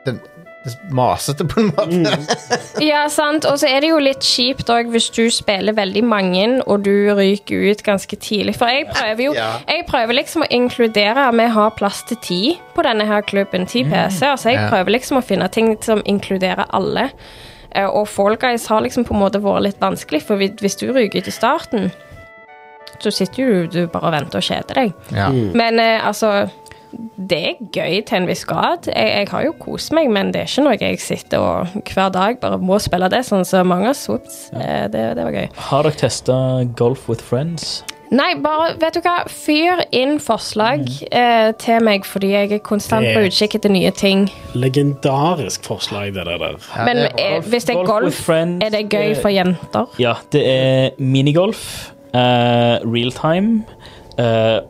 Speaker 1: den, det er masete, på en måte.
Speaker 5: Mm.
Speaker 3: Ja, sant. Og så er det jo litt kjipt òg hvis du spiller veldig mange, og du ryker ut ganske tidlig. For jeg prøver jo
Speaker 1: Ja.
Speaker 3: Jeg prøver liksom å inkludere Vi har plass til ti på denne her klubben. Ti PC-er. Så jeg
Speaker 1: Ja.
Speaker 3: prøver liksom å finne ting som inkluderer alle. Eh, Og Fall Guys har liksom på en måte vært litt vanskelig, for hvis- hvis du ryker ut i starten, så sitter jo du bare og venter og kjeder deg.
Speaker 1: Ja.
Speaker 3: Men eh, altså det er gøy til en viss grad. Jeg, jeg har jo kost meg, men det er ikke noe jeg sitter og hver dag bare må spille det, sånn som mange har swapped. Eh, det, det var gøy.
Speaker 5: Har dere testa Golf with Friends?
Speaker 3: Nei, bare, vet du hva, fyr inn forslag eh, til meg, fordi jeg er konstant
Speaker 4: Det-
Speaker 3: på utkikk etter nye ting.
Speaker 4: Legendarisk forslag, det der. der.
Speaker 1: Ja,
Speaker 3: men
Speaker 1: det er bra.
Speaker 3: eh, hvis det er golf,
Speaker 5: with Friends,
Speaker 3: er det gøy for jenter?
Speaker 5: Ja, det er minigolf, eh, real time, eh,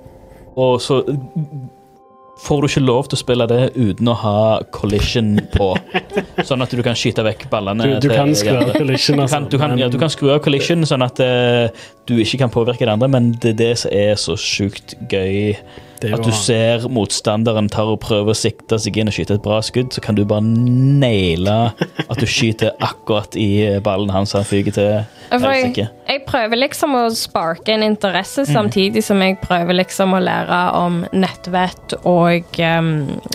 Speaker 5: og så får du ikke lov til å spille det uten å ha collision på, sånn at du kan skyte vekk ballene.
Speaker 4: Du, du
Speaker 5: til-
Speaker 4: kan skru av collision,
Speaker 5: Du
Speaker 4: altså.
Speaker 5: kan, du, kan, ja, du kan skru av collision, sånn at eh, du ikke kan påvirke det andre, men det er det som er så sjukt gøy.
Speaker 4: Det er
Speaker 5: At du
Speaker 4: jo-
Speaker 5: ser motstanderen tar og prøver å sikte seg inn og skyte et bra skudd, så kan du bare naile at du skyter akkurat i eh, ballen hans han fyker til.
Speaker 3: For
Speaker 5: Helsike.
Speaker 3: jeg, jeg prøver liksom å sparke en interesse, samtidig som jeg prøver liksom å lære om nettvett og, um,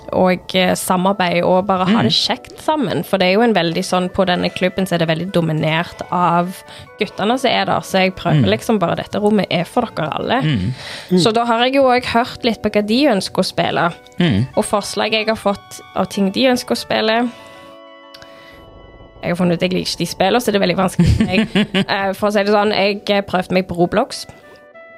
Speaker 3: og eh, samarbeid, og bare ha det kjekt sammen. For det er jo en veldig sånn På denne klubben så er det veldig dominert av guttene som er der, så jeg prøver liksom bare Dette rommet er for dere alle. Så da har jeg jo òg hørt litt på hva de ønsker å spille,
Speaker 1: Hmm.
Speaker 3: og forslag jeg har fått av ting de ønsker å spille. Jeg har funnet ut at jeg liker ikke de spillene, så det er veldig vanskelig for meg. Eh, For å si det sånn, jeg eh, prøvde meg på Roblox.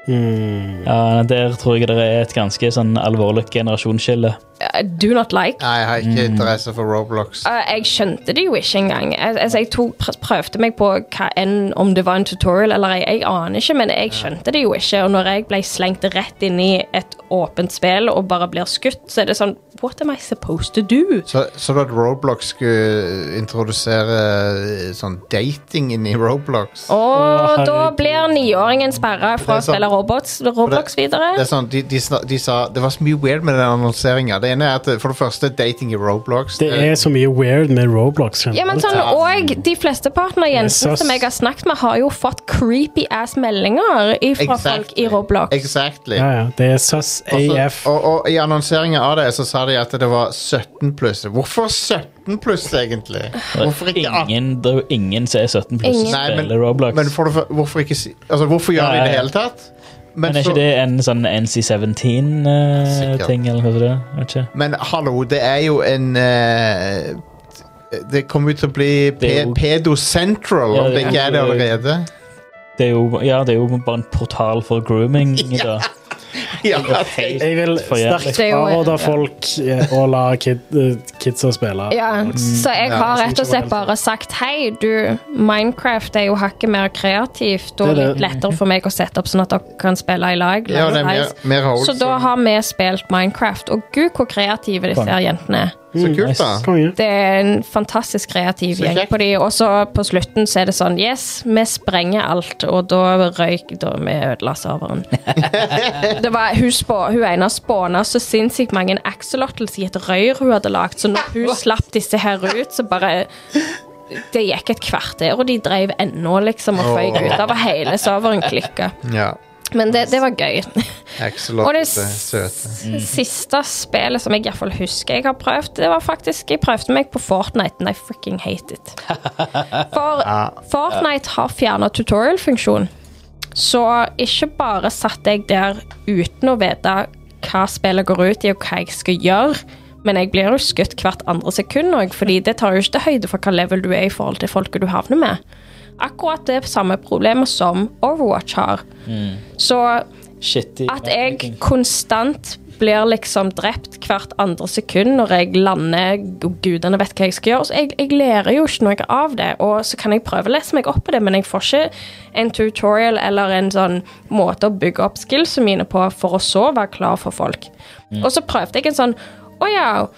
Speaker 4: Mm.
Speaker 5: Ja, der tror jeg det er et ganske sånn alvorlig generasjonsskille.
Speaker 3: Eh, Do not like.
Speaker 1: Nei, jeg har ikke interesse for Roblox.
Speaker 3: Eh, Jeg skjønte det jo ikke engang. Al- Altså, jeg tok, pr- prøvde meg på hva enn, om det var en tutorial eller jeg, jeg aner ikke, men jeg skjønte det jo ikke. Og når jeg ble slengt rett inn i et åpent spill og bare blir skutt, så er det sånn What am I supposed to do?
Speaker 1: Så, så du at Roblox skulle introdusere eh, sånn dating inn i Roblox?
Speaker 3: Og
Speaker 4: Å,
Speaker 3: da
Speaker 4: herregud.
Speaker 3: blir niåringen sperra
Speaker 1: Det
Speaker 3: fra å
Speaker 1: er sant.
Speaker 3: spille robots, Roblox videre.
Speaker 1: Det er sånn, de, de, sna- de sa, det var så mye weird med den annonseringa. Det ene er at det- for det første dating i Roblox. eh,
Speaker 4: Det er så mye weird med Roblox.
Speaker 3: Ja, men
Speaker 4: generelt.
Speaker 3: sånn, og de fleste partnerjentene
Speaker 4: Jesus.
Speaker 3: som jeg har snakket med, har jo fått creepy ass meldinger fra folk i Roblox.
Speaker 1: Exactly.
Speaker 4: ja, ja. Det er søs
Speaker 1: Og,
Speaker 4: AF.
Speaker 1: så- Altså, og, og i annonseringa av det så sa de at det var 17 pluss. Hvorfor 17 pluss, egentlig? Hvorfor ikke 18?
Speaker 5: Ingen, det er jo ingen som er 17 pluss som
Speaker 3: Ingen.
Speaker 1: Nei, men-
Speaker 5: spiller Roblox.
Speaker 1: Men for, det fø- hvorfor ikke si Altså, hvorfor gjør de det i det hele tatt? Men,
Speaker 5: Men er
Speaker 1: så-
Speaker 5: ikke det en sånn
Speaker 1: Sikkert.
Speaker 5: NC17-ting, eh, eller hva det er? Vet ikke.
Speaker 1: men hallo, det er jo en eh, Det kommer jo til å bli pe
Speaker 5: Det er jo-
Speaker 1: Pedo Central,
Speaker 5: Ja,
Speaker 1: om
Speaker 5: det
Speaker 1: det ikke
Speaker 5: er
Speaker 1: er det
Speaker 5: jo-
Speaker 1: allerede.
Speaker 5: Det er jo, ja, det er jo bare en portal for grooming. Da.
Speaker 1: Ja,
Speaker 5: Helt
Speaker 4: Jeg vil
Speaker 5: for jævlig.
Speaker 4: sterkt
Speaker 3: Det er jo-
Speaker 4: fraråde folk eh, å la kid, eh, kidsa spille.
Speaker 3: Ja, så jeg
Speaker 1: Ja,
Speaker 3: har
Speaker 4: jeg
Speaker 3: rett
Speaker 4: synes
Speaker 3: og slett
Speaker 4: ikke det var
Speaker 3: bare sagt hei, du, Minecraft er jo hakket mer kreativt og
Speaker 4: Det er det.
Speaker 3: litt lettere for meg å sette opp sånn at dere kan spille i lag.
Speaker 1: ja, det er mer, mer hold,
Speaker 3: Så da har vi spilt Minecraft, og gud hvor kreative disse her jentene er.
Speaker 1: Så kult, da.
Speaker 4: Konge.
Speaker 3: Det er en fantastisk kreativ
Speaker 1: Så
Speaker 3: gjeng
Speaker 1: kjekt.
Speaker 3: på de, og så på slutten så er det sånn Yes, vi sprenger alt, og da røyk da vi ødela serveren. det var, hun, spå, hun ene spåna så sinnssykt mange axolotls i et røyr hun hadde lagd, så når hun slapp disse her ut, så bare Det gikk et kvarter, og de drev ennå, liksom, og føyk
Speaker 1: Åh.
Speaker 3: utover hele serveren klikka.
Speaker 1: Ja.
Speaker 3: Men det, det var gøy.
Speaker 1: Axelot
Speaker 3: Og det
Speaker 1: er
Speaker 3: s-
Speaker 1: søte.
Speaker 3: siste spillet som jeg i hvert fall husker jeg har prøvd, det var faktisk Jeg prøvde meg på Fortnite, and I freaking hate it. For Fortnite har fjerna tutorial-funksjon. Så ikke bare satt jeg der uten å vite hva spillet går ut i, og hva jeg skal gjøre, men jeg blir jo skutt hvert andre sekund òg, fordi det tar jo ikke høyde for hva level du er i forhold til folket du havner med. Akkurat det samme problemet som Overwatch har. Så
Speaker 5: Shitty.
Speaker 3: at jeg konstant blir liksom drept hvert andre sekund når jeg lander, og gudene vet hva jeg skal gjøre. Så jeg, jeg lærer jo ikke noe av det, og så kan jeg prøve å lese meg opp på det, men jeg får ikke en tutorial eller en sånn måte å bygge opp skillsene mine på for å så være klar for folk. Og så prøvde jeg en sånn å ja,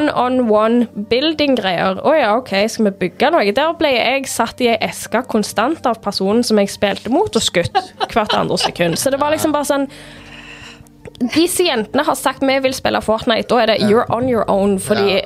Speaker 3: one-on-one building-greier. Å ja, OK, skal vi bygge noe? Der ble jeg satt i ei eske konstant av personen som jeg spilte mot, og skutt hvert andre sekund. Så det var liksom bare sånn Disse jentene har sagt vi vil spille Fortnite, da er det you're on your own, fordi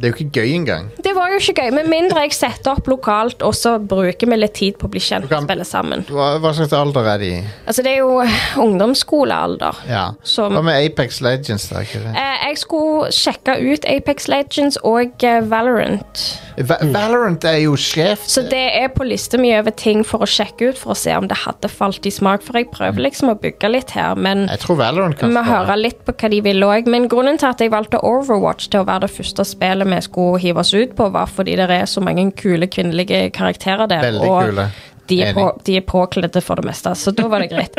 Speaker 1: Det er jo ikke gøy engang.
Speaker 3: Det var jo ikke gøy, med mindre jeg setter opp lokalt, og så bruker vi litt tid på å bli kjent
Speaker 1: Du kan-
Speaker 3: og spille sammen.
Speaker 1: Hva, hva slags alder er de i?
Speaker 3: Altså, det er jo ungdomsskolealder.
Speaker 1: Ja.
Speaker 3: Som-
Speaker 1: Hva med Apex Legends? da? Ikke det?
Speaker 3: Eh, jeg skulle sjekke ut Apex Legends og eh, Valorant.
Speaker 1: Va Valorant er jo sjef.
Speaker 3: Eh, mm. Så det er på lista mi over ting for å sjekke ut, for å se om det hadde falt i smak. For jeg
Speaker 1: Mm.
Speaker 3: prøver liksom å bygge litt her, men
Speaker 1: Jeg tror Valorant kan
Speaker 3: vi
Speaker 1: spare.
Speaker 3: hører litt på hva de vil òg. Men grunnen til at jeg valgte Overwatch til å være det første spillet vi skulle hive oss ut på, var fordi det er så mange kule kvinnelige karakterer der.
Speaker 1: Veldig
Speaker 3: og
Speaker 1: kule.
Speaker 3: De er,
Speaker 1: Enig.
Speaker 3: på, de er påkledde for det meste, så da var det greit.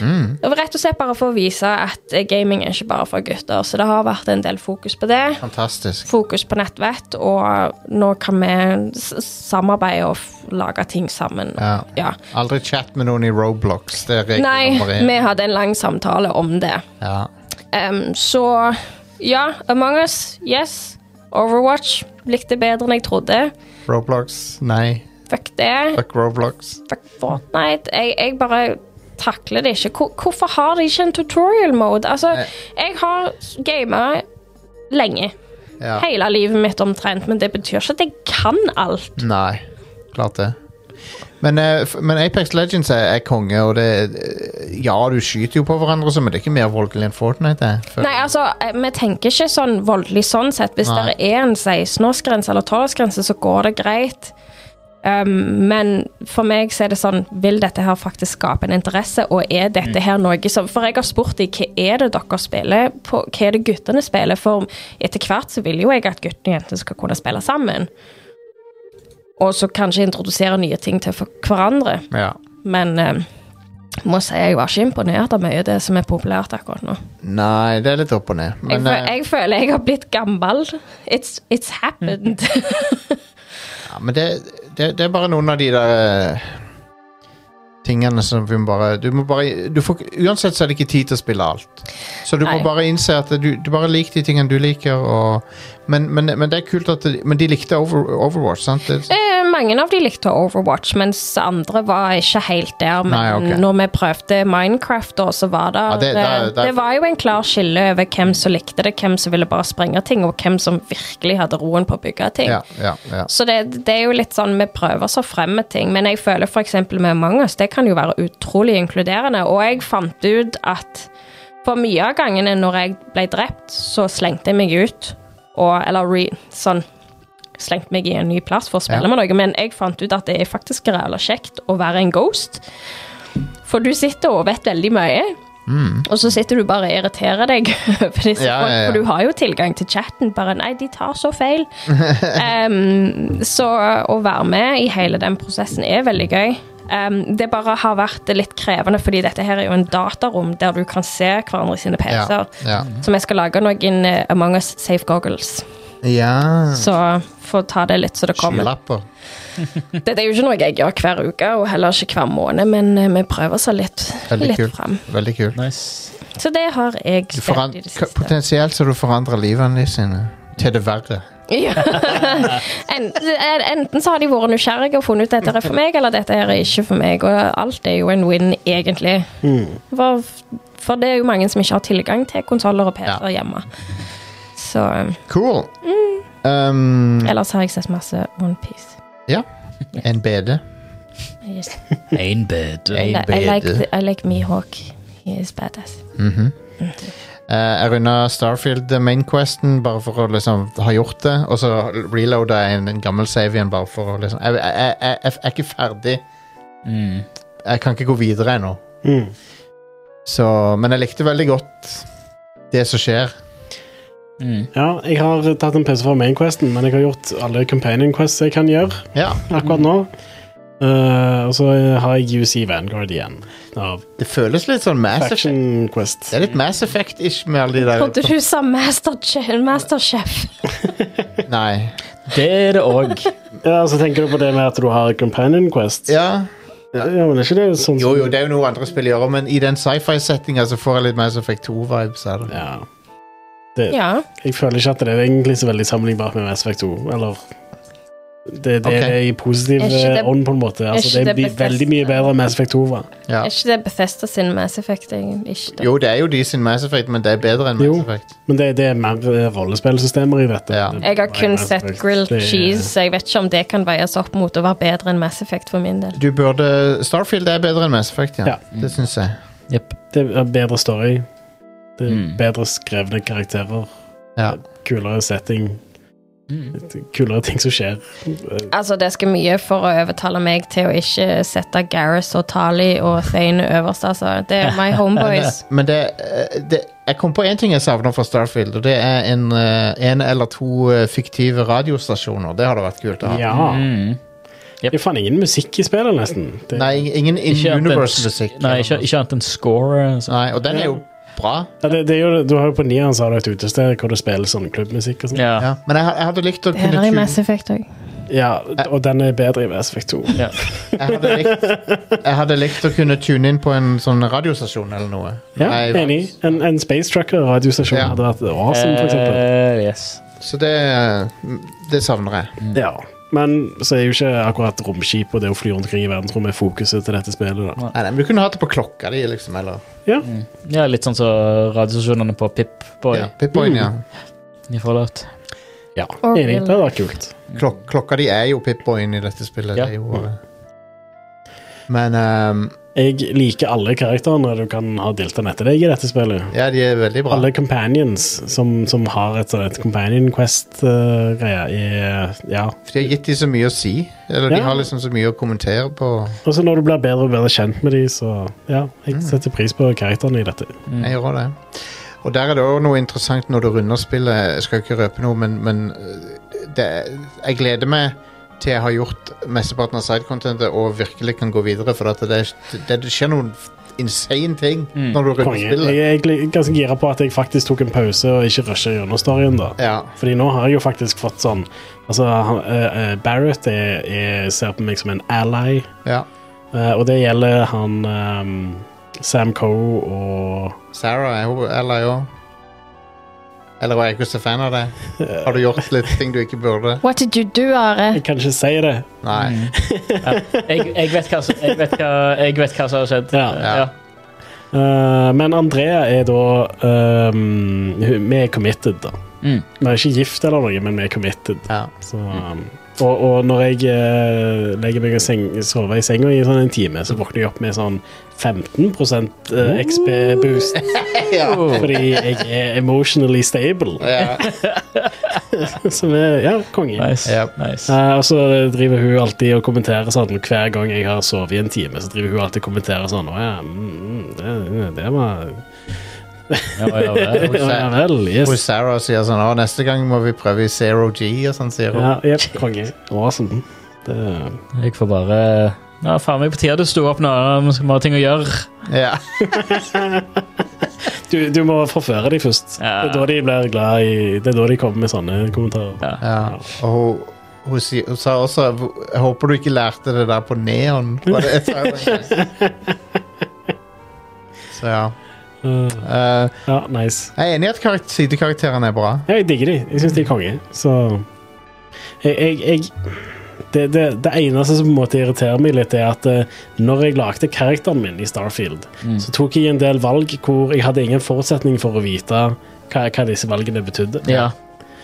Speaker 1: Mm.
Speaker 3: Det var Rett og slett bare for å vise at eh, gaming er ikke bare for gutter, så det har vært en del fokus på det
Speaker 1: Fantastisk.
Speaker 3: fokus på nettvett, og nå kan vi s- samarbeide og f- lage ting sammen.
Speaker 1: Ja.
Speaker 3: Ja.
Speaker 1: Aldri chat med noen i Roblox. Det er regel
Speaker 3: Nei,
Speaker 1: nummer én.
Speaker 3: vi hadde en lang samtale om det.
Speaker 1: Ja.
Speaker 3: Em, så ja, Among us, yes. Overwatch likte bedre enn jeg trodde.
Speaker 1: Roblox. Nei.
Speaker 3: Fuck det.
Speaker 1: Fuck Roblox.
Speaker 3: Fuck Fortnite. Jeg, jeg bare takler det ikke. Hvor, hvorfor har de ikke en tutorial mode? Altså,
Speaker 1: Nei.
Speaker 3: jeg har gama lenge.
Speaker 1: Ja.
Speaker 3: Hele livet mitt omtrent, men det betyr ikke at jeg kan alt.
Speaker 1: Nei. Klart det. Men, eh, f- men Apex Legends er, er konge, og det eh, Ja, du skyter jo på hverandre, og sånn, men det er ikke mer voldelig enn Fortnite. Det. For-
Speaker 3: Nei, altså, eh, vi tenker ikke sånn voldelig sånn sett. Hvis
Speaker 1: Nei.
Speaker 3: det er en 16-årsgrense eller 12-årsgrense, så går det greit. Um, men for meg så er det sånn Vil dette her faktisk skape en interesse, og er dette her noe som For jeg har spurt dem hva er det dere spiller, på, hva er det guttene spiller, for etter hvert så vil jo jeg at guttene og jentene skal kunne spille sammen. Og så kanskje introdusere nye ting til for hverandre.
Speaker 1: Ja.
Speaker 3: Men um, må si jeg var ikke imponert av mye av det som er populært akkurat nå.
Speaker 1: Nei, det er litt opp og ned. Men
Speaker 3: jeg, fø-
Speaker 1: eh,
Speaker 3: jeg føler jeg har blitt gammel. It's, it's happened.
Speaker 1: Mm. Ja, men det, det, det er bare noen av de der eh, tingene som vi må bare Du må bare du får, ikke- Uansett så er det ikke tid til å spille alt. Så du
Speaker 3: Nei.
Speaker 1: må bare innse at du, du bare liker de tingene du liker, og Men, men, men det er kult at de, Men de likte over, Overwatch, sant? Det,
Speaker 3: Eh, Mange av de likte Overwatch, mens andre var ikke helt der. Men
Speaker 1: Nei, ok.
Speaker 3: når vi prøvde Minecraft, da, så var det,
Speaker 1: Ja, det-
Speaker 3: eh,
Speaker 1: det- det-
Speaker 3: det var jo en klar skille over hvem som likte det, hvem som ville bare sprenge ting, og hvem som virkelig hadde roen på å bygge ting.
Speaker 1: ja, ja, ja.
Speaker 3: Så det, det er jo litt sånn, vi prøver oss å fremme ting, men jeg føler f.eks. med Among us, det kan jo være utrolig inkluderende. Og jeg fant ut at for mye av gangene når jeg ble drept, så slengte jeg meg ut. Og, eller re, sånn slengte meg i en ny plass for å spille
Speaker 1: Ja.
Speaker 3: med noe, men jeg fant ut at det er faktisk rævla kjekt å være en ghost. For du sitter og vet veldig mye. Og så sitter du bare og irriterer deg over disse
Speaker 1: Mm. Ja,
Speaker 3: folk,
Speaker 1: ja, ja.
Speaker 3: for du har jo tilgang til chatten. Bare 'nei, de tar så feil'. Ehm, så å være med i hele den prosessen er veldig gøy. Ehm, det bare har vært litt krevende, fordi dette her er jo en datarom der du kan se hverandre sine
Speaker 1: ja,
Speaker 3: PC-er.
Speaker 1: ja.
Speaker 3: Så vi skal lage noen eh, Among us safe goggles.
Speaker 1: ja.
Speaker 3: Så får ta det litt så det kommer.
Speaker 1: Skylapper.
Speaker 3: Dette er jo ikke noe jeg gjør hver uke, og heller ikke hver måned, men eh, vi prøver oss litt,
Speaker 1: Veldig
Speaker 3: litt
Speaker 1: kult.
Speaker 3: fram.
Speaker 1: Veldig kult.
Speaker 2: Nice.
Speaker 3: Så det har jeg
Speaker 1: Du
Speaker 3: spilt i
Speaker 1: foran,
Speaker 3: det
Speaker 1: k-
Speaker 3: siste.
Speaker 1: potensielt så du forandrer livene sine til det verre.
Speaker 3: Ja. enten, enten så har de vært nysgjerrige og funnet ut dette er for meg, eller dette her er ikke for meg. Og alt er jo en win, egentlig.
Speaker 1: Mm.
Speaker 3: For, for det er jo mange som ikke har tilgang til konsoller og
Speaker 1: Ja.
Speaker 3: PC-er hjemme. Så mm.
Speaker 1: Cool. Um,
Speaker 3: Ellers har jeg sett masse Onepiece.
Speaker 1: en BD.
Speaker 2: Én bed.
Speaker 1: En
Speaker 3: I like,
Speaker 1: BD.
Speaker 3: the- I like Mihawk. He is badass.
Speaker 1: Mhm. Eh, jeg runda Starfield eh, mainquesten bare for å liksom ha gjort det. Og så reloada jeg en, en gammel save igjen bare for å liksom Jeg, jeg, jeg, jeg, jeg er ikke ferdig.
Speaker 2: Mm.
Speaker 1: Jeg kan ikke gå videre ennå.
Speaker 4: Mm.
Speaker 1: Så, men jeg likte veldig godt det som skjer.
Speaker 2: Mm.
Speaker 4: Ja, jeg har tatt en pause fra mainquesten, men jeg har gjort alle companion quests jeg kan gjøre
Speaker 1: Ja,
Speaker 4: akkurat nå. Eh, og så har jeg UC Vanguard igjen. Av
Speaker 1: Det føles litt sånn Mass Effect.
Speaker 4: Faction Quest.
Speaker 1: Det er litt Mass Effect-ish med alle de
Speaker 3: Trodde
Speaker 1: der
Speaker 3: du sa Masterchef? Masterchef.
Speaker 1: Nei.
Speaker 2: Det er det òg.
Speaker 4: Ja, så tenker du på det med at du har companion quest.
Speaker 1: Ja.
Speaker 4: Ja, men er ikke det sånn
Speaker 1: Jo, jo, det er jo noe andre spill gjør, men i den sci-fi-settinga så får jeg litt Mass Effect 2-vibes. av det.
Speaker 4: Ja. Det,
Speaker 3: Ja.
Speaker 4: Jeg føler ikke at det er egentlig så veldig sammenlignbart med Mass Effect 2, eller Det, det
Speaker 1: Ok.
Speaker 4: er i positiv
Speaker 3: Er ikke det-
Speaker 4: eh, ånd, på en måte. Altså,
Speaker 3: ikke
Speaker 4: det
Speaker 3: det
Speaker 4: blir
Speaker 3: Bethesda?
Speaker 4: veldig mye bedre enn Mass Effect 2 var.
Speaker 1: Ja.
Speaker 3: Er ikke det Bethesda sin Mass Effect, egentlig? Ikke det.
Speaker 1: Jo, det er jo de sin Mass Effect, men det er bedre enn
Speaker 4: Jo.
Speaker 1: Mass Effect.
Speaker 4: Men det, det er mer eh, rollespillsystemer i dette.
Speaker 1: Ja.
Speaker 4: Det-
Speaker 3: Jeg har kun
Speaker 4: Mass
Speaker 3: sett
Speaker 4: Effect,
Speaker 3: grilled
Speaker 4: det er-
Speaker 3: cheese, så jeg vet ikke om det kan veies opp mot å være bedre enn Mass Effect for min del.
Speaker 1: Du burde Starfield er bedre enn Mass Effect, ja.
Speaker 4: Ja.
Speaker 1: Det syns jeg.
Speaker 5: Jepp.
Speaker 4: Det er bedre story. Det er
Speaker 5: Mm.
Speaker 4: Bedre skrevne karakterer.
Speaker 1: Ja.
Speaker 4: Kulere setting.
Speaker 5: Mm.
Speaker 4: Kulere ting som skjer.
Speaker 3: Altså, det skal mye for å overtale meg til å ikke sette Gareth og Tali og Thane øverst, altså. Det er my homeboys.
Speaker 1: Men det, eh, det Jeg kom på én ting jeg savner fra Starfield, og det er en, eh, en eller to eh, fiktive radiostasjoner. Det hadde vært kult å ha.
Speaker 4: Ja.
Speaker 5: Mm.
Speaker 4: Det er faen ingen musikk i spillet, nesten. Det,
Speaker 1: Nei, ingen
Speaker 5: Ikke annet enn-
Speaker 1: in-universe-musikk.
Speaker 5: Nei, ikke, ikke annet enn score. altså. Så.
Speaker 1: Nei, og den er jo bra.
Speaker 4: ja, det, det er jo, du har jo på nieren så har du et utested hvor du spiller sånn klubbmusikk og sånn.
Speaker 5: Ja.
Speaker 1: Ja. Men jeg, jeg hadde likt å
Speaker 3: Det er
Speaker 1: kunne
Speaker 3: der i
Speaker 1: tune-
Speaker 3: Mass Effect òg.
Speaker 4: Ja, og den er bedre i Mass Effect 2.
Speaker 5: Ja.
Speaker 1: jeg hadde, likt, jeg hadde likt å kunne tune inn på en sånn radiostasjon eller noe.
Speaker 4: Ja,
Speaker 1: Nei,
Speaker 4: enig. En, en Space Trucker-radiostasjon
Speaker 1: Ja.
Speaker 4: hadde vært awesome, for eksempel.
Speaker 5: Eh, yes.
Speaker 1: Så det, eh, det savner jeg.
Speaker 4: Ja. Men så er jo ikke akkurat romskip og det å fly rundt omkring i verdensrommet fokuset til dette spillet. da.
Speaker 1: Nei, nei, men Du kunne hatt det på klokka di, liksom. Eller
Speaker 4: Ja,
Speaker 5: ja, litt sånn som radiostasjonene på Pip-Boy
Speaker 1: ja, Pip-Boyen, ja.
Speaker 5: i Fallout.
Speaker 4: ja.
Speaker 3: Or
Speaker 4: enig.
Speaker 3: will.
Speaker 4: Det hadde vært kult.
Speaker 1: Klok klokka di er jo Pip-Boyen i dette spillet.
Speaker 5: Ja.
Speaker 1: Det er jo, eh. men ehm,
Speaker 4: Jeg liker alle karakterene du kan ha deltatt etter deg i dette spillet.
Speaker 1: ja, de er veldig bra.
Speaker 4: Alle companions som, som har et sånt et companion quest-greie i Ja.
Speaker 1: For de har gitt de så mye å si. Eller de
Speaker 4: Ja.
Speaker 1: har liksom så mye å kommentere på.
Speaker 4: Og så når du blir bedre og bedre kjent med de, så Ja,
Speaker 1: Mm.
Speaker 4: jeg setter pris på karakterene i dette.
Speaker 1: Jeg gjør også det. Og der er det òg noe interessant når du runder spillet. Jeg skal ikke røpe noe, men, men eh, det, jeg gleder meg til jeg har gjort mesteparten av sidecontentet og virkelig kan gå videre, for at det, det, det skjer noen insane ting
Speaker 5: Mm.
Speaker 1: når du runder
Speaker 4: Konge. Jeg,
Speaker 1: spillet.
Speaker 4: jeg er egentlig ganske gira på at jeg faktisk tok en pause og ikke rusha gjennom storyen, da.
Speaker 1: Ja.
Speaker 4: Fordi nå har jeg jo faktisk fått sånn Altså, han- eh, eh, Barrett er, er, ser på meg som en ally,
Speaker 1: ja.
Speaker 4: eh, og det gjelder han eh, Sam Coe og
Speaker 1: Sarah er hun eller jo Eller var jeg ikke så fan av det?
Speaker 4: eh,
Speaker 1: Har du gjort litt ting du ikke burde?
Speaker 3: What did you do, Are?
Speaker 4: Jeg kan ikke si det.
Speaker 1: Nei.
Speaker 5: Mm. Jeg, jeg, vet hva, som- jeg, vet hva, jeg vet hva som har skjedd.
Speaker 4: Ja.
Speaker 5: Eh,
Speaker 1: Ja.
Speaker 4: Eh, men Andrea er da eh, hun- Vi er committed, da.
Speaker 5: Mm.
Speaker 4: Vi er ikke gift eller noe, men vi er committed.
Speaker 1: Ja.
Speaker 4: Så, ehm, og, og når jeg eh, legger meg og seng, sover i senga i sånn en time, så våkner jeg opp med sånn 15 eh, XP-boost.
Speaker 5: Oh, Mm.
Speaker 4: Fordi jeg er emotionally stable.
Speaker 1: Ja.
Speaker 4: Som er ja, konge.
Speaker 5: Nice.
Speaker 1: Yep.
Speaker 5: nice.
Speaker 4: Eh, og så driver hun alltid og kommenterer sånn Hver gang jeg har sovet i en time, så driver hun alltid og kommenterer sånn Å ja, mm, det, det var
Speaker 5: Ja, ja, ja.
Speaker 1: Hun
Speaker 4: Å ja
Speaker 1: Sa-
Speaker 4: vel,
Speaker 1: hun
Speaker 4: yes.
Speaker 1: Sarah sier sånn Å, neste gang må vi prøve i zero G, og sånn, sier hun.
Speaker 4: Ja, jep, konge. Awesome. Det,
Speaker 5: Jeg får bare Ja, faen meg på tide du sto opp nå. Vi skal bare ha ting å gjøre.
Speaker 1: Ja.
Speaker 4: du, du må forføre dem først.
Speaker 5: Ja.
Speaker 4: Det er da de blir glad i Det er da de kommer med sånne kommentarer.
Speaker 1: Ja, og hun, hun, si- hun sa også Jeg håper du ikke lærte det der på neon. Var det sa hun en gang. Så ja.
Speaker 4: Eh,
Speaker 1: Eh,
Speaker 4: Ja, nice.
Speaker 1: jeg er enig i at karak- sidekarakterene er bra.
Speaker 4: Ja, jeg digger de. Jeg syns de er konge. Så Jeg, jeg, jeg det, det, det eneste som på en måte irriterer meg litt, er at eh, når jeg lagde karakteren min i Starfield, så tok jeg en del valg hvor jeg hadde ingen forutsetning for å vite hva, hva disse valgene betydde.
Speaker 5: Ja.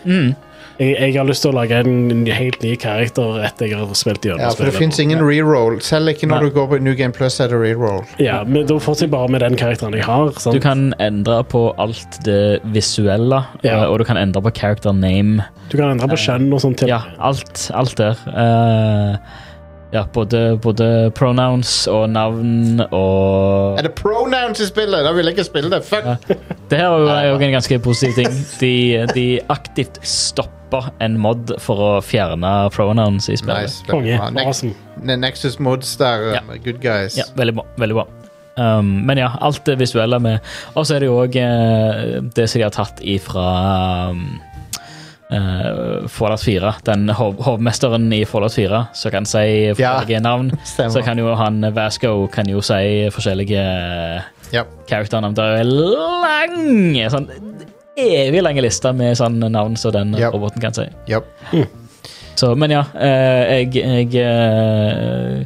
Speaker 5: Mm.
Speaker 4: Jeg, jeg har lyst til å lage en ny- helt ny karakter etter jeg har spilt gjennom
Speaker 1: Ja, For det fins ingen reroll. Selv ikke når
Speaker 4: Nei.
Speaker 1: du går på New Game Plus, er det reroll.
Speaker 4: Ja, men da fortsetter jeg bare med den karakteren jeg har. Sant?
Speaker 5: Du kan endre på alt det visuelle,
Speaker 4: Ja.
Speaker 5: eh, og du kan endre på character name.
Speaker 4: Du kan endre på kjønn og sånt. til-
Speaker 5: Ja, alt, alt der. Eh, ja, både, både pronouns og navn og
Speaker 1: Er det pronouns i spillet? Da vil jeg ikke spille det. Fuck!
Speaker 5: Det her er jo- er jo en ganske positiv ting. De, de aktivt stopper en mod for å fjerne pronouns i spillet.
Speaker 1: Nice. veldig
Speaker 4: Konge.
Speaker 1: bra. Nex-
Speaker 4: Awesome.
Speaker 1: Ne- Nexus Mods der, um, good guys.
Speaker 5: Ja, veldig bra. Veldig bra. Um, men ja, alt det visuelle med Og så er det jo òg eh, det som de har tatt ifra um, eh, Fallout 4. Den hov hovmesteren i Fallout 4 som kan si forskjellige navn.
Speaker 1: Stemmer.
Speaker 5: Så kan jo han eh, Vasco kan jo si forskjellige eh,
Speaker 1: Ja.
Speaker 5: characternavn. Det er jo en lang sånn evig lange liste med sånne navn som den
Speaker 1: Ja.
Speaker 5: roboten kan si.
Speaker 1: ja.
Speaker 5: Så, men ja, eh, jeg, jeg eh,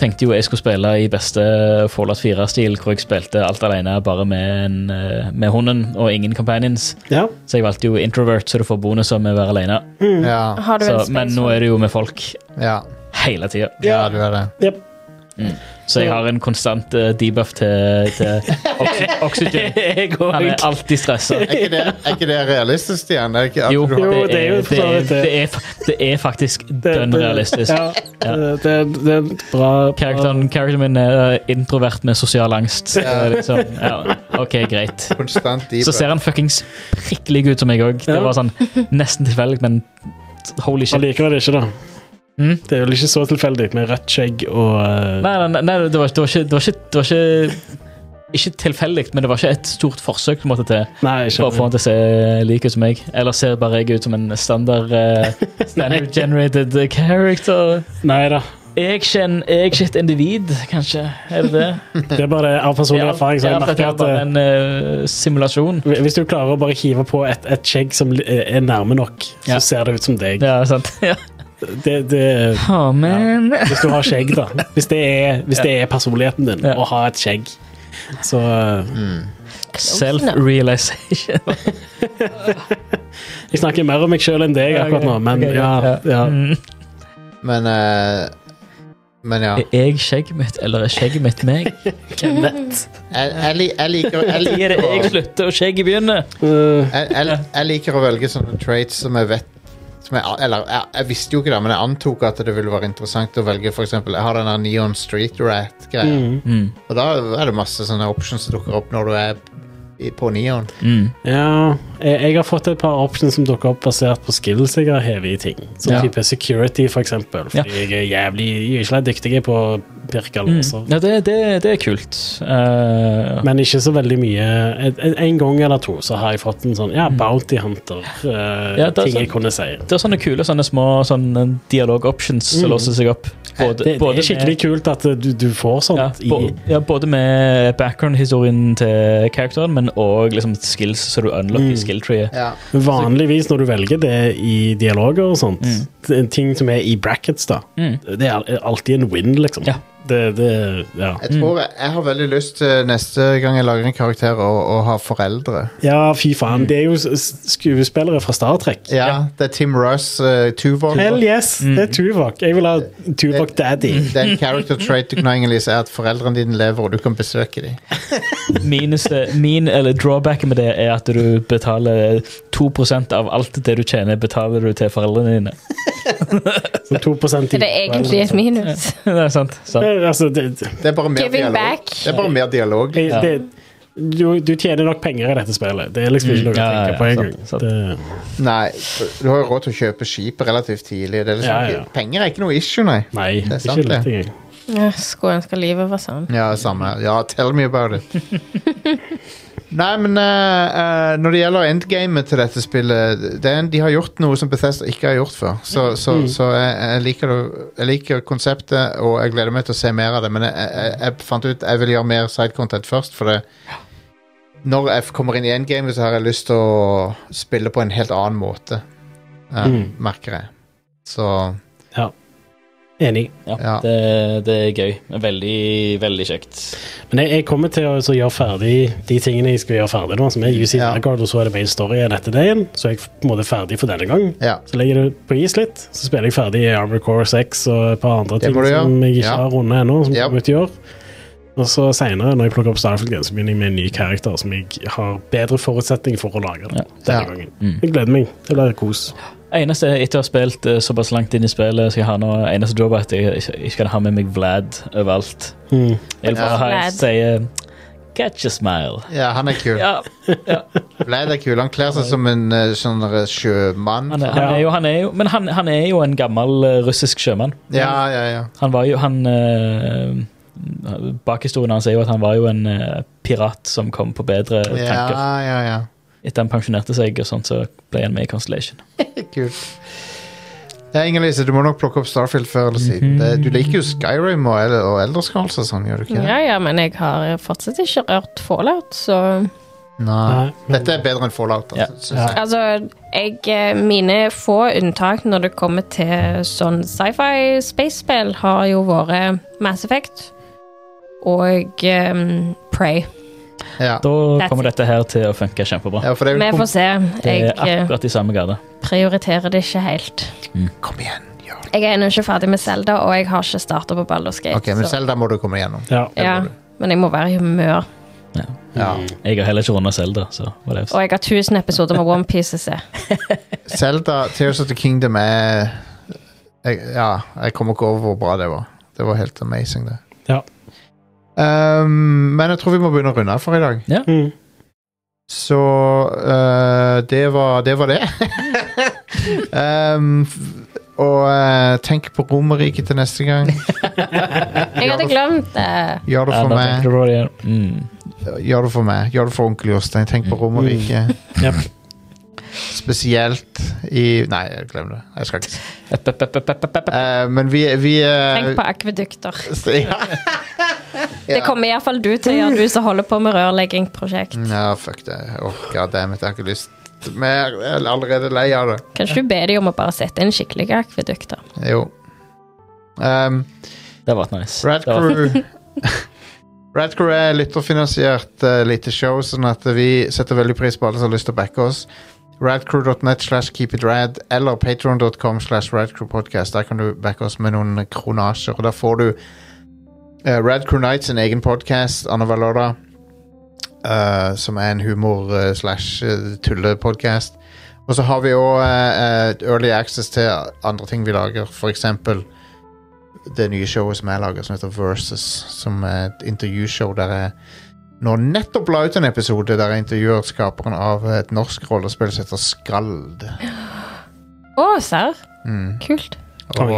Speaker 5: tenkte jo jeg skulle spille i beste Fallout 4-stil, hvor jeg spilte alt alene bare med, en, eh, med hunden og ingen companions.
Speaker 4: Ja.
Speaker 5: Så jeg valgte jo introvert, så du får bonuser med å være alene.
Speaker 4: Mm.
Speaker 1: Ja,
Speaker 3: Har du
Speaker 5: Så,
Speaker 3: en
Speaker 5: men nå
Speaker 3: space
Speaker 5: er det jo med folk
Speaker 1: ja,
Speaker 5: hele tida.
Speaker 1: ja, du er det.
Speaker 4: Jep.
Speaker 5: Så jeg har en konstant eh, debuff til, til oxy oxygen. Han er alltid stressa.
Speaker 1: Er ikke det, er ikke det realistisk, Stian? Er det ikke, at
Speaker 5: Jo,
Speaker 1: du har-
Speaker 4: Jo, det er jo for
Speaker 5: det
Speaker 4: så
Speaker 5: er,
Speaker 4: vidt det.
Speaker 5: det er, fa- det er faktisk dønn realistisk.
Speaker 4: Ja, det, det, det er et bra
Speaker 5: Karakteren, karakteren min er eh, introvert med sosial angst.
Speaker 1: Ja.
Speaker 5: Eh, Liksom. Ja, ok, greit.
Speaker 1: konstant deep.
Speaker 5: Så ser han fuckings prikkelig ut som meg òg. Det
Speaker 4: Ja.
Speaker 5: var sånn nesten tilfeldig, men holy shit. Nei,
Speaker 4: Allikevel ikke, da.
Speaker 5: Mm.
Speaker 4: Det er vel ikke så tilfeldig med rødt skjegg og eh,
Speaker 5: nei, nei, nei det, var, det, var ikke, det var ikke Det var ikke ikke tilfeldig, men det var ikke et stort forsøk. på en måte til
Speaker 4: Nei, ikke
Speaker 5: Bare få han til å se lik ut som meg. Eller ser bare jeg ut som en standard eh, standard generated character?
Speaker 4: Nei da.
Speaker 5: Jeg kjenner Jeg er ikke et individ, kanskje. Er det det?
Speaker 4: Det er bare det av personlig
Speaker 5: Ja,
Speaker 4: erfaring. Så
Speaker 5: ja,
Speaker 4: jeg
Speaker 5: for det
Speaker 4: merker
Speaker 5: er
Speaker 4: at
Speaker 5: bare
Speaker 4: eh,
Speaker 5: en eh, simulasjon.
Speaker 4: hvis du klarer å bare hive på et, et skjegg som li- er nærme nok,
Speaker 5: Ja.
Speaker 4: så ser det ut som deg.
Speaker 5: Ja, sant. Ja.
Speaker 4: Det, det,
Speaker 5: Å, men
Speaker 4: Hvis du har skjegg, da. Hvis det er, hvis det er personligheten din
Speaker 5: Ja.
Speaker 4: å ha et skjegg. Så eh,
Speaker 5: Self-realization.
Speaker 4: Jeg snakker mer om meg sjøl enn deg akkurat nå, men
Speaker 5: Ok,
Speaker 4: ja.
Speaker 5: greit.
Speaker 4: ja.
Speaker 5: Mm.
Speaker 1: Men eh, Men ja.
Speaker 5: Er jeg skjegget mitt, eller er skjegget mitt meg?
Speaker 1: Jeg, jeg, li- jeg liker jeg
Speaker 5: Når er
Speaker 1: liker
Speaker 5: det jeg
Speaker 1: å-
Speaker 5: slutter, og skjegget begynner?
Speaker 4: Eh,
Speaker 1: jeg, jeg, jeg liker å velge sånne traits som jeg vet som jeg, Eller jeg, jeg visste jo ikke det, men jeg antok at det ville være interessant å velge f.eks. Jeg har den der Neon Street Rat-greia,
Speaker 4: mm,
Speaker 5: Mm.
Speaker 1: og da er det masse sånne options som dukker opp når du er i- på Neon.
Speaker 5: Mm.
Speaker 4: ja. Jeg, jeg har fått et par options som dukker opp basert på skills jeg har hevet i ting. Som
Speaker 5: Ja.
Speaker 4: type security, for eksempel. Fordi
Speaker 5: Ja.
Speaker 4: jeg er jævlig jeg er ikke dyktig på
Speaker 5: Mm.
Speaker 4: pirkalåser.
Speaker 5: Ja, det, det, det er kult. Eh,
Speaker 4: Altså- Men ikke så veldig mye. En, en- en gang eller to så har jeg fått en sånn ja, Bounty Hunter. eh,
Speaker 5: Ja, det er
Speaker 4: ting jeg
Speaker 5: sånn.
Speaker 4: kunne si.
Speaker 5: det er sånne kule sånne små sånne dialog-options som
Speaker 4: Mm.
Speaker 5: låser seg opp. Både,
Speaker 4: Det, det
Speaker 5: både
Speaker 4: er skikkelig kult at eh, du, du får
Speaker 5: med, ja,
Speaker 4: sånt
Speaker 5: bo,
Speaker 4: i
Speaker 5: ja, både med background-historien til karakteren, men òg liksom skills, så du unlocker
Speaker 4: Mm.
Speaker 5: skill-treet.
Speaker 1: Ja.
Speaker 4: Vanligvis når du velger det i dialoger og sånt,
Speaker 5: Mm.
Speaker 4: t- ting som er i brackets, da,
Speaker 5: Mm.
Speaker 4: det er al- alltid en win, liksom.
Speaker 5: Ja.
Speaker 4: Det, det, ja.
Speaker 1: Jeg tror jeg, jeg har veldig lyst til neste gang jeg lager en karakter, å, å ha foreldre.
Speaker 4: ja, fy faen. Det er jo s- s- skuespillere fra Star Trek.
Speaker 1: Ja, Det er Tim Russ, uh, Tuvok.
Speaker 4: Hell yes, det er Tuvok. Jeg vil ha Tuvok
Speaker 1: Det-
Speaker 4: Daddy.
Speaker 1: Det er en character trait du kan ha, Inger-Lise, er at foreldrene dine lever, og du kan besøke dem.
Speaker 5: Minuset, min, eller drawbacken med det er at du betaler 2 av alt det du tjener, betaler du til foreldrene dine.
Speaker 4: Som 2
Speaker 3: Er det egentlig et minus?
Speaker 5: Det er sant. sant.
Speaker 4: Eh, Altså, det, det,
Speaker 1: Det er bare mer
Speaker 3: Giving
Speaker 1: dialog.
Speaker 3: back.
Speaker 1: Det er bare mer dialog.
Speaker 4: det, du, du tjener nok penger i dette spillet. Det er liksom ikke noe
Speaker 5: Mm. Ja, ja,
Speaker 4: å tenke på
Speaker 5: ja, sant, sant.
Speaker 4: engang.
Speaker 1: Nei, du har jo råd til å kjøpe skip relativt tidlig. Det er liksom,
Speaker 4: Ja, ja.
Speaker 1: ikke- Penger er ikke noe issue, nei.
Speaker 4: Nei,
Speaker 1: Det er
Speaker 4: det er
Speaker 1: sant,
Speaker 4: ikke lett engang.
Speaker 3: Ja, Skulle ønske livet var sånn.
Speaker 1: Ja, samme her. Ja, tell me about it. Nei, men eh, eh, når det gjelder endgamet til dette spillet det er en, De har gjort noe som Bethesda ikke har gjort før. Så, så, så jeg, jeg, liker, det- jeg liker konseptet, og jeg gleder meg til å se mer av det. Men jeg, jeg, jeg fant ut jeg vil gjøre mer sidecontent først, for det Når jeg kommer inn i endgamet, så har jeg lyst til å spille på en helt annen måte, eh,
Speaker 4: Mm.
Speaker 1: merker jeg. Så
Speaker 4: Enig.
Speaker 5: Ja,
Speaker 1: Ja.
Speaker 5: Det, det er gøy. Veldig, veldig kjekt.
Speaker 4: Men jeg, jeg kommer til å så gjøre ferdig de tingene jeg skal gjøre ferdig nå, som er UC
Speaker 1: Ja.
Speaker 4: Vanguard, og så er det main story igjen etter det igjen. Så er jeg på en måte ferdig for denne gang.
Speaker 1: ja.
Speaker 4: Så legger jeg det på is litt, så spiller jeg ferdig Armor Core 6 og et par andre
Speaker 1: Det
Speaker 4: ting
Speaker 1: må du
Speaker 4: som
Speaker 1: gjøre.
Speaker 4: jeg ikke
Speaker 1: Ja.
Speaker 4: har rundet ennå, som
Speaker 1: Ja.
Speaker 4: kommer ut i år. Og så seinere, når jeg plukker opp Starfield igjen, så begynner jeg med en ny karakter som jeg har bedre forutsetning for å lage det, denne
Speaker 1: Ja.
Speaker 4: gangen.
Speaker 5: Mm.
Speaker 4: Jeg gleder meg. Det blir kos.
Speaker 5: Eneste etter å ha spilt eh, såpass langt inn i spillet, skal jeg ha nå, eneste jobb er at jeg ikke- ikke kan ha med meg Vlad overalt.
Speaker 4: Mm.
Speaker 5: Jeg vil bare ha
Speaker 3: Ja.
Speaker 5: en som sier Catch a smile.
Speaker 1: ja, han er kul.
Speaker 5: Ja,
Speaker 1: Vlad er kul. Han kler seg som en eh, sånn der sjømann.
Speaker 5: han er, han
Speaker 4: Ja.
Speaker 5: er jo, han er jo, men han, han er jo en gammel eh, russisk sjømann.
Speaker 1: Ja, ja, ja.
Speaker 5: Han var jo han eh, Bakhistorien hans er jo at han var jo en eh, pirat som kom på bedre tanker.
Speaker 1: Ja, ja, ja.
Speaker 5: Etter han pensjonerte seg, og sånt, så ble han med i Constellation.
Speaker 1: Kult. Ja, Inger-Lise, du må nok plukke opp Starfield før eller siden. Det- Du liker jo Skyrim og, El- og Elder Scrolls og sånn, gjør du ikke? det?
Speaker 3: Ja ja, men jeg har fortsatt ikke rørt fallout, så
Speaker 1: Nei.
Speaker 4: Nei, men-
Speaker 1: Dette er bedre enn Fallout.
Speaker 2: Ja.
Speaker 1: Altså, synes jeg.
Speaker 3: Altså, jeg, eh, mine få unntak når det kommer til sånn sci-fi space-spill, har jo vært Mass Effect og um, Prey.
Speaker 1: Ja.
Speaker 2: Da
Speaker 3: That's
Speaker 2: kommer
Speaker 3: it.
Speaker 2: dette her til å funke kjempebra.
Speaker 1: ja, for det er
Speaker 3: Vi
Speaker 1: jo
Speaker 3: får
Speaker 1: kom,
Speaker 3: se.
Speaker 2: Det
Speaker 3: Jeg
Speaker 2: er
Speaker 3: eh,
Speaker 2: akkurat i samme gate.
Speaker 3: prioriterer det ikke helt.
Speaker 1: kom igjen, gjør det.
Speaker 3: Jeg er ennå ikke ferdig med Zelda, og jeg har ikke starta på Baldur's Gate.
Speaker 1: Ok, men
Speaker 3: så-
Speaker 1: Zelda må du komme igjennom.
Speaker 4: Ja.
Speaker 1: det
Speaker 3: ja,
Speaker 1: må du.
Speaker 3: men jeg må være i humør.
Speaker 1: Ja.
Speaker 2: Jeg har heller ikke runda Zelda, så whatevs.
Speaker 3: Og jeg har 1000 episoder med OnePiece å se.
Speaker 1: Zelda, Tears of the Kingdom er jeg, Ja, jeg kommer ikke over hvor bra det var. Det var helt amazing, det.
Speaker 4: Ja.
Speaker 1: Ehm, men jeg tror vi må begynne å runde av for i dag.
Speaker 4: Mm.
Speaker 1: Så eh, det var det. Var det. Ehm, f- og eh, tenk på Romerriket til neste gang.
Speaker 3: Jeg hadde glemt det.
Speaker 1: Gjør det
Speaker 2: Ja,
Speaker 1: for
Speaker 2: da tenker
Speaker 1: meg.
Speaker 2: du på det igjen. Mm.
Speaker 1: Gjør det for meg. Gjør det for onkel Jostein. Tenk på Romerriket.
Speaker 4: Jep.
Speaker 1: Spesielt i Nei, glem det. Jeg skal ikke si
Speaker 2: Epp, epp, epp, epp, epp, epp.
Speaker 1: Eh, Men vi, vi eh,
Speaker 3: Tenk på akvedukter.
Speaker 1: Ja.
Speaker 3: Det kommer iallfall du til å gjøre, du som holder på med rørleggingprosjekt.
Speaker 1: Ja, fuck det. Oh, Goddammit, jeg har ikke lyst mer. Jeg er allerede lei av det.
Speaker 3: Kanskje du ber dem om å bare sette inn skikkelige akvedukter.
Speaker 1: Jo. Um,
Speaker 2: Det var nice. Det var-
Speaker 1: Radcrew Radcrew er lytterfinansiert uh, lite show, sånn at vi setter veldig pris på alle som har lyst til å backe oss. Radcrew.net slash keepitrad eller patron.com slash radcrewpodcast. Der kan du backe oss med noen kronasjer, og da får du uh, Radcrew Night sin egen podkast annenhver lørdag, uh, som er en humor- uh, slash uh, tullepodkast. Og så har vi òg early access til andre ting vi lager, for eksempel det nye showet som jeg lager, som heter Versus. Som er et intervjushow der jeg nå nettopp la ut en episode der jeg intervjuer skaperen av et norsk rollespill som heter Skald.
Speaker 3: Å, serr?
Speaker 1: Mm.
Speaker 3: Kult.
Speaker 1: Og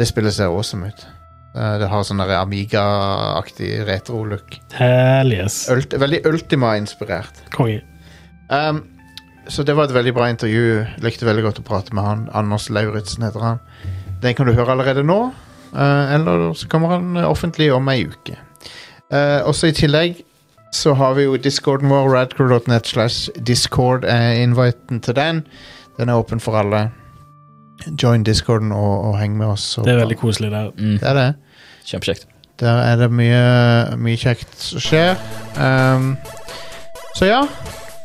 Speaker 1: det spillet ser awesome ut. Eh, Det har sånn der Amiga-aktig retro-look.
Speaker 4: Hell yes.
Speaker 1: Ult veldig Ultima-inspirert.
Speaker 4: Konge.
Speaker 1: Um, så det var et veldig bra intervju. Likte veldig godt å prate med han. Anders Lauritzen heter han. Den kan du høre allerede nå. eh, eller så kommer han eh, offentlig om ei uke. Eh, også i tillegg så har vi jo discorden vår, radcrew.net slash discord, er inviten til den. Den er åpen for alle. Join discorden og, og heng med oss. Og
Speaker 4: Det er veldig koselig der.
Speaker 2: Mm.
Speaker 1: Det er det.
Speaker 2: Kjempekjekt.
Speaker 1: Der er det mye, mye kjekt som skjer. Ehm, så ja,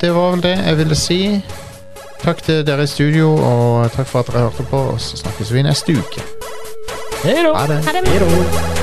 Speaker 1: det var vel det jeg ville si. Takk til dere i studio, og takk for at dere hørte på. Og så snakkes vi neste uke.
Speaker 2: Hei da!
Speaker 1: Ha det.
Speaker 3: Ha det.